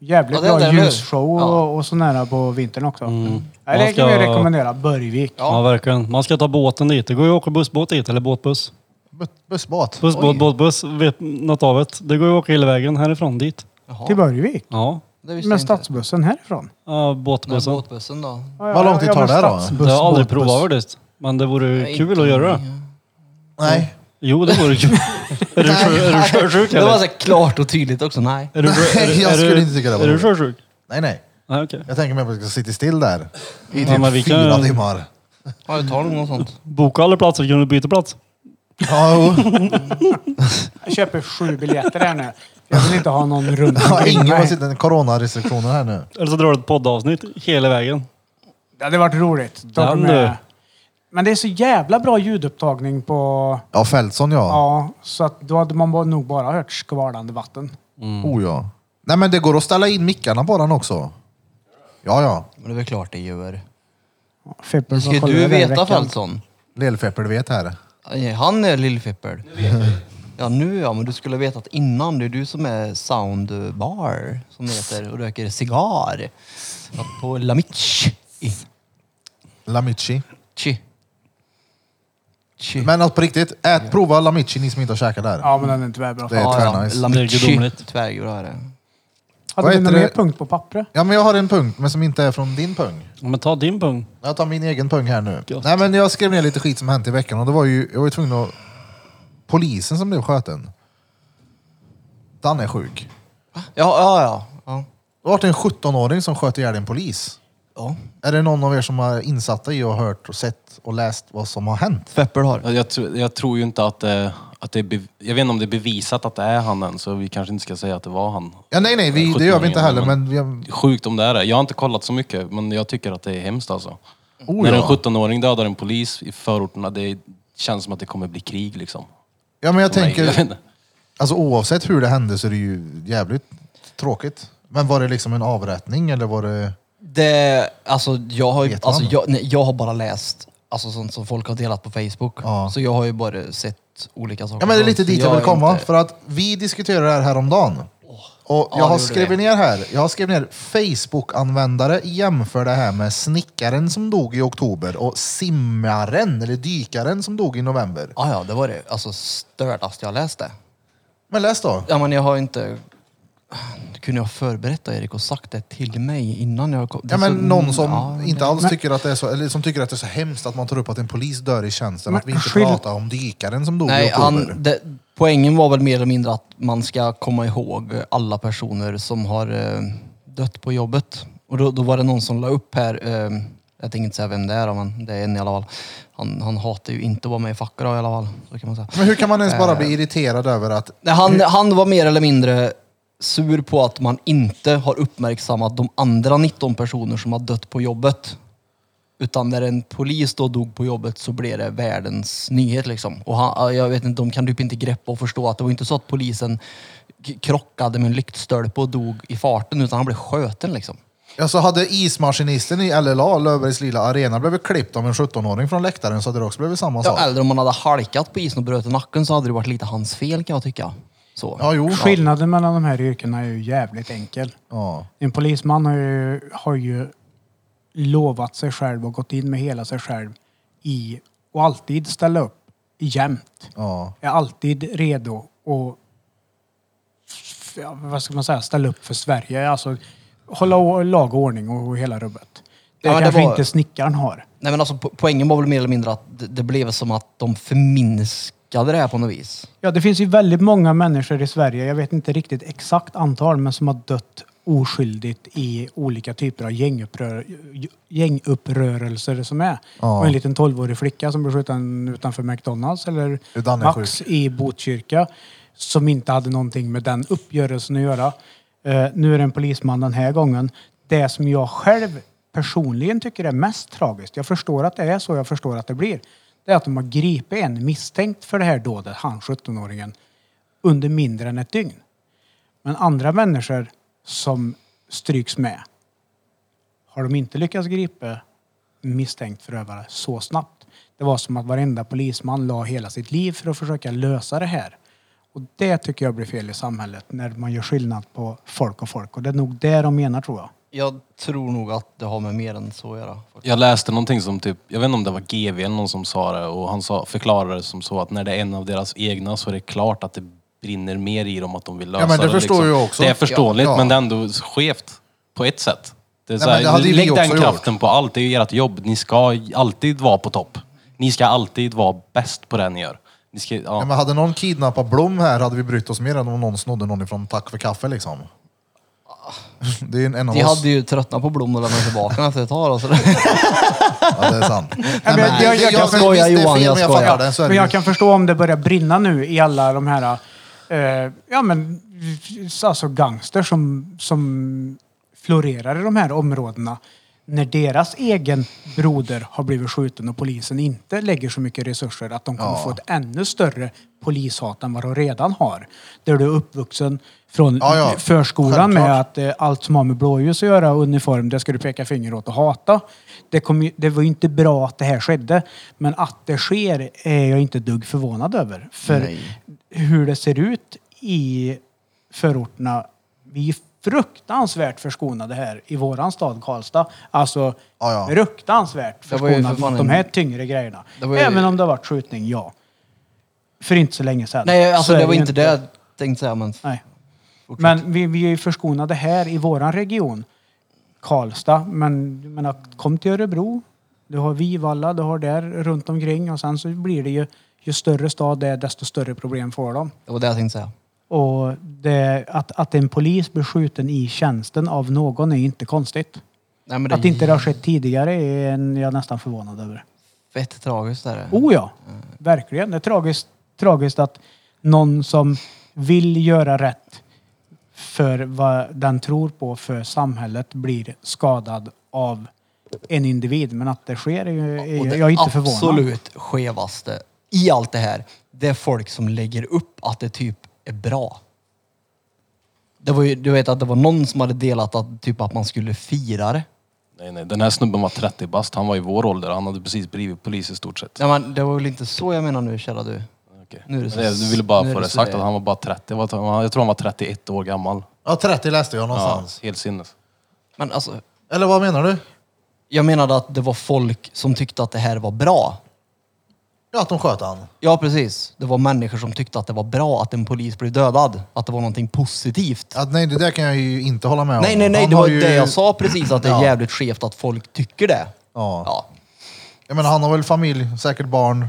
C: Jävligt
B: Ja, det- det
C: bra
B: är det.
C: ljusshow
B: Ja.
C: och, och sån här på vintern också. Mm. Ja,
D: Mm. Man
C: det kan vi
D: ska-
C: rekommendera. Börjvik.
D: Ja. verkligen. Man ska ta båten dit. Det går ju att åka bussbåt dit, eller båtbuss.
A: Bu- Bussbåt.
D: Bussbåt, båtbuss, vet något av det. Det går ju att åka hela vägen härifrån dit.
B: Jaha,
C: Till Börjvik.
D: Ja,
B: det visste jag
C: Med
B: inte.
C: stadsbussen härifrån.
D: ja
B: Nej,
D: båtbussen.
B: båtbussen då.
C: Ja,
A: Vad
C: ja,
A: lång tid
C: ja,
A: tar
C: men
A: det då?
D: Det
C: stadsbuss,
D: har jag aldrig
C: båtbuss.
D: provat faktiskt. Men det vore
B: Nej,
D: kul
B: inte
D: att göra det.
B: mer.
A: Nej.
D: Jo, det vore kul. är du sjö- är du sjösjuk
B: Det var
D: eller?
B: så här klart och tydligt också. Nej.
D: Är du sjö- är du-
A: Nej, jag
D: är du-
A: skulle inte tycka det var
D: Är du
A: roligt.
D: sjösjuk?
A: Nej, nej.
D: Nej, okej.
A: Jag tänker mig att jag ska sitta still där i
D: Ja,
A: typ
D: men vi kan-
A: fyra timmar.
B: Ja, det tar nog något sånt.
D: Boka alla platser så kan du byta plats.
A: Ja, jo.
C: Jag köper sju biljetter här nu. Jag vill inte ha någon runt
A: ja,
C: omkring
A: ingen har
C: mig.
A: sitter med coronarestriktioner här nu.
D: Eller så drar du ett poddavsnitt hela vägen.
C: Det hade varit roligt. Ta
D: Den
C: med-
D: du.
C: Men det är så jävla bra ljudupptagning på...
A: Ja, Fältson ja.
C: Ja, så att då hade man bara- nog bara hört skvalande vatten.
A: Oh ja. Nej, men det går att ställa in mickarna på den också. Ja, ja.
B: Men det är väl klart det gör.
C: Feppen
B: Ska du veta Fältson?
A: Lillfeppel vet här.
B: Nej, Han är lillfippel. Ja nu ja, men du skulle ha vetat innan. Det är du som är soundbar som det heter och röker cigarr. Ja, På Lamichi.
A: Lamichi.
B: Chi. Chi.
A: Men alltså på riktigt, ät, prova Lamichi ni som inte har käkat där.
C: Ja, men den är tyvärr bra.
A: Det är tvärnice.
D: Det är
B: Lamichi.
D: gudomligt.
B: Tvärgud är det.
C: Hade
A: Vad
C: du
A: heter
C: någon
A: det?
C: mer punkt på pappret?
A: Ja, men jag har en punkt, men som inte är från din pung.
D: Ja, Men ta din pung.
A: Jag tar min egen pung här nu.
D: Gott.
A: Nej, men jag skrev ner lite skit som hänt i veckan och det var ju, jag var ju tvungen att... Polisen som blev sköten. Den är sjuk.
B: Ja, ja, ja. ja.
A: Det var en 17-åring som sköt ihjäl en polis.
B: ja.
A: Är det någon av er som är insatta i och hört och sett och läst vad som har hänt?
B: Feppel har.
E: Jag, jag, tror, jag tror ju inte att, eh, att det är bev- Jag vet inte om det är bevisat att det är han än, så vi kanske inte ska säga att det var han.
A: Ja, nej, nej, vi, det gör vi inte heller, men... Vi, oh,
E: Sjukt om det är det. Jag har inte kollat så mycket, men jag tycker att det är hemskt alltså.
A: oh,
E: När en
A: ja.
E: 17-åring dödar en polis i förorterna, det känns som att det kommer bli krig liksom.
A: ja, men jag
E: Nej, jag vet
A: tänker...
E: inte.
A: Alltså oavsett hur det hände så är det ju jävligt tråkigt. Men var det liksom en avrättning eller var det...
B: Det, alltså jag har ju,
A: Vet man
B: alltså,
A: det?
B: jag, nej, jag har bara läst alltså, sånt som folk har delat på Facebook.
A: Ja.
B: Så jag har ju bara sett olika saker.
A: Ja, men det är
B: Så
A: lite dit
B: jag
A: jag vill
B: är
A: komma.
B: inte-
A: För att vi diskuterade det här häromdagen. Och jag
B: det
A: har
B: gjorde vi.
A: skrivit ner här. Jag har skrivit ner Facebook-användare jämför det här med snickaren som dog i oktober och simmaren eller dykaren som dog i november.
B: Ja, ja, det var det alltså stördast jag läste.
A: Men läs då.
B: Ja, men jag har inte... Kunde jag förberett det, Erik och sagt det till mig innan jag kom? Det
A: Ja,
B: är
A: men
B: så-
A: någon som
B: Ja, men
A: inte
B: det-
A: alls tycker att det är så, eller som tycker att det är så hemskt att man tar upp att en polis dör i tjänsten.
C: Men
A: Att vi inte
C: skyll-
A: pratar om dykaren som dog i
B: Nej,
A: oktober.
B: han, det, poängen var väl mer eller mindre att man ska komma ihåg alla personer som har eh, dött på jobbet. Och då, då var det någon som la upp här, eh, jag tänker inte säga vem det är då, men det är en i alla fall. Han, han hatar ju inte att vara med i facket då, i alla fall. Så kan man säga.
A: Men hur kan man ens bara
B: Eh.
A: bli irriterad över att...
B: Nej, Han, han var mer eller mindre sur på att man inte har uppmärksammat de andra 19 personer som har dött på jobbet. Utan när en polis då dog på jobbet så blev det världens nyhet liksom. Och han, jag vet inte, de kan typ inte greppa och förstå att det var inte så att polisen k- krockade med en lyktstolpe och dog i farten utan han blev sköten liksom.
A: Alltså hade ismaskinisten i LLA, Löfbergs lilla arena, blivit klippt av en 17-åring från läktaren så hade det också blivit samma sak.
B: Ja, eller om man hade halkat på isen och bröt nacken så hade det varit lite hans fel kan jag tycka. Så.
A: Ja, jo.
C: Skillnaden mellan de här yrkena är ju jävligt enkel.
A: Ja.
C: En polisman har ju, har ju lovat sig själv och gått in med hela sig själv i och alltid ställa upp jämt.
A: Ja.
C: Är alltid redo och f- ja, vad ska man säga, ställa upp för Sverige. Alltså hålla å- lag och ordning och hela rubbet. Det
B: Ja, men det
C: kanske
B: var-
C: inte snickaren har.
B: Nej men alltså po- poängen var väl mer eller mindre att det, det blev som att de förminskade det här på något vis.
C: Ja, det finns ju väldigt många människor i Sverige, jag vet inte riktigt exakt antal, men som har dött oskyldigt i olika typer av gängupprör, gängupprörelser som är.
A: Ja.
C: Och en liten 12-årig flicka som blev skjuten utanför McDonalds eller
A: Hur Dan är
C: Max i Botkyrka som inte hade någonting med den uppgörelsen att göra. Eh, nu är det en polisman den här gången. Det som jag själv personligen tycker är mest tragiskt, jag förstår att det är så, jag förstår att det blir, det är att de har gripit en misstänkt för det här dådet, han 17-åringen, under mindre än ett dygn. Men andra människor som stryks med har de inte lyckats gripa misstänkt förövare så snabbt. Det var som att varenda polisman la hela sitt liv för att försöka lösa det här. Och det tycker jag blir fel i samhället, när man gör skillnad på folk och folk. Och det är nog det de menar tror jag.
B: Jag tror nog att det har med mer än så att göra.
E: Jag läste någonting som typ, jag vet inte om det var GV eller någon som sa det och han sa, förklarade det som så att när det är en av deras egna så är det klart att det brinner mer i dem att de vill lösa
A: men det förstår jag också.
E: Det är förståeligt
A: Ja.
E: men det är ändå skevt på ett sätt. Det är så
A: men
E: här,
A: det hade ju vi
E: lägg den
A: också gjort.
E: kraften på allt, det är ju ert jobb. Ni ska alltid vara på topp. Ni ska alltid vara bäst på det ni gör. Ni ska, ja.
A: Ja, men hade någon kidnappat Blom här hade vi brytt oss mer än om någon snodde någon ifrån Tack för kaffe liksom. Det är ju en av
B: Ah. De
A: oss.
B: hade ju tröttnat på blommor och lämnat tillbaka den efter ett tag. Alltså.
A: Ja, det är sant. Nej,
C: men jag- jag- jag
B: skojar,
A: visst, det är fel,
B: Johan,
A: men
B: jag
A: fattar
B: skojar.
A: det, så är det
C: Men
A: ju.
C: jag kan förstå om det börjar brinna nu i alla de här, eh, ja men, alltså gangster som, som florerar i de här områdena. När deras egen broder har blivit skjuten och polisen inte lägger så mycket resurser att de kommer få ett ännu större polishat än vad de redan har. Där du är uppvuxen från
A: Ja, ja.
C: förskolan
A: Självklart.
C: med att eh, allt som har med blåljus att göra, uniform, det ska du peka finger åt och hata. Det, kom, ju- det var ju inte bra att det här skedde, men att det sker är jag inte dugg förvånad över. För hur det ser ut i förorterna, vi är föruktansvärt förskonade här i våran stad Karlstad. Alltså
A: Ja, ja.
C: fruktansvärt
B: Det var ju för
C: förskonade
B: fan
C: mot
B: en-
C: de här tyngre grejerna.
B: Det var ju-
C: Även om det har varit skjutning, ja. För inte så länge sedan.
B: Nej,
C: Så
B: alltså
C: är
B: det var
C: ju
B: inte det jag tänkte säga. Men
C: Nej. Men vi, vi är ju förskonade här i våran region. Karlstad, men jag menar, kom till Örebro. Du har Vivalla, du har där runt omkring och sen så blir det ju, ju större stad det är, desto större problem får de.
B: det var det jag tänkte säga.
C: Och det, att, att en polis blir skjuten i tjänsten av någon är inte konstigt.
B: Nej, men det
C: Att inte det har skett tidigare är en, jag nästan förvånad över.
B: Fett tragiskt är det.
C: Oh ja, verkligen. Det är tragiskt, tragiskt att någon som vill göra rätt för vad den tror på för samhället blir skadad av en individ. Men att det sker är ju... Är,
B: Och det
C: jag är inte förvånad.
B: absolut skevaste i allt det här, det är folk som lägger upp att det typ är bra. Det var ju, du vet att det var någon som hade delat att, typ att man skulle fira det.
E: Nej, nej. Den här snubben var 30 bast, han var i vår ålder. Han hade precis blivit polis i stort sett.
B: Ja, men det var väl inte så jag menar nu kära du.
E: Okej.
B: Nu är det så-
E: Nej, Du ville bara
B: nu är
E: få
B: det
E: det
B: så
E: sagt
B: det är.
E: att han var bara 30. Vad- Jag tror han var 31 år gammal.
A: Ja, 30 läste jag
E: Ja,
A: någonstans.
E: helt sinnes.
B: Men alltså,
A: Eller vad menar du?
B: jag menade att det var folk som tyckte att det här var bra.
A: Ja, att de sköt han.
B: Ja precis, det var människor som tyckte att det var bra att en polis blev dödad. Att det var någonting positivt.
A: Ja, nej, det där kan jag ju inte hålla med om.
B: Nej, nej, nej,
A: Han
B: det
A: har
B: var
A: ju-
B: det jag sa precis, att det är
A: Ja.
B: jävligt skevt att folk tycker det.
A: Ja.
B: Ja.
A: Jag menar, han har väl familj, säkert barn.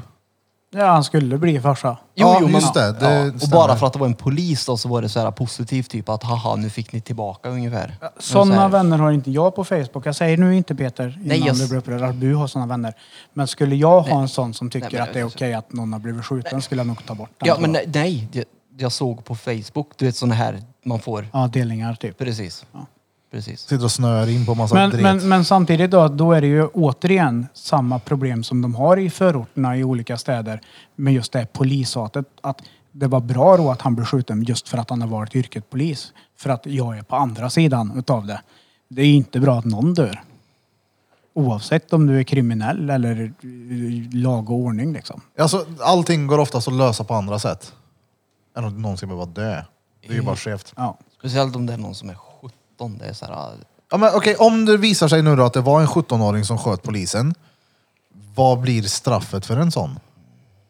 C: Ja, han skulle bli farsa.
B: Jo,
A: Ja,
B: jo, men,
A: just det, det
B: Och
A: stämmer.
B: bara för att det var en polis då så var det så här positivt, typ att haha, nu fick ni tillbaka ungefär. Så
C: Sådana
B: här.
C: vänner har inte jag på Facebook. Jag säger nu inte Peter, innan
B: Nej, jag-
C: du blir upprörd, att du har sådana vänner. Men skulle jag ha en sån som tycker
B: Nej, men- alltså-
C: att det är okej att någon har blivit skjuten skulle jag nog ta bort den.
B: Ja,
C: tror
B: men
C: jag.
B: nej, nej det, jag såg på Facebook, du vet såna här man får.
C: ja, delningar typ.
B: Precis. Precis.
A: Sitter och snör in på
G: Alltså
A: massa
C: Men,
A: dret.
C: men, men samtidigt då, då är det ju återigen samma problem som de har i förorterna i olika städer med just det här polishatet. Att det var bra då att han blev skjuten just för att han har varit yrket polis. För att jag är på andra sidan utav det. Det är inte bra att någon dör. Oavsett om du är kriminell eller eh, lag och ordning liksom.
G: Alltså, allting går oftast att lösa på andra sätt. Än att någon ska behöva dö. Det är ju bara skevt.
C: Ja.
B: Speciellt om det är någon som är 17. Det är så här, ah,
G: Ja, men, okej, om det visar sig nu då att det var en 17-åring som sköt polisen. Vad blir straffet för en sån?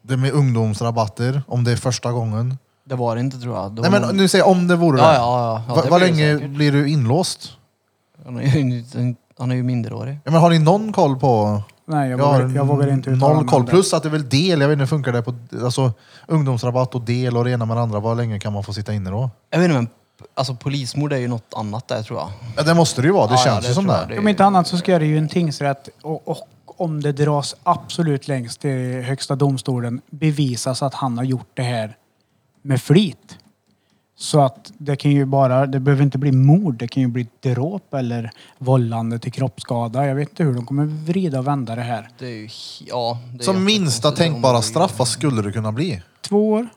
G: Det är med ungdomsrabatter, om det är första gången.
B: det var det inte tror jag. Det var
G: Nej men
B: någon-
G: nu säger jag om det vore
B: Ja,
G: det.
B: ja, ja. Ja,
G: Va-
B: det
G: Vad
B: blir det
G: länge
B: säkert.
G: blir du inlåst?
B: Han är ju- Han är ju minderårig.
G: Ja, men har ni någon koll på...
C: Nej, jag, vågar, jag vågar inte uttala
G: Noll
C: mig om
G: koll.
C: det.
G: Plus att det är väl del, jag vet inte hur funkar det på alltså, ungdomsrabatt och del och det ena med det andra. Vad länge kan man få sitta inne då?
B: Jag vet inte men alltså polismord är ju något annat där tror jag.
G: Ja, det måste det ju vara, det
B: Ja, ja,
G: känns ju som
B: tror
G: det.
B: jag.
C: Om inte annat så ska det ju en tingsrätt och, och om det dras absolut längst till högsta domstolen bevisas att han har gjort det här med flit. Så att det kan ju bara, det behöver inte bli mord, det kan ju bli dråp eller vållande till kroppsskada. Jag vet inte hur de kommer vrida och vända det här.
B: Det är ju, ja, det är
G: Som minsta
B: jättekonstigt.
G: tänkbara straff, alltså. vad skulle det kunna bli?
C: Två år,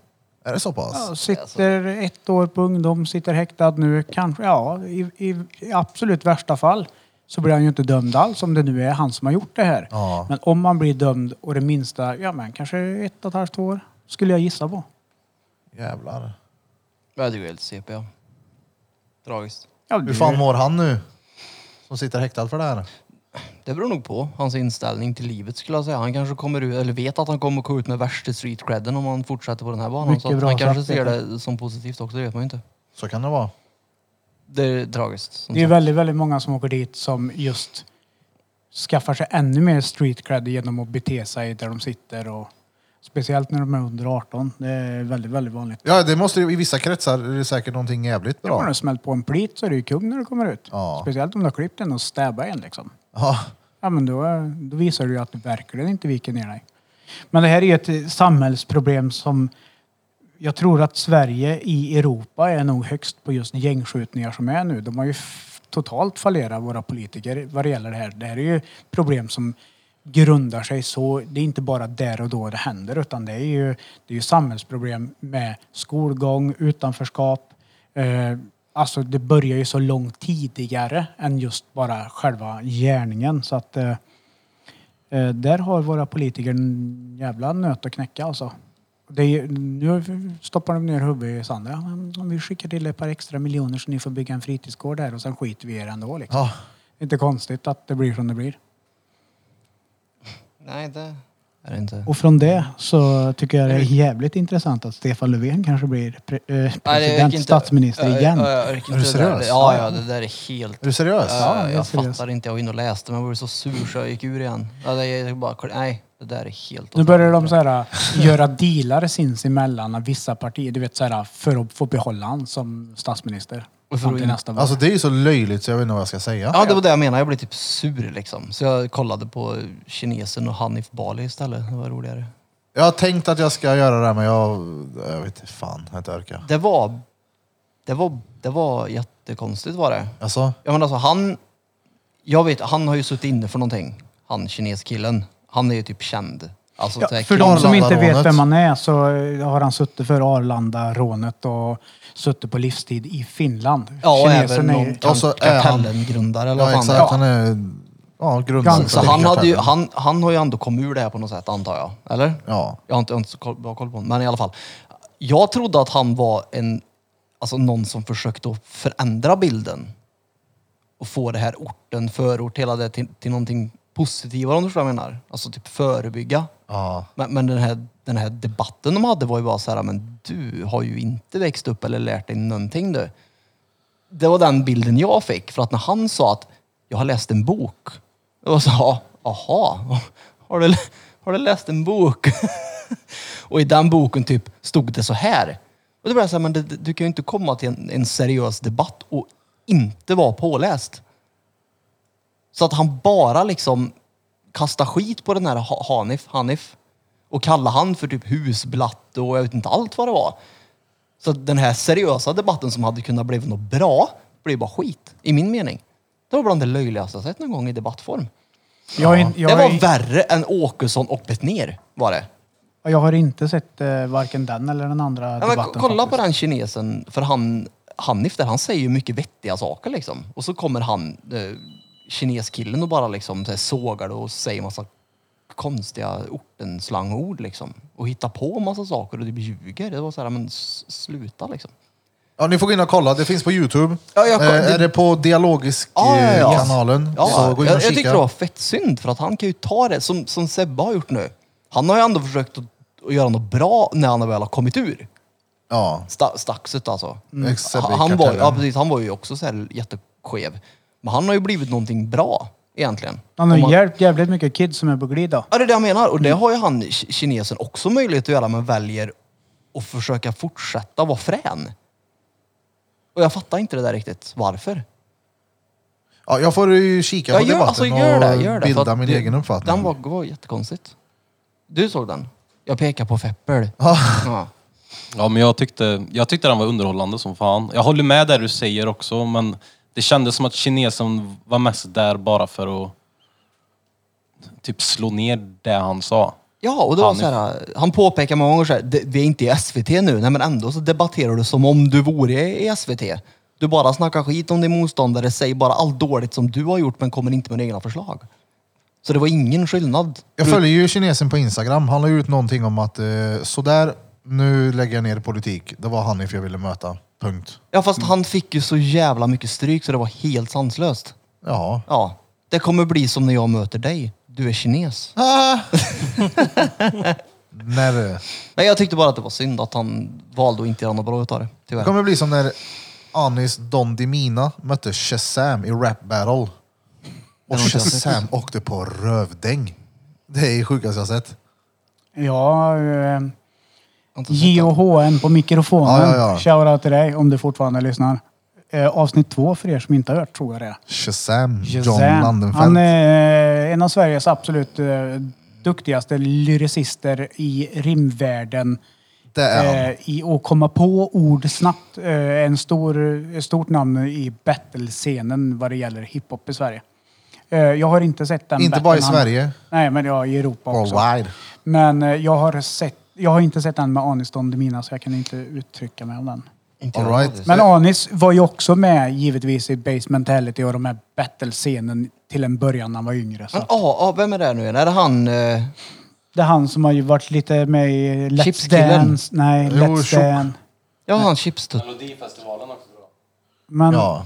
G: Är det så pass?
C: ja, sitter ett år på ungdom, sitter häktad nu, kanske, ja, i, i, i absolut värsta fall så blir han ju inte dömd alls om det nu är han som har gjort det här.
G: Ja.
C: Men om man blir dömd och det minsta, ja men kanske ett och ett halvt två år, skulle jag gissa på.
G: Jävlar.
B: Ja, det är ju helt CP. ja. Tragiskt.
C: Ja,
G: Hur
C: det,
G: fan mår han nu? Som sitter häktad för det här.
B: Det beror nog på hans inställning till livet skulle jag säga. Han kanske kommer ut, eller vet att han kommer gå ut med värsta street credden om han fortsätter på den här banan.
C: Mycket
B: Så att
C: bra
B: han kanske
C: sagt,
B: ser
C: Peter.
B: det som positivt också, det vet man ju inte.
G: Så kan det vara.
B: Det är tragiskt. som
C: det är
B: sagt.
C: väldigt, väldigt många som åker dit som just skaffar sig ännu mer street cred genom att bete sig där de sitter och speciellt när de är under 18. Det är väldigt, väldigt vanligt.
G: Ja, det måste ju, i vissa kretsar är det säkert någonting jävligt
C: Har
G: bra.
C: du smält på en plit så är du ju kung när du kommer ut.
G: Ja.
C: Speciellt om du har klippt en och stäbbat en liksom.
G: Ja,
C: Ja, men då, då visar du ju att du verkligen inte viker ner dig. Men det här är ju ett samhällsproblem som jag tror att Sverige i Europa är nog högst på just gängskjutningar som är nu. De har ju f- totalt fallerat våra politiker vad det gäller det här. Det här är ju ett problem som grundar sig så, det är inte bara där och då det händer utan det är ju, det är ju samhällsproblem med skolgång, utanförskap. Eh, alltså det börjar ju så långt tidigare än just bara själva gärningen så att eh, Eh, där har våra politiker en jävla nöt att knäcka alltså. Det är, ju- nu stoppar de ner huvudet i sanden. Ja, men Om vi skickar till ett par extra miljoner så ni får bygga en fritidsgård där och sen skiter vi i er ändå. Liksom.
G: ja.
C: Inte konstigt att det blir som det blir.
B: Nej, det är det inte.
C: Och från det så tycker jag det är jävligt intressant att Stefan Löfven kanske blir pre, eh, president,
B: Nej, det- jag orkar inte-
C: statsminister
B: jag-
C: igen.
B: jag- jag orkar inte
G: Är du
B: det där.
G: seriös?
B: Ja, ja, det där är helt...
G: Är du seriös?
B: Ja,
C: jag är
B: jag
C: seriös.
B: fattar inte. Jag var inne och läste men jag blev så sur så jag gick ur igen. Ja, det, jag bara, nej, det där är helt...
C: Nu börjar de så här, eh, göra dealar sinsemellan av vissa partier, du vet så här, för att få behålla han som statsminister.
B: Och för
C: Fram
B: att
C: till
B: in-
C: nästa val.
G: Alltså det är ju så löjligt så jag vet inte vad jag ska säga.
B: Ja, det var det jag menade. Jag blev typ sur liksom. Så jag kollade på kinesen och Hanif Bali istället. Det var roligare.
G: Jag har tänkt att jag ska göra det här men jag, jag vet inte fan, jag har inte orkat.
B: Det var... Det var, det var jättekonstigt var det.
G: Alltså,
B: Jag menar alltså han... Jag vet, han har ju suttit inne för någonting. Han kineskillen. Han är ju typ känd. Alltså, så
C: Ja,
B: här
C: för de som inte vet
G: Arlandarånet.
C: vem man är så eh, har han suttit för Arlanda-rånet och suttit på livstid i Finland.
B: Ja, och även
C: Kinesen är ju-
B: någon
G: Och så
B: kan-
G: är han-
B: kartellengrundare eller vad
G: ja
B: fan det
G: exakt,
B: är.
G: han är ja, grundare.
B: Så han, hade ju, han, han har ju ändå kommit ur det här på något sätt antar jag, eller?
G: Ja.
B: Jag har inte, jag har inte så koll, bra koll på honom, men i alla fall. Jag trodde att han var en, alltså någon som försökte att förändra bilden. Och få det här orten, förort, hela det till, till någonting positivare om du förstår vad jag menar. Alltså typ förebygga.
G: Ja.
B: Men, men den, här, den här debatten de hade var ju bara så här, men du har ju inte växt upp eller lärt dig någonting du. Det var den bilden jag fick. För att när han sa att jag har läst en bok. Och så, ja, aha, har du, har du läst en bok? och i den boken typ stod det så här. Och då blev jag så här, men det, du kan ju inte komma till en, en seriös debatt och inte vara påläst. Så att han bara liksom kastar skit på den här Ha- Hanif, Hanif och kallar han för typ husblatte och jag vet inte allt vad det var. Så att den här seriösa debatten som hade kunnat bli något bra blev bara skit, i min mening. Det var bland det löjligaste jag sett någon gång i debattform.
C: jag, är- jag,
B: det var
C: är-
B: värre än Åkesson och Petner var det.
C: jag har inte sett eh, varken den eller den andra
B: Ja, men
C: debatten.
B: kolla på
C: faktiskt.
B: den kinesen, för han, Hanif där, han säger ju mycket vettiga saker liksom. Och så kommer han, eh, kineskillen och bara liksom så här, sågar det och säger massa konstiga ortenslangord liksom. Och hittar på massa saker och typ ljuger. Det var så här, men s- sluta liksom.
G: Ja, ni får gå in och kolla. Det finns på Youtube.
B: Ja, jag koll-
G: eh, är
B: det-
G: det på Dialogisk-kanalen?
B: Ja,
G: Så gå in och
B: jag, jag
G: kika.
B: tyckte det var fett synd för att han kan ju ta det som, som Sebbe har gjort nu. Han har ju ändå försökt att, att göra något bra när han väl har kommit ur
G: Ja.
B: sta, staxet alltså.
G: Sebbe Mm. i
B: Han, han, var,
G: kartellen.
B: ja, precis, han var ju också så här jätteskev. Men han har ju blivit någonting bra egentligen.
C: Han har
B: Om
C: ju hjälpt jävligt mycket kids som är på glid då.
B: Ja, det är det jag menar. Och det
G: Mm.
B: har ju han, ki- kinesen, också möjlighet att göra, men väljer att försöka fortsätta vara frän. Och jag fattar inte det där riktigt. Varför?
G: ja, jag får ju kika på
B: Ja, gör,
G: debatten
B: alltså, gör det,
G: och
B: gör det. för
G: bilda
B: att
G: min
B: det-
G: egen uppfattning.
B: Den var, var jättekonstigt. Du såg den? Jag pekar på Feppel. Ja.
E: Ja, men jag tyckte, jag tyckte den var underhållande som fan. Jag håller med där du säger också, men det kändes som att kinesen var mest där bara för att typ slå ner det han sa.
B: Ja, och det var
E: Han är-
B: så här, eh, han påpekar många gånger så här, "Det- vi är inte i SVT nu, nej men ändå så debatterar du som om du vore i SVT. Du bara snackar skit om din motståndare, säger bara allt dåligt som du har gjort men kommer inte med egna förslag. Så det var ingen skillnad.
G: Jag följer ju kinesen på Instagram. Han la ut någonting om att eh, sådär, nu lägger jag ner politik. Det var Hanif jag ville möta. Punkt.
B: Ja, fast han fick ju så jävla mycket stryk så det var helt sanslöst.
G: Ja.
B: Ja, det kommer bli som när jag möter dig. Du är kines.
G: När, det
B: Men jag tyckte bara att det var synd att han valde att inte göra något bra utav det. Tyvärr.
G: kommer bli som när Anis Don Dimina mötte Shazam i Rap Battle. Och Shazam åkte på rövdäng. Det är det sjukaste jag sett.
C: Ja, eh,
B: Jag har inte sett den.
C: JOHN på mikrofonen.
G: Ja, ja, ja.
C: Shoutout till dig om du fortfarande lyssnar. Eh, avsnitt två för er som inte har hört tror jag det är.
G: Shazam, John
C: Shazam.
G: Landenfeld.
C: Han är en av Sveriges absolut eh, duktigaste lyricister i rimvärlden.
G: det är han.
C: Eh, I att komma på ord snabbt. Eh, en stor, ett stort namn i battlescenen vad det gäller hiphop i Sverige. Eh, jag har inte sett den
G: Inte bara i
C: battlen.
G: Sverige.
C: Nej, men ja, i Europa också.
G: Worldwide.
C: Men eh, jag har, sett, jag har inte sett den med Anis Don Demina så jag kan inte uttrycka mig om den.
B: Inte
G: All
B: jag.
G: right.
C: Men Anis var ju också med givetvis i Base Mentality och de här battle-scenen till en början när han var yngre. Så.
B: Men ah, ah, vem är det nu igen? Är det han? Eh,
C: Det är han som har ju varit lite med i Let's
B: Chipskillen.
C: Dance. Nej,
G: Jo,
C: Let's
G: tjock.
C: Dance.
B: ja, han Chipstutt.
E: Melodifestivalen också bra.
C: Men
G: Ja.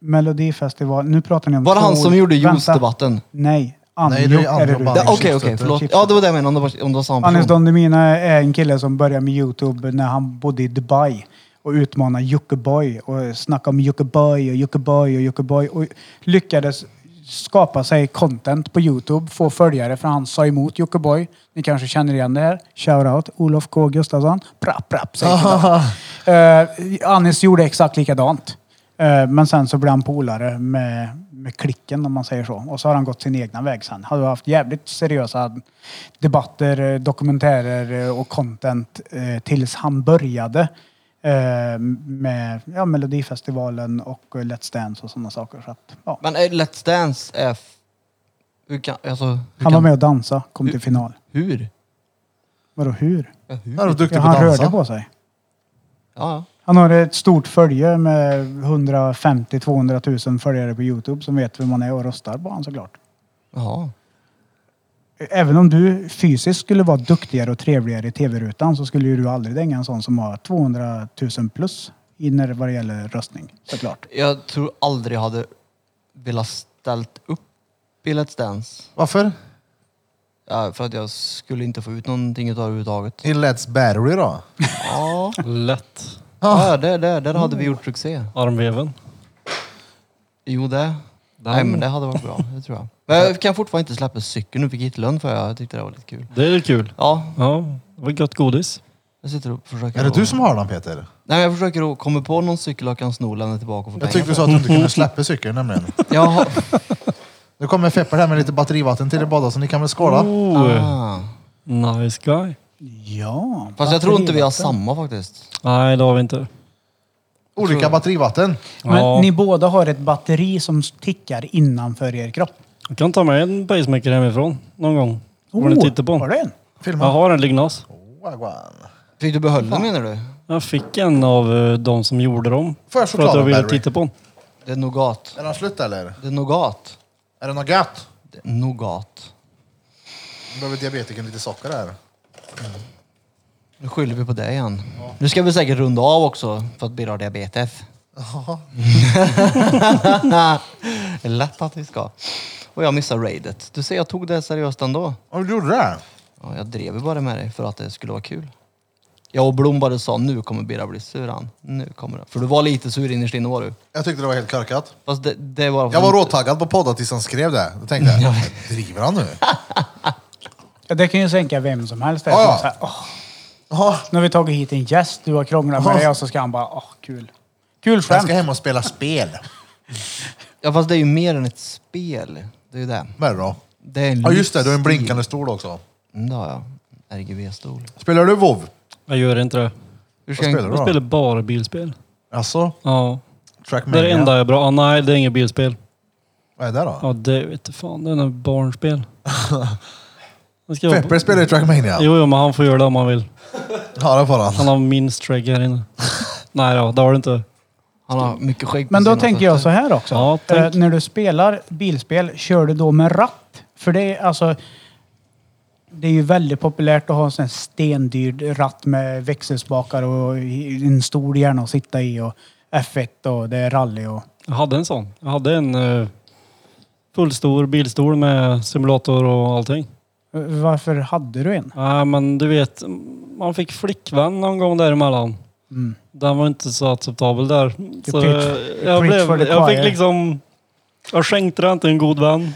C: Melodifestival. Nu pratar ni om
B: Var det
C: två
B: han
C: ord.
B: som gjorde
C: Vänta.
B: juice-debatten?
C: Nej,
G: Nej, det är
C: Anjo är
G: andra
C: det du.
G: bandet.
B: Okej,
C: Okej.
B: okej,
G: Chipstutt,
B: förlåt.
C: Chipstutt.
B: Ja, det var det jag menade. Om det var, om det var samma
C: Anis
B: person.
C: Don Demina är en kille som började med Youtube när han bodde i Dubai och utmanade Jockiboi och snackade om Jockiboi och Jockiboi och Jockiboi och lyckades skapa sig content på Youtube, få följare för han sa emot Jockiboi. Ni kanske känner igen det här. Shoutout Olof K Gustafsson. Prapp, prapp, säger han. Eh, Anis gjorde exakt likadant. Eh, Men sen så blev han polare med, med klicken om man säger så. Och så har han gått sin egna väg sen. Har haft jävligt seriösa debatter, eh, dokumentärer eh, och content eh, tills han började eh, med ja, Melodifestivalen och eh, Let's Dance och sådana saker. Så att, ja.
B: Men eh, Let's Dance är... f- Hur kan... Alltså, hur
C: Han var
B: kan,
C: med och dansade, kom
B: Hur-
C: till final.
B: Hur?
C: Vadå hur?
B: Ja, hur?
G: Han är duktig
C: Ja,
G: på
C: han
G: att
C: rörde
G: dansa.
C: på sig.
B: Ja,
C: Han har ett stort följe med 150-200 000 följare på Youtube som vet vem man är och röstar på honom såklart.
B: ja.
C: Även om du fysiskt skulle vara duktigare och trevligare i tv-rutan så skulle ju du aldrig dänga en sån som har 200 000 plus i när vad det gäller röstning såklart.
B: Jag tror aldrig jag hade velat ställt upp i Let's Dance.
G: Varför?
B: Ja, för att jag skulle inte få ut någonting utav det överhuvudtaget.
G: I Let's Battery då?
B: Ja,
D: Lätt.
B: ja ja, det, det, där hade vi gjort succé.
D: Armveven.
B: Jo, det. Nej, men det hade varit bra. Det tror jag. Men jag kan fortfarande inte släppa cykeln. Nu fick hitlön för jag. jag tyckte det var lite kul.
D: Det är kul.
B: Ja,
D: Ja, det var gött godis.
B: jag sitter och försöker...
G: Är det
B: att-
G: du som har den Peter?
B: Nej, men jag försöker att komma på någon cykel jag kan sno, lämna tillbaka och få
G: Jag
B: pengar
G: tyckte du sa att du inte kunde släppa cykeln nämligen.
B: för. Jaha.
G: Nu kommer Fepper här med lite batterivatten till er båda så ni kan väl skåla?
D: Oh,
B: Ah.
D: nice guy.
C: Ja.
B: Fast jag tror inte vi har samma faktiskt.
D: Nej, det har vi inte.
G: Olika batterivatten.
C: Men
D: Ja.
C: ni båda har ett batteri som tickar innanför er kropp.
D: Jag kan ta med en pacemaker
A: Oh,
D: hemifrån någon gång. Får ni titta på
C: Oh, har
D: den.
C: du en?
D: Jag har en Lignas.
G: Oh, Wagwan.
B: Fick du behålla den menar du?
D: Jag fick en av eh, de som gjorde dem.
A: Får jag
D: För att jag
A: chokladen,
D: ville
A: Barry?
D: titta på den.
B: Det är nougat.
A: Är den slut eller?
B: Det är nougat.
A: Är det något gött?
B: Det är nougat.
A: Nu behöver diabetikern lite socker här.
B: Nu skyller vi på dig igen. Nu ska vi säkert runda av också för att Birre har diabetes. Lätt att vi ska. Och jag missar raidet. Du ser, jag tog det seriöst ändå.
A: Om du gjorde det?
B: Ja, jag drev ju bara med dig för att det skulle vara kul. Jag och Blom bara sa nu kommer Birra bli sur han. Nu kommer det. För du var lite sur innerst inne var du.
A: Jag tyckte det var helt korkat.
B: Fast det, det var...
A: Jag var råtaggad på podden tills han skrev det. Då tänkte jag, driver han nu?
C: Ja, det kan ju sänka vem som helst.
A: Ja,
B: Ah.
A: ja.
C: Ja. Så här, åh,
A: Jaha,
C: nu har vi tagit hit en gäst, du har krånglat
B: Ah.
C: med
A: Ja.
C: det och så ska han bara, åh kul. Kul
A: jag
C: skämt.
A: ska hem och spela spel.
B: Ja fast det är ju mer än ett spel. Det är ju det.
A: Vad är det då?
B: Det är en
A: Ja just det, du har en
B: livsstil.
A: blinkande stol också.
B: Mm, det har jag. RGB-stol.
A: Spelar du WoW?
D: Jag gör inte det.
B: Hur ska
A: Vad spelar
B: jag...
A: du
D: Jag spelar
A: då?
D: bara bilspel.
A: Alltså,
D: Ja. Det
A: Trackmania?
D: är det enda jag är bra. Ah, nej, det är inget bilspel.
A: Vad är det då?
D: Ja, det vet du fan. Det är något barnspel. Jag ska-
A: Pepper spelar ju Trackmania.
D: Jo, jo, men han får göra det om han vill.
A: Ja, det får
D: Han
A: han.
D: har minst skägg här inne. Nej då, det har du inte.
B: Han har mycket skägg på
C: Men då
B: sina
C: tänker jag så
B: fötter.
C: här också.
D: Ja, tänk.
C: Eh, när du spelar bilspel, kör du då med ratt? För det är alltså... Det är ju väldigt populärt att ha en sån här stendyrd ratt med växelspakar och i- en stor hjärna att sitta i och F1 och det är rally och...
D: Jag hade en sån. Jag hade en eh, fullstor bilstol med simulator och allting.
C: Eh, Varför hade du en?
D: Nej, men du vet, man fick flickvän någon gång däremellan.
C: Mm.
D: Den var inte så acceptabel där. Så
C: preach-
D: jag,
C: preach for
D: blev,
C: the
D: jag
C: choir.
D: fick liksom... Jag skänkte den till en god vän.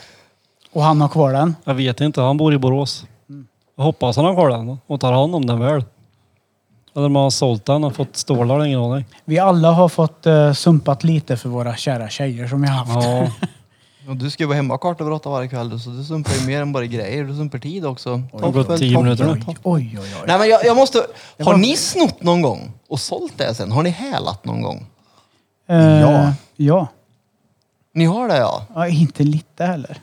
C: Och han har kvar den?
D: Jag vet inte, han bor i Borås. Jag hoppas han har kvar den och tar hand om den väl. Eller om han har sålt den och fått stålar, ingen aning.
C: Vi alla har fått eh, sumpat lite för våra kära tjejer som vi har haft.
D: Ja,
B: Och du ska ju vara hemma kvart över åtta varje kväll så du sumpar ju mer än bara grejer. Du sumpar tid också.
D: det har gått tio minuter nu.
C: Oj, oj, oj. oj.
B: Nej men jag, jag måste... Har ni snott någon gång? Och sålt det sen? Har ni hälat någon gång?
C: Eh,
A: Ja.
C: ja.
B: Ni har det ja.
C: Ja, inte lite heller.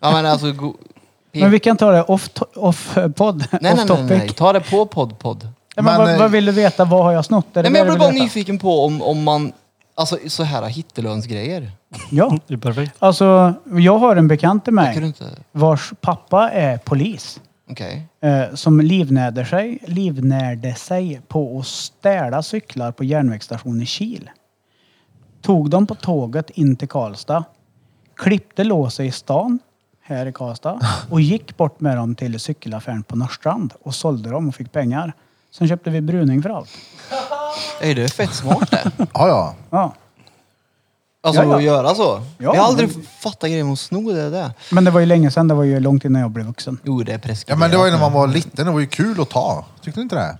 B: Ja men alltså... Go...
C: Men vi kan ta det off, to- off eh, podd,
B: Nej, nej,
C: off
B: nej,
C: topic.
B: nej. Ta det på podd, podd.
C: Ja, men
A: Men,
C: vad,
A: eh,
C: vad vill du veta? Vad har jag snott? Är det
B: Nej, men jag
C: det
B: blir
C: du
B: bara
C: vill veta?
B: nyfiken på om, om man... Alltså så här hittelönsgrejer.
C: Ja,
D: det är perfekt.
C: alltså jag har en bekant till
B: Tycker du
C: mig
B: inte?
C: vars pappa är polis.
B: Okej.
C: Eh, som livnärde sig, livnärde sig på att städa cyklar på järnvägsstationen Kil. Tog dem på tåget in till Karlstad. Klippte låset i stan, här i Karlstad. Och gick bort med dem till cykelaffären på Norrstrand. Och sålde dem och fick pengar. Sen köpte vi bruning för allt.
B: Är det fett smart det?
A: Ja, ja.
C: Ja.
B: Alltså
C: Ja, ja.
B: att göra så.
C: Ja,
B: jag har aldrig
C: men-
B: fattat grejen med att sno det där.
C: Men det var ju länge sedan. Det var ju långt innan jag blev vuxen.
B: Jo, det är
A: Ja
B: preskriberat.
A: men det var ju när
B: nu.
A: man var liten, det var ju kul att ta. Tyckte du inte det?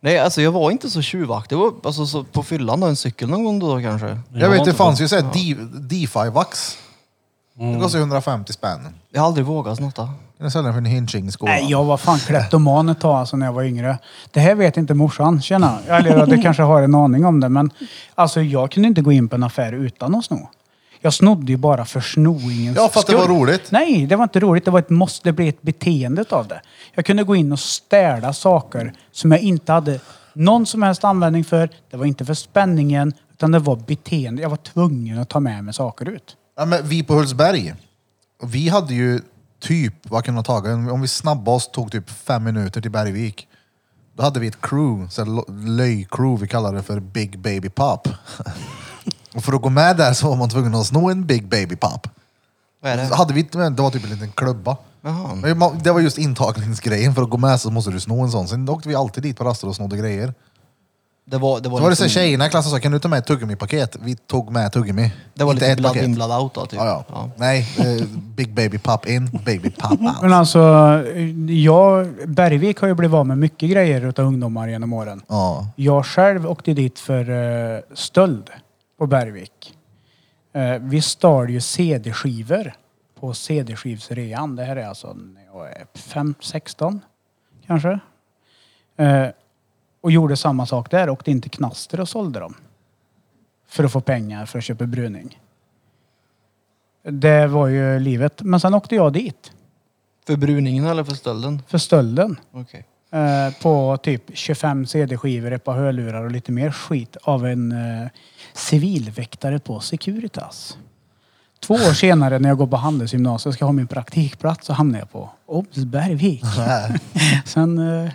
B: Nej, alltså jag var inte så tjuvaktig. Det var alltså, så på fyllan då, en cykel någon gång då kanske.
A: Jag vet,
D: har
A: det
D: inte Mm.
A: fanns ju såhär DeFi-vax. Det kostar ju 150 spänn.
B: Jag har aldrig vågat snotta.
A: Kan du sälja den för en hinching-skola?
C: Nej, jag var fan kleptoman ett tag alltså, när jag var yngre. Det här vet inte morsan, tjena. Eller ja, du kanske har en aning om det, men alltså jag kunde inte gå in på en affär utan att sno. Jag snodde ju bara för snoingens
A: Ja, för att det
C: skull.
A: var roligt.
C: Nej, det var inte roligt. Det var ett måste. Det blev ett beteende av det. Jag kunde gå in och städa saker som jag inte hade någon som helst användning för. Det var inte för spänningen, utan det var beteende. Jag var tvungen att ta med mig saker ut.
A: Ja, men vi på Hultsberg, vi hade ju typ, vad kunde ha tagit, om vi snabbade oss tog typ fem minuter till Bergvik. Då hade vi ett crew, så här lo- löj-crew, vi kallade det för Big Baby Pop. Och för att gå med där så var man tvungen att sno en Big Baby Pop.
B: Vad är
A: Så
B: det?
A: hade vi, inte- men det var typ en liten klubba.
B: Jaha.
A: Men man- Det var just intagningsgrejen, för att gå med så måste du sno en sån. Sen åkte vi alltid dit på raster och snodde grejer.
B: Det var, det var,
A: Så var det så
B: liksom,
A: här tjejerna i klassen sa, kan du ta med ett tuggummi-paket? Vi tog med tuggummi.
B: det var
A: Inte
B: lite
A: ett
B: blood
A: paket.
B: in, blood out då, typ.
A: Ja, ja. Nej, eh, Big Baby Pop in, Baby Pop
C: Men
A: out.
C: alltså, jag, Bergvik har ju blivit av med mycket grejer utav ungdomar genom åren.
A: Ja.
C: Jag själv åkte dit för eh, stöld på Bergvik. Eh, vi stal ju CD-skivor på CD-skivsrean. Det här är alltså när jag är 5, 16 kanske. Eh, och gjorde samma sak där. Åkte in till Knaster och sålde dem. För att få pengar för att köpa bruning. Det var ju livet. Men sen åkte jag dit
B: För bruningen eller för stölden?
C: för stölden.
B: Okej.
C: Eh, eh, på typ 25 CD-skivor, ett par hörlurar och lite mer skit av en eh, civilväktare på Securitas. Två år senare när jag går på Handelsgymnasiet och ska ha min praktikplats så hamnar jag på Obs Bergvik. sen eh,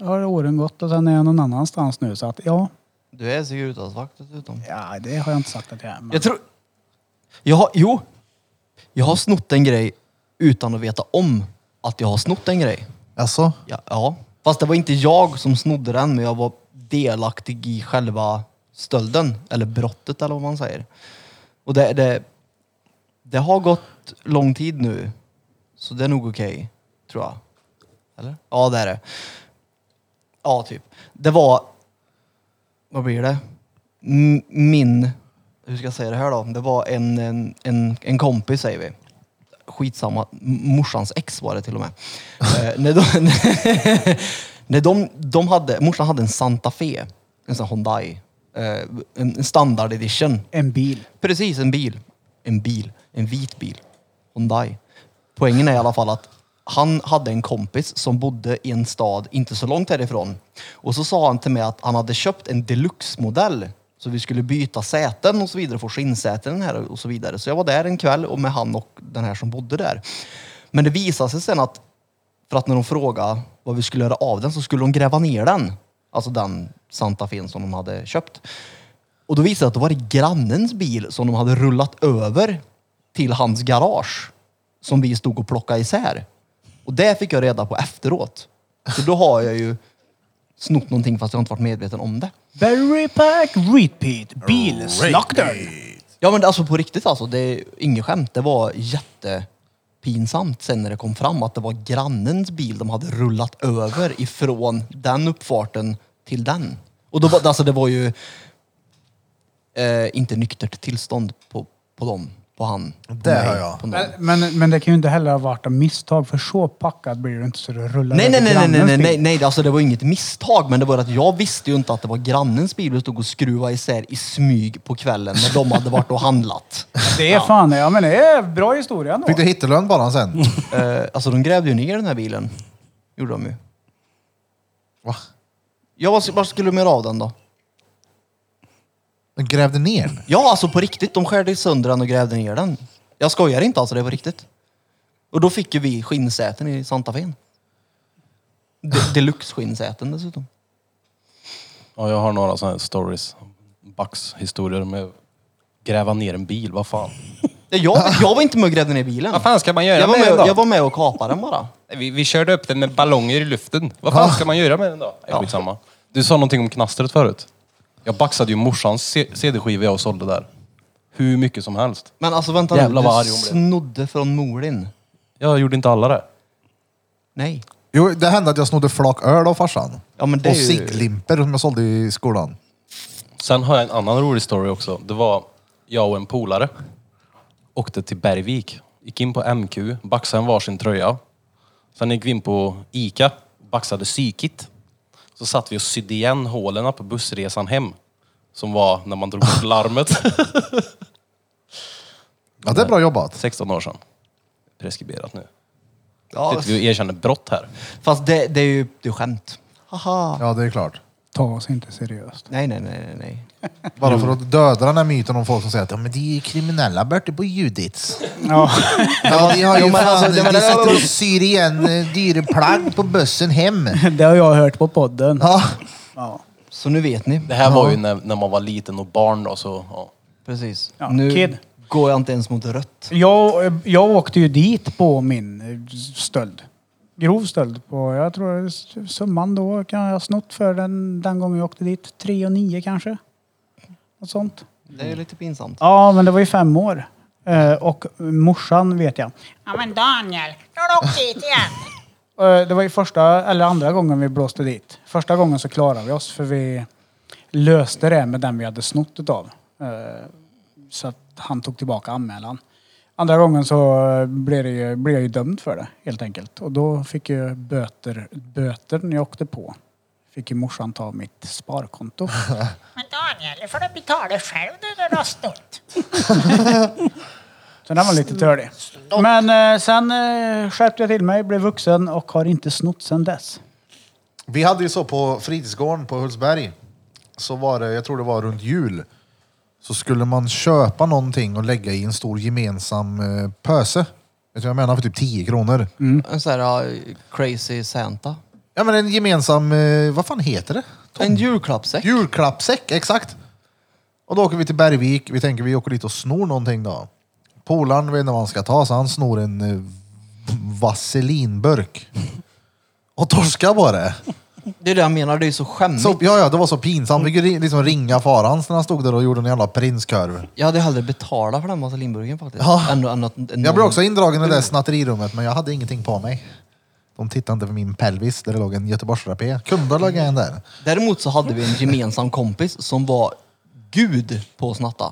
C: har åren gått och sen är jag någon annanstans nu så att ja,
B: Du är Securitasvakt dessutom.
C: ja det har jag inte sagt att jag är. Men...
B: Jag tror... Jag har, jo. Jag har snott en grej utan att veta om att jag har snott en grej.
G: Alltså,
B: Ja, ja. Fast det var inte jag som snodde den, men jag var delaktig i själva stölden. Eller brottet eller vad man säger. Och det, det, det har gått lång tid nu. Så det är nog okej, tror jag. Eller? Ja, det är det. Ja, typ. Det var... Vad blir det? M- min... Hur ska jag säga det här då? Det var en, en, en, en kompis, säger vi. Skitsamma. M- Morsans ex var det till och med. eh, när de, när de, de hade, morsan hade en Santa Fe, en sån här Hyundai. Eh, en en standard edition.
C: En bil.
B: Precis, en bil. En bil. En vit bil. Hyundai. Poängen är i alla fall att han hade en kompis som bodde i en stad inte så långt härifrån. Och så sa han till mig att han hade köpt en deluxe-modell. Så vi skulle byta säten och så vidare, få skinnsäten här och så vidare. Så jag var där en kväll och med han och den här som bodde där. Men det visade sig sen att för att när de frågade vad vi skulle göra av den så skulle de gräva ner den. Alltså den Santa Fe som de hade köpt. Och då visade det att det var det grannens bil som de hade rullat över till hans garage. Som vi stod och plockade isär. Och det fick jag reda på efteråt. Så då har jag ju snott någonting fast jag har inte varit medveten om det.
C: Berry Pack Repeat Bilslaktaren.
B: Ja men alltså på riktigt alltså, det är inget skämt. Det var jättepinsamt sen när det kom fram att det var grannens bil de hade rullat över ifrån den uppfarten till den. Och då var, alltså det var ju eh, inte nyktert tillstånd på, på dem, på han. På
G: Det hör jag.
B: på någon.
C: Men, men, men det kan ju inte heller ha varit av misstag för så packad blir du inte så du rullar
B: Nej, nej,
C: över
B: nej, nej, nej,
C: grannens
B: nej, nej,
C: bil.
B: nej, alltså det var inget misstag, men det var att jag visste ju inte att det var grannens bil vi stod och skruvade isär i smyg på kvällen när de hade varit och handlat.
C: Det är fan, ja men det är bra historia ändå.
G: fick du hittelön bara sen?
B: Eh, alltså de grävde ju ner den här bilen. Gjorde de ju.
G: Va?
B: Ja, vad, vad skulle de göra av den då?
G: De grävde ner den?
B: Ja, alltså på riktigt. De skärde sönder den och grävde ner den. Jag skojar inte alltså, det var riktigt. Och då fick ju vi skinnsäten i Santa Fe. De, Deluxe-skinnsäten dessutom.
E: Ja, jag har några sådana här stories. Bax-historier med gräva ner en bil, vad fan.
B: Ja, Jag, jag var inte med och grävde ner bilen.
H: Vad fan ska man göra
B: Jag var
H: med den
B: med,
H: då?
B: jag var med och kapade den bara.
H: Vi, vi körde upp den med ballonger i luften. Vad fan ska man göra med den då?
E: Ja. Skitsamma. Du sa någonting om knastret förut. Jag baxade ju morsans C- CD-skiva jag sålde där. Hur mycket som helst.
B: Men alltså vänta
E: Jävlar vad
B: du
E: arg hon blev.
B: snodde från mor din.
E: Jag gjorde inte alla det.
B: Nej.
G: Jo, det hände att jag snodde flak öl av farsan.
B: Ja, men det
G: Och
B: är ju-
G: sicklimper som jag sålde i skolan.
E: Sen har jag en annan rolig story också. Det var jag och en polare. Åkte till Bergvik. Gick in på MQ, baxade en varsin tröja. Sen gick vi in på Ica, baxade psykit. Så satt vi och sydde igen hålen på bussresan hem. Som var när man drog bort larmet.
G: Ja, det är bra jobbat.
E: 16 år sedan. Preskriberat nu.
B: Ja,
E: Sitter vi och erkänner brott här.
B: fast det, det är ju det är skämt. Haha.
G: Ja, det är klart.
C: Ta oss inte seriöst.
B: Nej, nej, nej, nej, nej.
G: Bara för att döda den här myten om folk som säger att ja, men de är kriminella borta på Judits.
C: Ja.
G: Ja, de har
B: Jo,
G: ju
B: men alltså,
G: fan,
B: det-
G: de sitter och syr igen eh, dyra plagg på bussen hem.
C: Det har jag hört på podden.
G: Ja,
C: Ja.
B: Så nu vet ni.
E: Det här var ju när, när man var liten och barn då, så ja.
B: Precis.
C: Ja,
B: nu
C: kid.
B: går jag inte ens mot rött.
C: Jag, jag åkte ju dit på min eh, stöld. Grov stöld. På, jag tror s- summan då kan jag ha snott för den, den gången jag åkte dit. 3 och 9 kanske. Något sånt.
B: Det
A: Mm.
B: är lite pinsamt.
C: Ja, men det var ju fem år. Eh, och morsan vet jag.
K: Ja men Daniel, nu har du åkt dit igen.
C: Eh, Det var ju första eller andra gången vi blåste dit. Första gången så klarade vi oss för vi löste det med den vi hade snott utav. Eh, Så att han tog tillbaka anmälan. Andra gången så eh, blev, det ju, blev jag ju dömd för det helt enkelt. Och då fick jag böter, böter när jag åkte på. Fick ju morsan ta mitt sparkonto.
K: Men Daniel, nu får du betala själv nu när du har snott.
C: Så den var lite tördig. Men eh, sen eh, skärpte jag till mig, blev vuxen och har inte snott sen dess.
A: Vi hade ju så på fritidsgården på Hultsberg, så var det, jag tror det var runt jul, så skulle man köpa någonting och lägga i en stor gemensam eh, pöse. Vet du vad jag menar? För typ 10 kronor.
B: En sån här uh, crazy Santa.
A: Ja men en gemensam, eh, vad fan heter det?
B: En julklappssäck.
A: Julklappssäck, exakt. Och då åker vi till Bergvik. Vi tänker vi åker dit och snor någonting då. Polaren vet inte vad han ska ta, så han snor en eh, vaselinburk. Och torskar på det.
B: Det är det jag menar, det är så skämmigt.
A: Så,
D: Mm.
A: ja, ja, det var så pinsamt. Vi fick ju ri- liksom ringa farans när han stod där och gjorde en jävla prinskorv.
B: Jag hade hellre betalat för den Vaselinburken faktiskt.
A: Ja.
B: Än, än att, än
A: Jag
D: Mm.
A: blev också indragen i det där snatterirummet, men jag hade ingenting på mig. De tittade inte på min pelvis där det låg en göteborgsrapé. Kunde ha lagt en där.
B: Däremot så hade vi en gemensam kompis som var gud på att snatta.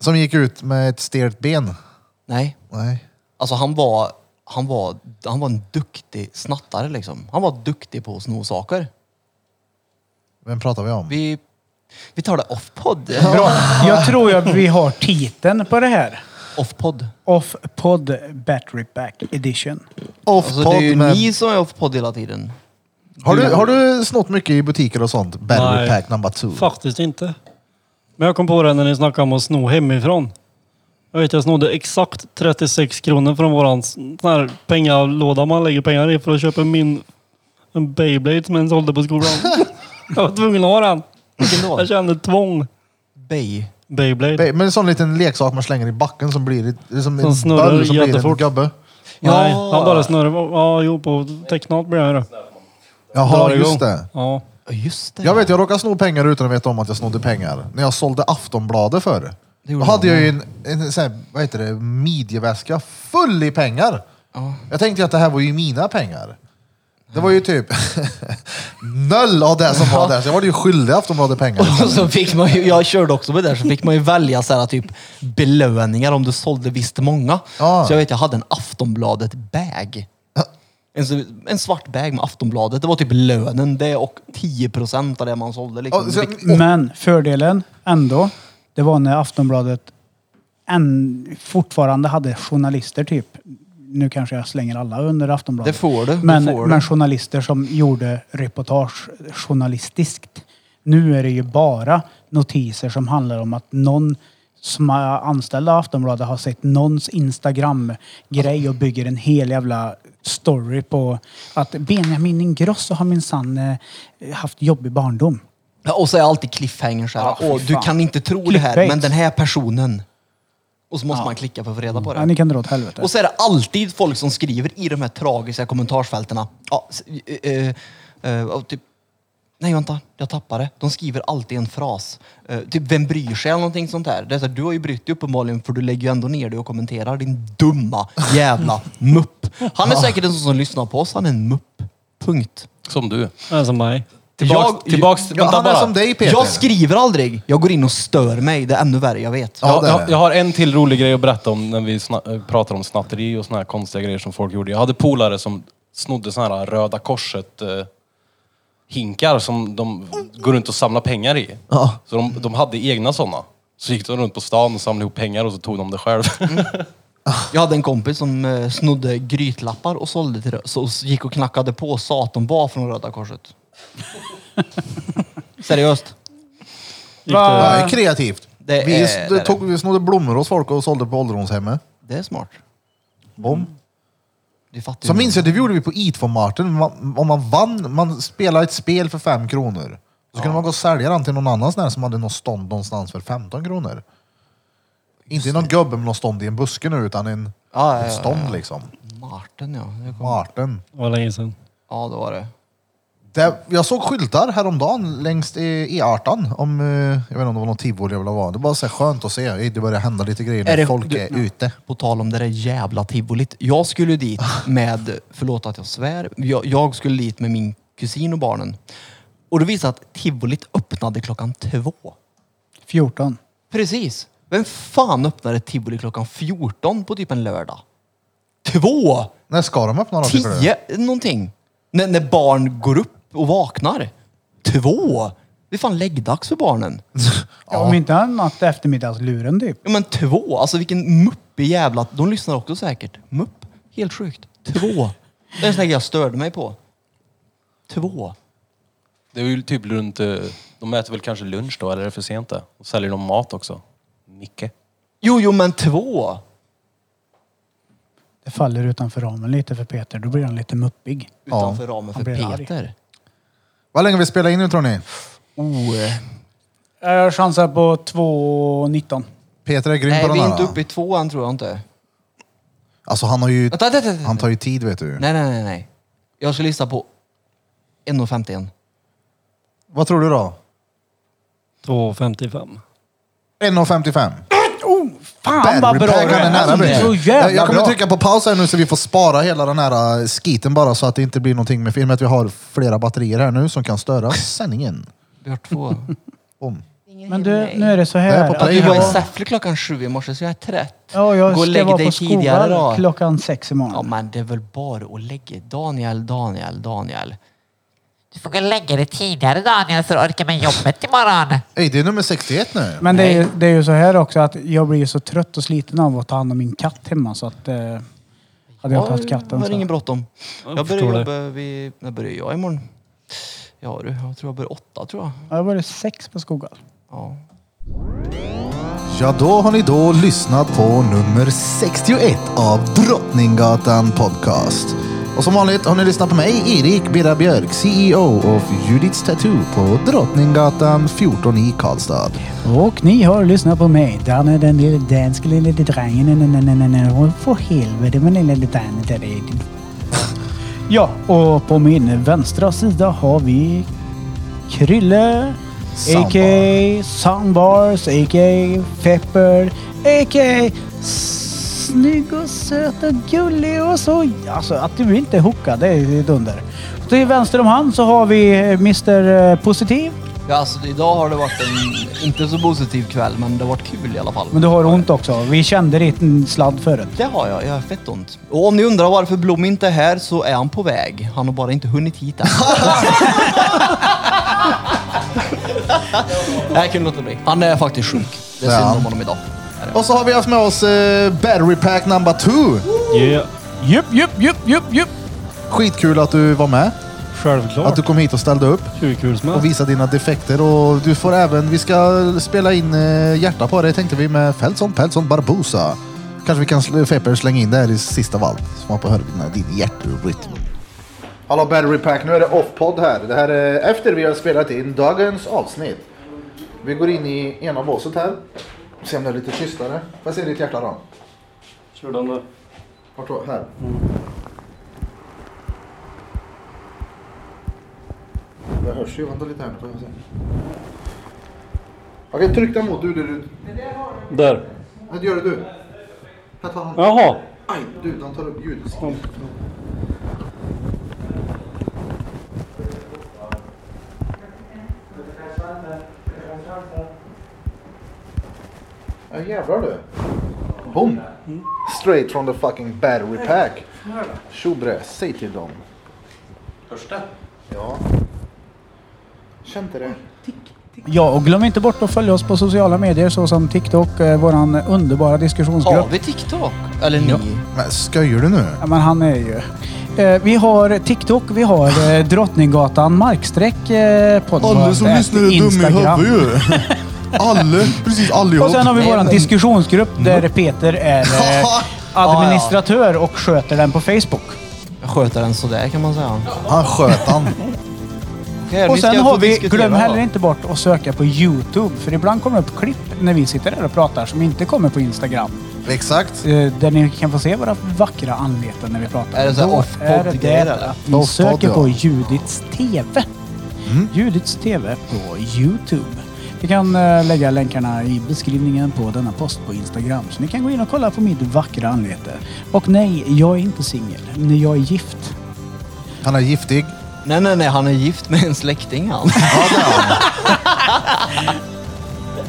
A: Som gick ut med ett stelt ben.
B: Nej,
A: Nej.
B: alltså han var, han var, han var en duktig snattare liksom. Han var duktig på att sno saker.
A: Vem pratar vi om?
B: Vi, vi tar det off-podd. Bra.
C: Jag tror att vi har titeln på det här.
B: Off-podd.
C: Off-podd Battery Pack Edition.
B: Alltså det är ju
A: Off-podd med-
B: ni som är off-podd hela tiden.
A: Har du, har du snott mycket i butiker och sånt? Battery
D: Nej.
A: pack number two.
D: Faktiskt inte. Men jag kom på det när ni snackade om att sno hemifrån. Jag vet, jag snodde exakt 36 kronor från våran sån här pengalåda man lägger pengar i för att köpa min en Beyblade som en sålde på skolan. jag var tvungen att ha den.
B: Vilken då?
D: Jag kände tvång.
B: Bey.
D: Beyblade.
A: Ba- Men en sån liten leksak man slänger i backen som blir ett- det är som
D: Som
A: en
D: snurrar
A: böll som blir en
D: jättefort.
A: gubbe.
D: Nej,
B: Ja.
D: han bara snurrar. Ja, jo, på tecknat blir jag det.
A: Jaha,
D: Drar igång.
A: just det.
D: Ja.
B: Ja, Just det.
A: Jag vet, jag råkade sno pengar utan att veta om att jag snodde pengar. När jag sålde Aftonbladet förr.
B: Det
A: Då
B: gjorde
A: hade
B: man.
A: jag ju en, en sån här, vad heter det, midjeväska full i pengar. Jag tänkte ju att det här var ju mina pengar. Det var ju typ noll av det som var där, så jag var ju skyldig Aftonbladet pengar.
B: Och så fick man ju, jag körde också med det, här, så fick man ju välja så här, typ belöningar om du sålde visst många.
A: Ja.
B: Så jag vet, jag hade en Aftonbladet-bag. En, så- en svart bag med Aftonbladet. Det var typ lönen det och 10% av det man sålde. Liksom.
A: Ja, så-
B: Du fick-
C: Men fördelen ändå, det var när Aftonbladet än, fortfarande hade journalister typ. Nu kanske jag slänger alla under Aftonbladet.
B: Det får du, det
C: Men,
B: får du.
C: men journalister som gjorde reportage journalistiskt. Nu är det ju bara notiser som handlar om att någon som är anställd av Aftonbladet har sett någons Instagram-grej och bygger en hel jävla story på att Benjamin Ingrosso har minsann eh, haft jobbig barndom.
B: Ja, och så är alltid cliffhangers här.
C: Ja, fy
B: Åh, du
C: fan.
B: kan inte tro det här,
C: Clickbait.
B: men den här personen. Och så måste man klicka för att få reda på det.
C: Ja, ni kan dra åt helvete.
B: Och så är det alltid folk som skriver i de här tragiska kommentarsfältena. Ja, s- eh, eh, eh, och typ, nej vänta, jag tappade det. De skriver alltid en fras. Eh, typ, vem bryr sig eller någonting sånt där. Det är så här, du har ju brytt dig uppenbarligen för du lägger ju ändå ner dig och kommenterar. Din dumma jävla mupp. Han är säkert en sån som lyssnar på oss. Han är en mupp. Punkt.
E: Som du.
D: Det är som mig.
E: Tillbaks,
B: Jag-
E: tillbaks,
A: Ja,
E: vänta
A: han är
E: bara.
A: som dig Peter.
B: Jag skriver aldrig. Jag går in och stör mig. Det är ännu värre, jag vet.
A: Ja,
E: Jag,
A: det är
E: jag,
A: det.
E: jag har en till rolig grej att berätta om när vi sna- eh, pratar om snatteri och såna här konstiga grejer som folk gjorde. Jag hade polare som snodde såna här Röda Korset-hinkar som de går runt och samlar pengar i.
A: Ja.
E: Så de, de hade egna såna. Så gick de runt på stan och samlade ihop pengar och så tog de det själv.
B: Jag hade en kompis som eh, snodde grytlappar och sålde till Rö- så och gick och knackade på och sa att de var från Röda Korset. Seriöst.
D: Gick
A: Det
D: det,
A: är kreativt.
B: Det
A: vi,
B: är-
A: s-
B: det är
A: tog, vi snodde blommor hos folk och sålde på ålderdomshemmet.
B: Det är smart.
A: Bom.
B: Det fattar
A: Så
B: ju
A: minns jag, det gjorde vi på Eat for Martin. Man- Om man vann, man spelade ett spel för fem kronor. Så kunde man gå och sälja den till någon annan sån här som hade något stånd någonstans för 15 kronor. Inte i någon gubbe med något stånd i en buske nu, utan en,
B: Ja, ja,
A: ett
B: ja,
A: stånd
B: ja.
A: liksom.
B: Martin ja. Det kom.
A: Martin.
D: det var länge sedan.
B: Ja, det var det.
A: Det, jag såg skyltar häromdagen längs i E18 om, eh, jag vet inte om det var något tivoli eller vad det var. Det var så här skönt att se. Det börjar hända lite grejer när
B: Är det-
A: folk
B: du-
A: är ute.
B: På tal om det där jävla tivolit. Jag skulle dit med, förlåt att jag svär, jag, jag skulle dit med min kusin och barnen. Och det visade att tivolit öppnade klockan två.
C: 14.
B: Precis. Vem fan öppnar ett tivoli klockan 14 på typ en lördag? Två!
A: När ska de öppna då? tycker du?
B: Tio någonting. När, när barn går upp och vaknar. Två! Det är fan läggdags för barnen.
C: Ja. Om inte annat eftermiddagsluren typ.
B: Ja, men två, alltså vilken muppig jävla... De lyssnar också säkert. Mupp. Helt sjukt. Två. Det är en sån här grej jag störde mig på. Två.
E: Det är ju typ runt... eh, De äter väl kanske lunch då, eller är det för sent det? Och säljer de mat också? Mycket.
B: Jo, jo, men två.
C: Det faller utanför ramen lite för Peter. Då blir han lite muppig.
B: Utanför ramen för
C: han blir arg.
B: Peter.
A: Vad länge vi spelar in nu tror ni?
B: Oh. eh,
C: Jag chansar på 2.19.
A: Peter är grym
B: Nej,
A: på
B: vi
A: den
B: är
A: här.
B: inte uppe
A: då.
B: i två än tror jag inte.
A: Alltså han har ju...
B: Vänta, vänta, vänta.
A: Han tar ju tid vet du.
B: Nej, nej, nej, nej. Jag ska lista på 1.51.
A: Vad tror du då?
D: 2.55.
A: 1.55.
C: Fan vad
A: Battle
C: bra
A: Pack, han är nära
C: det är. Så
A: mig. Jag,
C: jävla
A: jag kommer
C: bra.
A: trycka på paus här nu så vi får spara hela den här äh, skiten bara så att det inte blir någonting med filmen. Att vi har flera batterier här nu som kan störa sändningen.
B: Vi har två.
A: Om.
C: Men du, nu är det så
A: Jag är
C: här.
A: på
C: att
A: play
B: Vi
A: här
B: var i
A: Ja.
B: Säffle klockan sju i morse så jag är trött.
C: Ja, jag
B: Gå och
C: ska
B: lägg
C: vara
B: dig
C: på
B: tidigare då.
C: skolan klockan sex
B: Ja,
C: imorgon.
B: men det är väl bara att lägga. Daniel, Daniel, Daniel.
K: Du får gå och lägga dig tidigare Daniel så du orkar med jobbet imorgon.
A: Ej, det är nummer 61 nu.
C: Men det är, ju, det är ju så här också att jag blir ju så trött och sliten av att ta hand om min katt hemma så att... Eh, hade jag inte haft katten
B: Jag har
C: så...
B: ingen bråttom. Jag
D: förstår
B: börjar
D: det.
B: jobba vid... När börjar jag imorgon? Ja du, jag tror jag börjar åtta tror jag.
C: Ja, Jag var det sex på skolan.
B: Ja.
A: Ja, då har ni då lyssnat på nummer 61 av Drottninggatan Podcast. Och som vanligt har ni lyssnat på mig, Erik Birra Björk, CEO of Judiths Tattoo på Drottninggatan 14 i Karlstad.
C: Och ni har lyssnat på mig. Danne den lille danske lille drangen. Nej, nej, nej, nej, nej. Och För helvete men lille danne där är din. Ja, och på min vänstra sida har vi Krylle, a.k.a. Soundbars, a.k.a. Pepper, a.k.a. Snygg och söt och gullig och så. Alltså att du inte är hookad, det är dunder. Till vänster om han så har vi Mr Positiv.
B: ja, alltså idag har det varit en inte så positiv kväll men det har varit kul i alla fall.
C: Men du har ont också. Vi kände ditt sladd förut.
B: Det har jag, jag har fett ont. Och om ni undrar varför Blom inte är här så är han på väg. Han har bara inte hunnit hit än. Jag kunde låta bli. Han är faktiskt sjuk. Det är synd
A: Ja.
B: om honom idag.
A: Och så har vi haft med oss eh, Battery Pack number 2.
D: Yeah.
C: Jupp, jupp, jupp, jupp, jupp.
A: Skitkul att du var med, att
D: Självklart.
A: du kom hit och ställde upp
D: Hur kul som
A: och
D: helst.
A: visade dina defekter. Och du får även, vi ska spela in eh, hjärta på dig tänkte vi med Feltson, Peltson, Barbosa. Kanske vi kan sl- Fepper slänga in det här i sista valvet. Så man får höra din hjärtrytm. Hallå Battery Pack, nu är det off-podd här. Det här är efter vi har spelat in dagens avsnitt. Vi går in i ena båset här. Se om det är lite tystare. Får jag se ditt hjärta då?
D: Kör den där.
A: Vart då? Här? Det hörs ju. Vänta lite här nu. får jag se. Okej, tryck den mot. Du, du, du.
D: Där.
A: Nej, det gör det du. Här tar han.
D: Jaha.
A: Aj, du, han tar upp ljudet. Ja, jävlar du. Boom! Straight from the fucking battery pack. Tjobre, säg till dem. Hörs det? Ja. Känn inte det.
C: Ja, och glöm inte bort att följa oss på sociala medier såsom TikTok, eh, våran underbara diskussionsgrupp.
B: Har vi TikTok? Eller ni?
A: Men skojar du nu?
C: Ja, men han är ju... Eh, vi har TikTok, vi har eh, Drottninggatan markstreck eh, podcast. Instagram.
A: ju. Alla, precis allihop.
C: Och sen har vi
B: Nej,
C: våran
B: men-
C: diskussionsgrupp där Peter är eh, administratör och sköter den på Facebook.
B: Jag sköter den sådär kan man säga.
A: Han sköt han.
B: Okej,
C: Och
B: ska
C: sen
B: få
C: har vi,
B: diskutera
C: glöm
B: då.
C: heller inte bort att söka på Youtube. För ibland kommer det upp klipp när vi sitter där och pratar som inte kommer på Instagram.
A: Exakt.
C: Eh, Där ni kan få se våra vackra anleten när vi pratar.
B: Är det så här
C: Då
B: off-podd
C: är det
B: grejer,
C: det
B: eller?
C: att Ni
A: Off-podd,
C: söker
A: ja.
C: på Judits TV.
B: Mm.
C: Judits TV på Youtube. Vi kan eh, lägga länkarna i beskrivningen på denna post på Instagram. Så ni kan gå in och kolla på mitt vackra anlete. Och nej, jag är inte singel. Nej, Jag är gift.
A: Han är giftig.
B: Nej, nej, nej. Han är gift med en släkting han.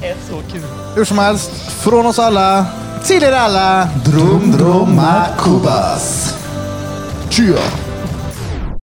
B: det är så kul.
A: Hur som helst, från oss alla, till er alla. Drum, drumma, kubas. Tja!